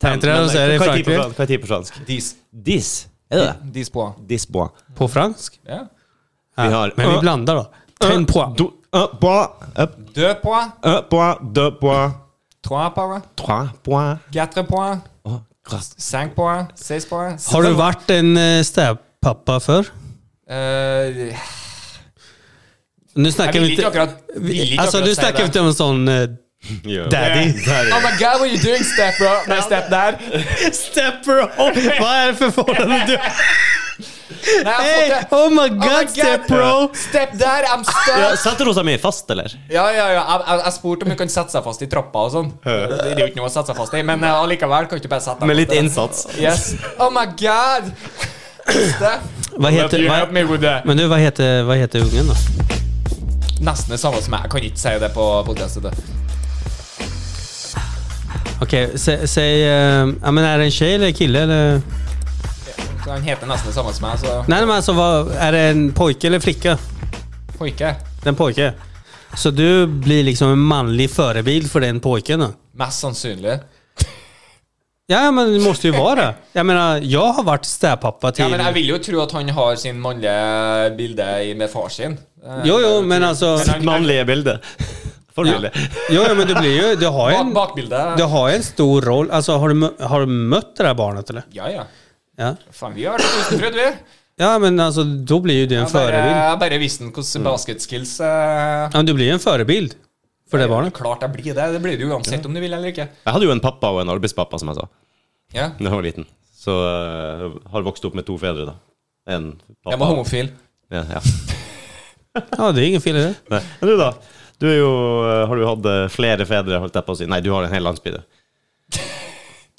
A: Men,
C: Mm. det, så är det i
A: hva er ti på
C: Frankrike.
A: fransk? Hva er ti på fransk?
B: Dis.
A: Dis. Er det det?
B: Dis på.
A: Dis bois.
C: På fransk?
B: Ja.
C: Ja.
A: har-
C: Men vi blandar då. Ten points.
A: Do, un bois, un,
B: Deux points.
A: un bois, deux bois,
B: Trois points.
A: trois bois.
B: Quatre points.
A: Oh, krass.
B: Cinq points. Six points.
C: Har du varit en eh, städpappa för?
B: Eh,
C: Nu
B: Jeg
C: snackar
B: vil
C: vi
B: ikke
C: inte...
B: akkurat vil ikke
C: Alltså
B: akkurat
C: nu
B: si
C: snackar vi
B: det.
C: inte om en sån eh, daddy.
B: Oh my god, what are you doing, step bro? Nei, step der.
C: [laughs] Stepper oh, [laughs] Vad är det för förhållande du
B: Nei, jeg har
C: Hey,
B: fått det.
C: oh my
B: Oh my
C: god, step bro!
B: god, Step der, I'm
A: Ja,
B: stuck.
A: Satte rosa mi fast, eller?
B: Ja, ja, ja. Jeg, jeg, jeg spurte om hun kan sette seg fast i trappa og sånn. Det er jo ikke noe å sette seg fast i, men eh, allikevel kan du ikke bare sette deg
A: Med
B: fast
A: litt
B: i det.
A: innsats.
B: Yes. Oh my god! Step.
C: Vad heter,
B: Help
C: vad,
B: me with that.
C: men du, vad heter, vad heter ungen då?
B: Nesten det samme som meg. Jeg kan ikke si det på podcastet.
C: Okej, sä, säg... eh, ja, men är det en tjej eller kille eller?
B: Så Han heter nesten det samme som meg, så
C: Nej men alltså, vad, är det en pojke eller flicka?
B: pojke.
C: Det är En pojke. Så du blir liksom en manlig förebild för den pojken då?
B: Mest sannsynlig.
C: Ja, men det måste ju vara det. Jag menar, jag har varit städpappa till...
B: Ja, men jeg vil jo tro at han har sin mannlige bilde i- med far sin. Eh,
C: Jo, jo, men alltså...
B: Men han-
A: Mannlige bilde. Forbilde.
C: Jo, jo, men du blir ju... Du har ju
B: Bak,
C: en,
B: bakbildet.
C: du har ju en stor roll. Alltså, har du, mö- har du mött det där barnet eller?
B: Ja, ja.
C: Ja.
B: Faen, vi har vært tusenfryd, vi.
C: Ja, men alltså, då blir ju du en
B: Jeg bare,
C: förebild. Mm.
B: jeg bare visste hvordan basketskills eh,
C: Ja, men du blir ju en förebild för det barnet.
B: Klart jeg blir det. Det blir du uansett om du vil eller ikke.
A: Jeg hadde jo en pappa og en arbeidspappa, som jeg sa,
B: Ja.
A: da jeg var liten. Så eh, har vokst opp med to fedre, da. En pappa.
B: Jeg var homofil.
A: Ja, ja.
C: Ja, det är ingen fel i det.
A: Nei. Men du, da? Du er jo, eh, har du hatt eh, flere fedre, holdt jeg på å si. Nei, du har en hel landsby, du.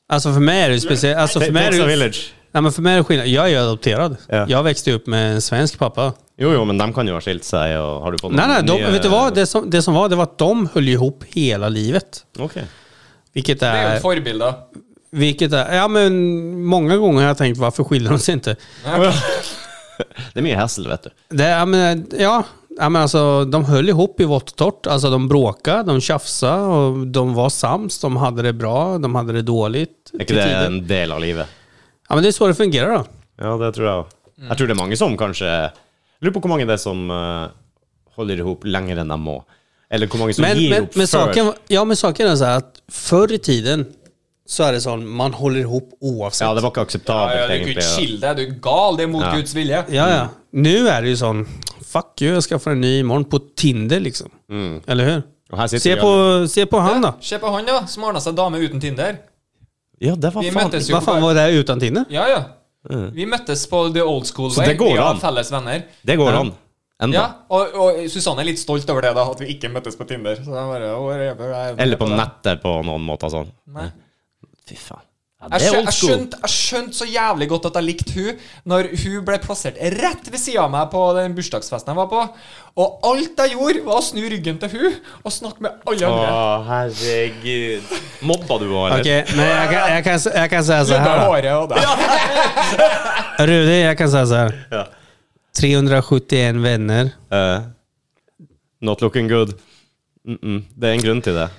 C: Alltså för mig är det ju speciellt. Alltså för mig är det
A: Texas
C: ju...
A: Village.
C: Nej, men för mig är det skillnad. Jag är ju adopterad.
A: Ja.
C: Jag växte upp med en svensk pappa.
A: Jo, jo, men de kan jo ha skilt seg, och har du fått
C: Nej, nej,
A: någon
C: de,
A: ny, eh,
C: vet du vad? Det som, det som var, det var att de höll ihop hela livet.
A: Okej.
C: Vilket
B: Det er jo
C: är...
B: et forbilde.
C: Vilket är ja, men många gånger har jag tänkt varför skiljer de sig inte?
A: Det är mycket hassel, vet du.
C: Det, är- ja, men, ja, ja, men alltså, de höll ihop i vått och torrt. Alltså, de bråkade, de tjafsade och de var sams. De hade det bra, de hade det dåligt.
A: Är inte
C: till
A: det
C: tider.
A: en del av livet?
C: Ja, men det är så det fungerar då.
A: Ja, det tror jeg òg. Jeg tror det er mange som kanskje Lurer på hvor mange det er som eh, holder ihop lenger enn de må. Eller hvor mange som
C: Men,
A: gir
C: men,
A: opp
C: men,
A: før.
C: saken, ja, men saken är så här att förr i tiden så är det sån, man håller ihop oavsett.
A: Ja,
C: Ja,
A: det var ikke
B: Ja,
A: akseptabelt,
B: ja, du kan
A: egentlig.
B: ikke
A: Ja.
B: skille deg. Du er gal. Det er mot
A: Ja.
B: Guds vilje.
C: ja,
A: Mm.
C: Nu är det ju sån, fuck you, jag skaffar en ny imorgon på Tinder liksom. Eller hur?
A: Og her Mm. sitter
C: Se
A: vi
C: på, se på han då.
B: Se på han, da. Som ordna seg dame uten Tinder.
A: Ja, det var
B: Vi
A: faen
B: møttes jo
C: Vad fan
B: på
C: var det här utan Tinder?
B: Ja, ja.
A: Mm.
B: Vi møttes på The Old School
A: Så det går
B: Vi har
A: an.
B: felles venner.
A: Det går an. Enda.
B: Ja, og, og Susanne er litt stolt over det, da, at vi ikke møttes på Tinder. Så jeg bare, «Å, jeg er bare-
A: Eller på nettet på noen måter sånn.
B: Nei.
A: Fy faen. Ja,
B: Jeg
A: det er
B: skjønte,
A: old
B: jeg,
A: school.
B: skjønte, jeg skjønte så jævlig godt at jeg likte hun Når hun ble plassert rett ved siden av meg På den bursdagsfesten jeg var på Og alt jeg gjorde var å snu ryggen til hun Og snakke med alle
A: Å,
B: andre
A: herregud. Mobba du henne, eller?
C: Okej, men jag kan, jeg kan, jeg kan säga så
B: Lubbe
C: här. då.
B: håret og det
C: [laughs]
B: [laughs]
C: Rudi, jag kan säga så här.
A: Ja.
C: 371 vänner.
A: Eh, not looking good. Mm -mm. Det er en grunn til det.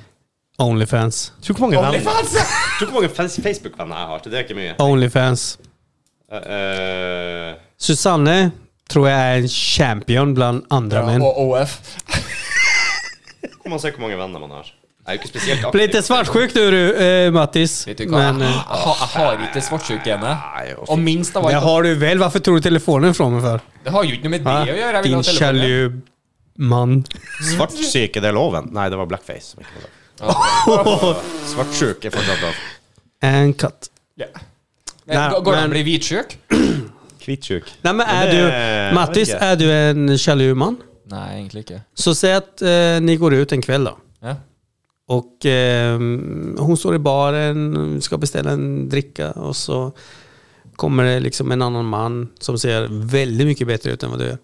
C: Onlyfans.
A: Tror ikke mange venner
B: Onlyfans!
A: Tror ikke mange fans- Facebook-venner jeg har. Det er ikke mye.
C: Onlyfans.
A: Eh, eh,
C: Susanne tror jag är en champion bland andra män.
B: Og OF
A: Får man se hvor mange venner man har. Jeg er jo ikke spesielt aktiv.
C: Blir lite svartsjuk nu du, eh, Mattis.
B: Vet du hva?
C: Men, eh,
B: jeg, har- jeg har ikke svartsjukgene
A: Nei, jo, fy-
B: Og eh? minst av
C: det
B: alt
C: har du väl? Varför tog du telefonen ifrån mig för?
B: Det har jo ikke noe med
C: Va?
B: det å gjøre jeg vil
C: Din
B: ha telefonen.
C: sjalu man.
A: Svartsyke, det er loven. Nei, det var blackface. som ikke var lov. [laughs] Svartsjuk er fortsatt lov.
C: And cut.
B: ja. Men,
C: Nei,
B: Går går det an å
C: men-
B: bli hvitsjuk?
A: Hvitsjuk.
C: Nej, men är
A: det-
C: du,
A: jag
C: Mattis,
A: vet inte.
C: är du en sjalu man?
B: Nei, egentlig ikke
C: Så säg att eh, ni går ut en kväll då.
B: ja.
C: Och eh, hon står i baren, ska beställa en dricka och så kommer det liksom en annan man som ser väldigt mycket bättre ut än vad du gör.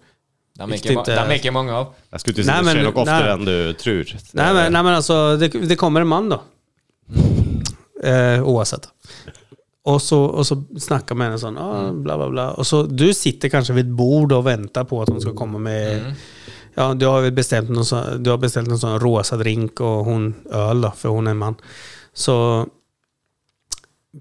B: De er, ikke,
C: Riktigt,
B: ma- de
C: eh,
B: er ikke mange av.
A: Jeg skulle til å si
C: Nej,
A: det skjer
C: men-
A: nok oftere
C: nej.
A: enn du tror. Det-
C: Nej men, nej, men alltså, det, det kommer en man då. Eh, oavsett. Och så, och så snackar man en sån, ah, bla bla bla. Och så du sitter kanske vid ett bord och väntar på att hon ska komma med, ja du har väl bestämt någon sån, du har beställt någon sån rosa drink och hon öl då, för hon är en man. Så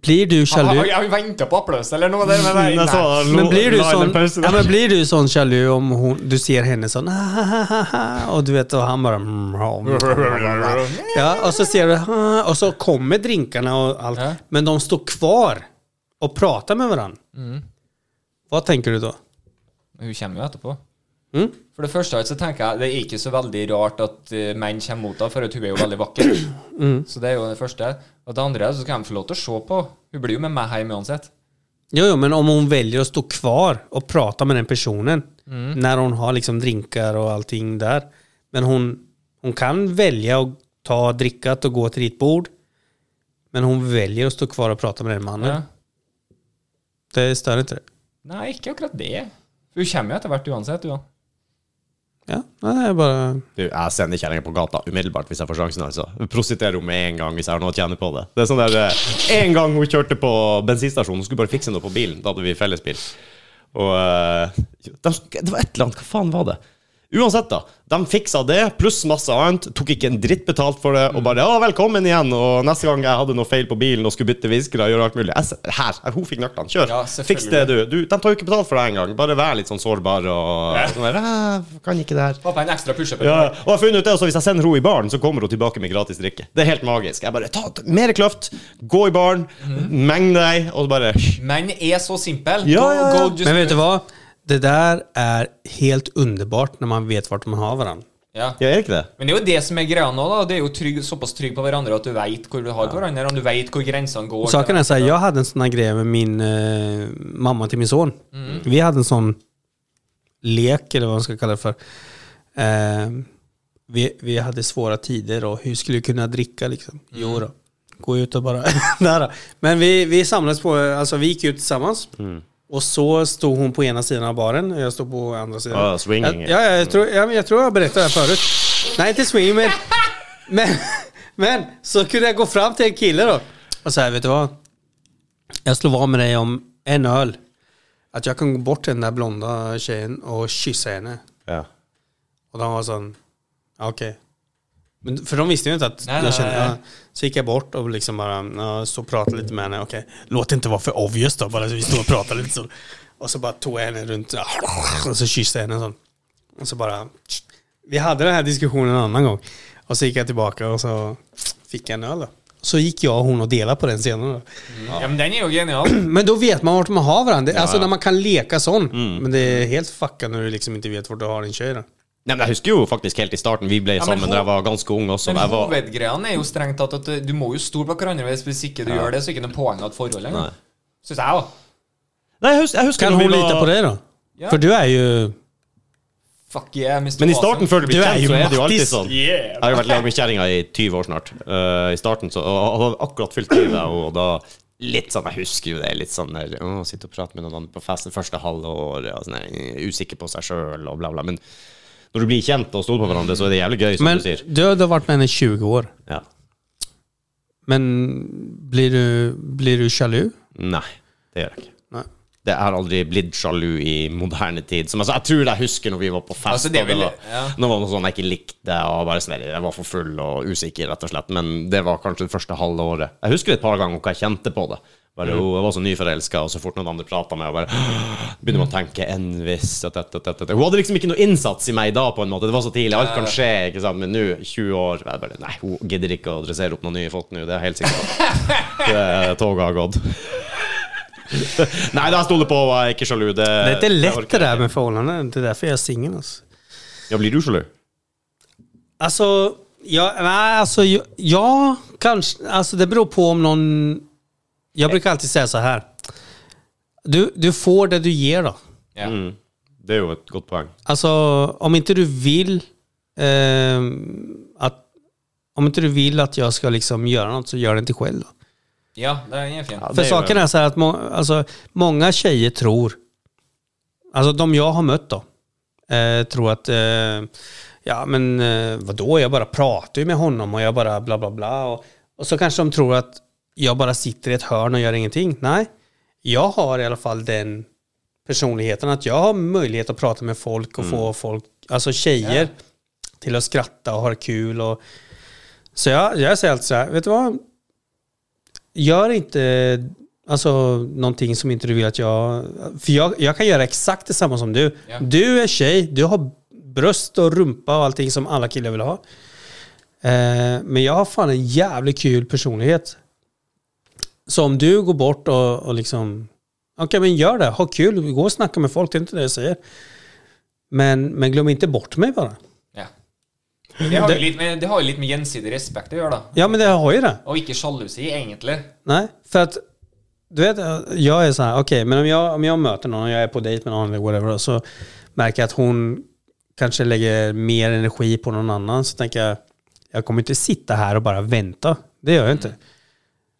C: blir du
B: Har,
C: jalu?
B: har, har vi venta på applaus eller noe der? Men
C: [laughs]
B: nei,
A: Men
B: nei.
A: så-
C: Men blir, du
A: la en
C: sån,
A: paus
C: ja, men blir du sån jalu om hon, du ser henne sån "Ah, ha, ha, ha, ha", och du vet och han bara mm, ja, mm. Ja, och så ser du "Ah", och så kommer drinkarna och allt.
B: Ja.
C: Men de står kvar och pratar med varandra. Vad tänker du då?
B: Hun kommer jo etterpå.
C: Mm?
B: For det første så tenker jeg det er ikke så veldig rart at eh, menn kommer mot henne, for at hun er jo veldig vakker.
C: [clears throat] Mm.
B: Så det er jo det første. Og det andre så kan de få lov til å se på. Hun blir jo med meg hjem uansett.
C: Jo, jo, men om hon väljer att stå kvar och prata med den personen när hon har liksom drinkar och allting där. Men hon, hon kan välja att ta drickat och gå till ditt bord. Men hon väljer att stå kvar och prata med den mannen.
B: Ja.
C: Det stör inte det.
B: Nei, ikke akkurat det. Hun kommer jo etter hvert uansett. Hun.
C: Ja, nej, jag bara...
A: Du, jeg sender kjerringa på gata umiddelbart hvis jeg får sjansen. altså. Prostituerer henne med en gang hvis jeg har noe å tjene på det. Det er sånn der, eh, En gang hun kjørte på bensinstasjonen, hun skulle bare fikse noe på bilen. Da hadde vi fellesbil. Og eh, de, Det var et eller annet. Hva faen var det? Uansett, da. De fiksa det, pluss masse annet. Tok ikke en dritt betalt for det. Og bare 'Å, velkommen igjen', og neste gang jeg hadde noe feil på bilen og skulle bytte viskere, gjøre alt mulig jeg, s- Her! Hun fikk nøklene. Kjør!
B: Ja,
A: Fiks det, du. du. De tar jo ikke betalt for det engang. Bare vær litt sånn sårbar og sånn der «Æ, "Ah, 'Kan ikke det her'.
B: Pappa, en ekstra push-up.
A: Ja, og jeg har funnet ut det, altså Hvis jeg sender henne i baren, så kommer hun tilbake med gratis drikke. Det er helt magisk. Jeg bare, ta ta- mer kløft, gå i baren,
B: Mhm.
A: meng deg, og så bare
B: Menn er så simple.
A: Ja, ja, ja.
B: just
C: Men vet du
B: do it.
C: vad? Det där är helt underbart när man vet vart man har varandra.
B: Ja.
A: Ja, er det ikke det?
B: Men det er jo det som er greia nå, da. Det er jo trygg, såpass trygg på hverandre at du veit hvor du har hverandre, og du veit hvor grensene går.
C: Och saken är så här, jag hade en sån här grej med min eh, mamma till min son. Vi hade en sån lek, eller vad man ska kalla det för. Eh, vi, vi hade svåra tider och hur skulle vi kunna dricka liksom?
A: Mm.
C: Jo då. Gå ut och bara... [laughs] Nej då. Men vi, vi samlades på, alltså vi gick ut tillsammans.
A: Mm.
C: Och så stod hon på ena sidan av baren och jag stod på andra sidan.
A: Ja, swinging.
C: Jag, ja, jag, tror, jag, jag tror jag berättade det här förut. Nej, inte
A: [laughs]
C: swinging, men... Men, men så kunde jag gå fram till en kille då och säga, vet du vad? Jag slår vad med dig om en öl. Att jag kan gå bort till den där blonda tjejen och kyssa henne.
A: Ja.
C: Och de var sån, "Ja, okej. Men, för de visste ju inte att
B: Nej,
C: jag
B: nej,
C: kände,
B: nej.
C: Ja. Så gick jag bort och liksom bara, ja, så pratade lite med henne. Okej, låt det inte vara för obvious då, bara så vi stod och pratade lite så. Och så bara tog jag henne runt ja, och så kysste jag henne sån. Och så bara, vi hade den här diskussionen en annan gång. Och så gick jag tillbaka och så fick jag en öl då. Så gick jag och hon och delade på den senare. Då.
B: Mm. Ja, men den er jo
C: [clears throat]
B: genial.
C: Men då vet man vart man har varandra. Alltså när man kan leka sån.
B: Mm.
C: Men det är helt fuckat när du liksom inte vet vart du har din tjej då.
A: Nei, men Jeg husker jo faktisk helt i starten vi ble
B: men
A: sammen
B: hun-
A: da jeg var ganske ung også.
B: Men
A: Jeg var,
B: hovedgreia er jo strengt tatt at du må jo stole på hverandre. Hvis hvis ikke du gjør det, så er det ikke noe poeng av et forhold
A: Nei.
B: lenger. Syns jeg, da.
A: nei, jeg husker, jeg husker
C: Kan
A: når vi
C: hon
A: var-
C: lita på dig då?
B: Ja.
C: För du är ju...
B: Fuck yeah, Mr.
A: Men i
B: Awesome.
A: starten, før du blir
C: Du er
A: kjent,
C: jo
A: så er det jo alltid
C: Mattis.
A: sånn. Jeg har jo vært lag med kjerringa i 20 år snart. Eh, I starten så og hadde akkurat fylt 20, og da litt sånn Jeg husker jo det. Litt sånn der å, Sitte og prate med noen andre på fest det første halvåret, og sånn, eh, usikker på seg sjøl, og bla, bla. Men når du blir kjent og stoler på hverandre, så er det jævlig gøy, som
C: Men
A: du sier.
C: du, du har varit med henne i 20 år.
A: Ja.
C: Men blir du, blir du jalu?
A: Nei, det gjør jeg ikke.
C: Nej.
A: Det har aldri blitt sjalu i moderne tid. Som, altså, jeg tror jeg husker når vi var på fest.
B: Altså, det
A: og det
B: vil-
A: var,
B: ja.
A: Nå var det noe sånn jeg ikke likte, og bare sånn, jeg var for full og usikker, rett og slett. Men det var kanskje det første halve året. Jeg husker et par ganger hva jeg kjente på det. Bare,
B: Mm.
A: «Å, Jeg var så nyforelska, og så fort noen andre prata med meg, bare begynner man å tenke enn hvis at, at, at, at, at. Hun hadde liksom ikke noe innsats i meg da, på en måte. Det var så tidlig. Alt kan skje, ikke sant. Men nå, 20 år jeg bare, Nei, hun gidder ikke å dressere opp noen nye folk nå, det er jeg helt sikker på. Det- Toget har gått. Nei, da stoler på, og jeg er ikke sjalu. Det,
C: Det är
A: orker
C: inte lätt det
A: jeg
C: där
A: ikke.
C: med förhållanden. Det är därför jag är singel. Alltså.
A: Ja, blir du sjalu?
C: Alltså, ja, nej, alltså, ja, ja, kanske. Alltså, det beror på om någon... Jag brukar alltid säga så här. Du, du får det du ger då.
B: Ja.
C: Mm.
A: Det er jo et godt poeng.
C: Alltså, om inte du vill ehm, att... Om inte du vill att jag ska liksom göra något så gör det inte själv då.
B: ja, den er fin.
A: Ja,
C: För
A: det er jo
C: saken är så här att må, alltså, många tjejer tror, alltså de jag har mött då, Eh, tror att, eh, ja men eh, vadå, jag bara pratar ju med honom och jag bara bla bla bla. Och, och så kanske de tror att jag bara sitter i ett hörn och gör ingenting. Nej, jag har i alla fall den personligheten att jag har möjlighet att prata med folk
A: Mm.
C: och få folk, alltså tjejer, till att skratta och ha kul. Och, så jag, jag säger alltid så här, vet du vad? Gör inte alltså, någonting som inte du vill att jag... För jag, jag kan göra exakt detsamma som du.
B: Ja.
C: Du är tjej, du har bröst och rumpa och allting som alla killar vill ha. Eh, men jag har fan en jävligt kul personlighet. Så om du går bort och, och liksom... Okej, men gör det. Ha kul. Gå och snacka med folk. Det är inte det jag säger. Men, men glöm inte bort mig bara.
B: Ja. Det har,
C: Det-
B: jo litt med, det har jo litt med gjensidig respekt å gjøre, da.
C: Ja, men det har ju det.
B: Og ikke sjalusi, egentlig.
C: Nej, för att du vet, jag är så här, okej, men om jag, om jag möter någon och jag är på dejt med någon eller whatever, så märker jag att hon kanske lägger mer energi på någon annan, så tänker jag, jag kommer inte sitta här och bara vänta. Det gör jag inte.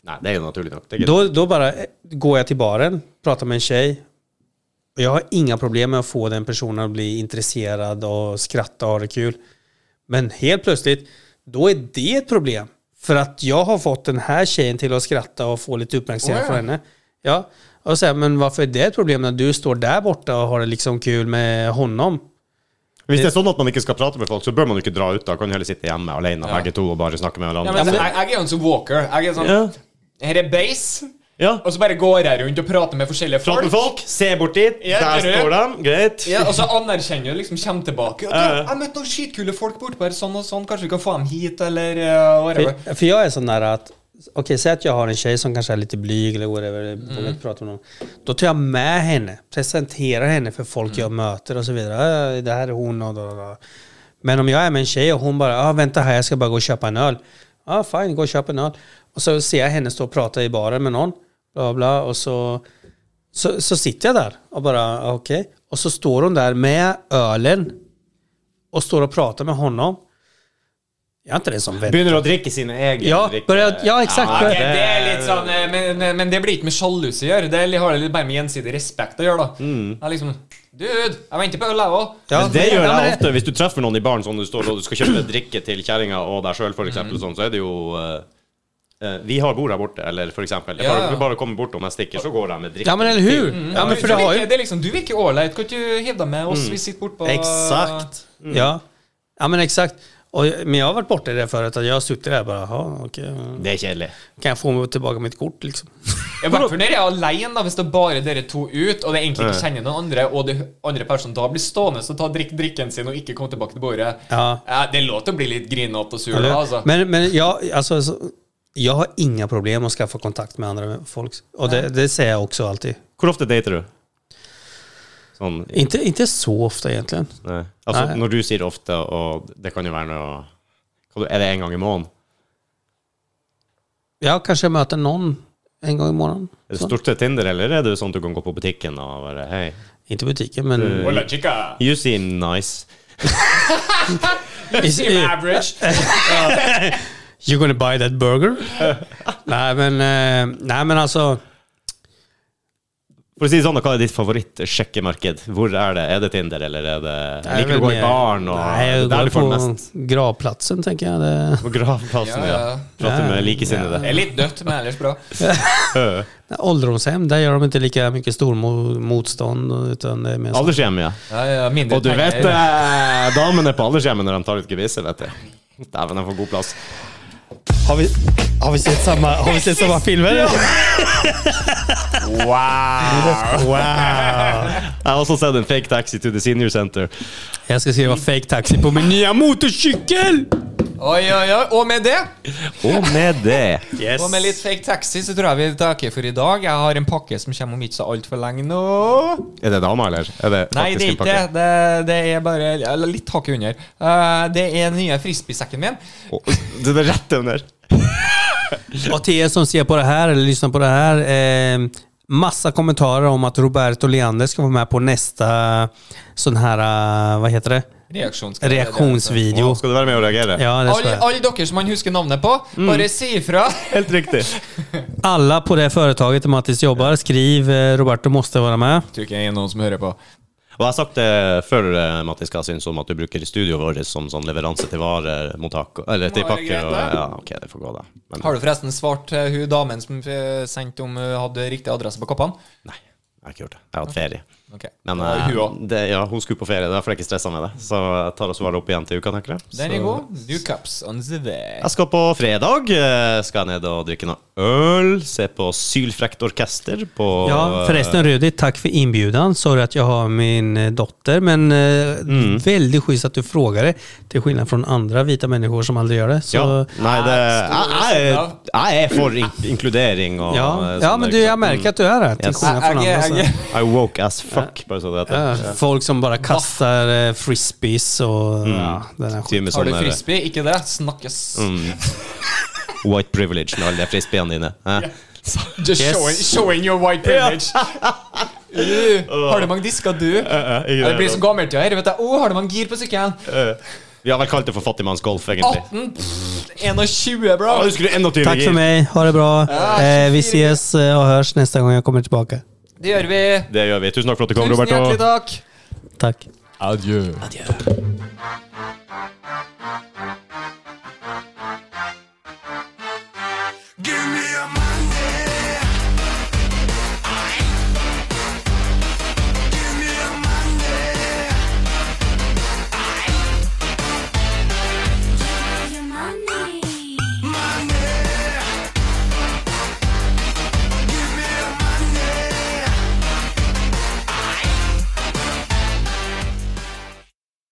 A: Nei, det er jo naturlig nok. Det er ikke-
C: Då, då bara eh, går jag till baren, pratar med en tjej. Och jag har inga problem med att få den personen att bli intresserad och skratta och ha det kul. Men helt plötsligt, då är det ett problem. För att jag har fått den här tjejen till att skratta och få lite uppmärksamhet
B: Oh, ja.
C: från henne. Ja, och säga, men varför är det ett problem när du står där borta och har det liksom kul med honom?
A: Hvis det er sånn at man ikke skal prate med folk, så bør man jo ikke dra ut. Da kan du heller sitte hjemme alene
B: Ja.
A: begge to og bare snakke med
B: Ja, men,
A: hverandre.
B: jeg, jeg er jo en sånn walker. Jeg er sånn
A: Ja.
B: Her er base,
A: Ja.
B: og så bare går jeg rundt og prater med forskjellige
A: Prat
B: folk.
A: med folk, se bort dit.
B: Ja,
A: Der
B: det er det.
A: står de. Greit.
B: Ja, og så anerkjenner du liksom, kommer tilbake. Ja, du, 'Jeg møtte noen skitkule folk bortpå her, sånn og sånn. Kanskje vi kan få dem hit, eller uh, whatever.'
C: För, för jag är sån där att, okej säg att jag har en tjej som kanske är lite blyg eller whatever, eller vågar inte prata med någon. Då tar jag med henne, presenterar henne för folk jag möter och så vidare. "Äh, Det här är hon och då, då, då. Men om jag är med en tjej och hon bara, ah, vänta här jag ska bara gå och köpa en öl. Ja ah, fine, gå och köp en öl. Och så ser jag henne stå och prata i baren med någon. Bla bla och så, så, så sitter jag där och bara "Ah, okej. Och så står hon där med ölen och står och pratar med honom. Jag är inte den som väntar.
A: Begynner å drikke sine egne
C: Ja,
A: drikke.
C: börjar, ja exakt.
A: Ja,
C: Börjar-
B: Ok, det er litt sånn, eh, men, men- men det blir ikke med sjalusi å gjøre. Det er- har litt bare med gjensidig respekt å gjøre. da Jeg er liksom Dude, jeg venter på øl, jeg òg.
C: Ja,
A: Men det gjør
C: ja, men
A: jeg
C: det-
A: ofte. Hvis du treffer noen i baren sånn du står og du skal kjøpe drikke til kjerringa og deg sjøl, f.eks., sånn, så er det jo eh, eh, Vi har bord her borte, eller f.eks. Jeg
B: Ja,
A: bare,
B: ja.
A: bare kommer bort om jeg stikker, så går jeg med drikke.
C: Ja men eller
A: Mm.
C: hur? Ja men för det har
B: ikke-
C: ju...
B: det er liksom, Du virker ålreit. Kan ikke du hive deg med oss? Vi sitter bortpå
C: Exakt.
A: Mm.
C: Ja. ja men exakt. Och, men jag har varit borta i det förut, att jag har suttit där och bara, jaha okej.
A: Det er kjedelig.
C: Kan jag få tillbaka mitt kort liksom?
B: I hvert fall når jeg er alene, da, hvis det er bare dere to ut, og det egentlig ikke kjenner noen andre, og det andre personen da blir stående og ta drikk, drikken sin og ikke komme tilbake til bordet
C: Ja.
B: Eh, Det er lov til å bli litt grinete og sur,
C: Eller?
B: da, altså.
C: Men, men jag, alltså, så- jag har inga problem att skaffa kontakt med andra folk. Och det, det säger jag också alltid.
A: Hvor ofte dater du? Sånn
C: Inte, inte så ofta egentligen.
A: Nei. Altså,
C: Nei.
A: når Alltså, du sier ofte, og det kan jo være noe Hva- Er det en gang i måneden?
C: Jag kanske möter någon en gång i månaden.
A: Er det
C: Så.
A: stort sett Tinder, eller er det sånn at du kan gå på butikken og bare Hei,
C: Inte butiken men...
A: Mm.
B: Hola, chica.
A: you seem nice.
C: Is-
B: You're average.
C: You're gonna buy that
A: [laughs]
C: burger? nej, men, eh, nej men alltså,
A: For å si det sånn, hva er ditt favoritt-sjekkemarked? Hvor er det? Er det Tinder, eller er det
C: Nej,
A: Liker du å
C: men,
A: gå i
C: eh,
A: baren? Og,
C: nej, jag
A: det er
C: går
A: du får
C: på
A: mest
C: gravplatsen tänker jag. Det,
A: på gravplassen.
B: Ja,
A: Ja,
B: ja.
A: Prate
C: Ja,
A: med
B: Det
A: likesinnede.
B: er litt dødt, men ellers bra.
A: Ja.
C: nej, ålderdomshem, där gör de inte lika mycket stormotstånd. Utan det är mer så-
A: Aldershjem, ja.
B: Ja, ja, mindre
A: Og du vet
B: penger.
A: eh, damene på aldershjemmet når de tar ut gebisset, vet du. Dæven, de får god plass.
C: har, vi, har, vi sett samma, har vi sett samma filmer? [laughs]
A: Wow! Jeg har også sett en fake taxi to the senior center.
C: jag ska skriva fake taxi på min nya motorcykel!
B: Oi, oi, oi. Og med det,
A: Og med det
B: og med litt fake taxi, så tror jeg vi takker for i dag. Jeg har en pakke som kommer om ikke så altfor lenge nå.
A: Er det dama, eller? Er det
B: Nei, det er
A: faktisk en
B: ikke
A: pakke?
B: det. Det, det er bare eller litt hakket under. Eh, det er den nye frisbeesekken min.
A: Å, det er rett under.
C: Och till er som ser på det här eller lyssnar på det här. Eh, massa kommentarer om att Roberto Leander ska vara med på nästa sån här, eh, vad heter det?
B: Reaksjonsvideo.
C: Reaktionsvideo.
A: Å, Skal du være med og reagere?
C: Ja, det ska
B: Alle
C: jag.
B: all dere som han husker navnet på, bare si ifra.
A: Helt riktig.
C: Alla på det företaget där Mattis jobbar, skriv eh, Roberto måste vara med.
B: Tror ikke jeg er noen som hører på.
A: Og jeg har sagt det før, eh, Mattis, hva jeg syns om at du bruker studioet vårt som sånn leveranse til varemottak Eller til
B: Må være
A: pakker.
B: greit,
A: Og,
B: det.
A: ja, ok, det får gå, da. Men
B: Har du forresten svart eh, hun damen som eh, sendte om hun hadde riktig adresse på koppene?
A: nei, jeg har ikke gjort det. Jeg har hatt ferie.
B: Ok.
A: Men
B: Da er
A: eh,
B: hun også.
A: det, ja, hun skulle på ferie, derfor er jeg ikke stressa med det. Så jeg tar og svarer opp igjen til uka, tenker jeg.
B: Den
A: Så-
B: er god. New cups on the way.
A: Jeg skal på fredag eh, Skal jeg ned og drikke noe øl, se på Sylfrekt orkester på eh,
C: Ja, förresten Rudi, tack för inbjudan. Sorry att jag har min eh, dotter, men eh, väldigt schysst att du frågade. Till skillnad från andra vita människor som aldrig gör det. Så,
A: Ja.
C: ja.
A: Nei, det Ah, jeg, jeg, er-
B: Äh, stor-
A: jeg er for in inkludering og
C: Ja, liksom.
A: eh, sånn der,
C: men du,
A: ikke
C: jag märker att du är här, till
A: Yes.
C: skillnad
B: Jag-
C: från andra.
B: jag-
C: Så.
B: jag-
A: sant? Mm. I woke as fuck, bare så det heter.
C: Ja, folk som bara kastar eh, frisbees och Mm. ja, den här skiten.
A: Tyve med
B: Har du
A: sånne der,
B: frisbee? Ikke det. Snakkes.
A: white privilege med alle de frisbeene dine. [laughs] Eh?
B: [laughs] Just
C: Yes.
B: showing, showing your white privilege. uh, har du mange disker, du? Ja, det blir så gammelt, ja. her, Vet du. Oh, har du mange gir på sykkelen?
A: Vi har vel kalt det for fattigmannsgolf, egentlig.
B: 18, pff, 21, bro.
A: Ja, husker du 21
C: Tack för
A: gir?
C: mig, ha det bra.
B: Ja,
C: Eh, vi
B: tjusig.
C: ses eh, och hörs nästa gång jag kommer tillbaka.
B: Det gjør vi.
A: Det gjør vi. Tusen takk for at du kom,
B: Tusen
A: Robert.
B: hjertelig takk.
C: Tack.
B: Adjø.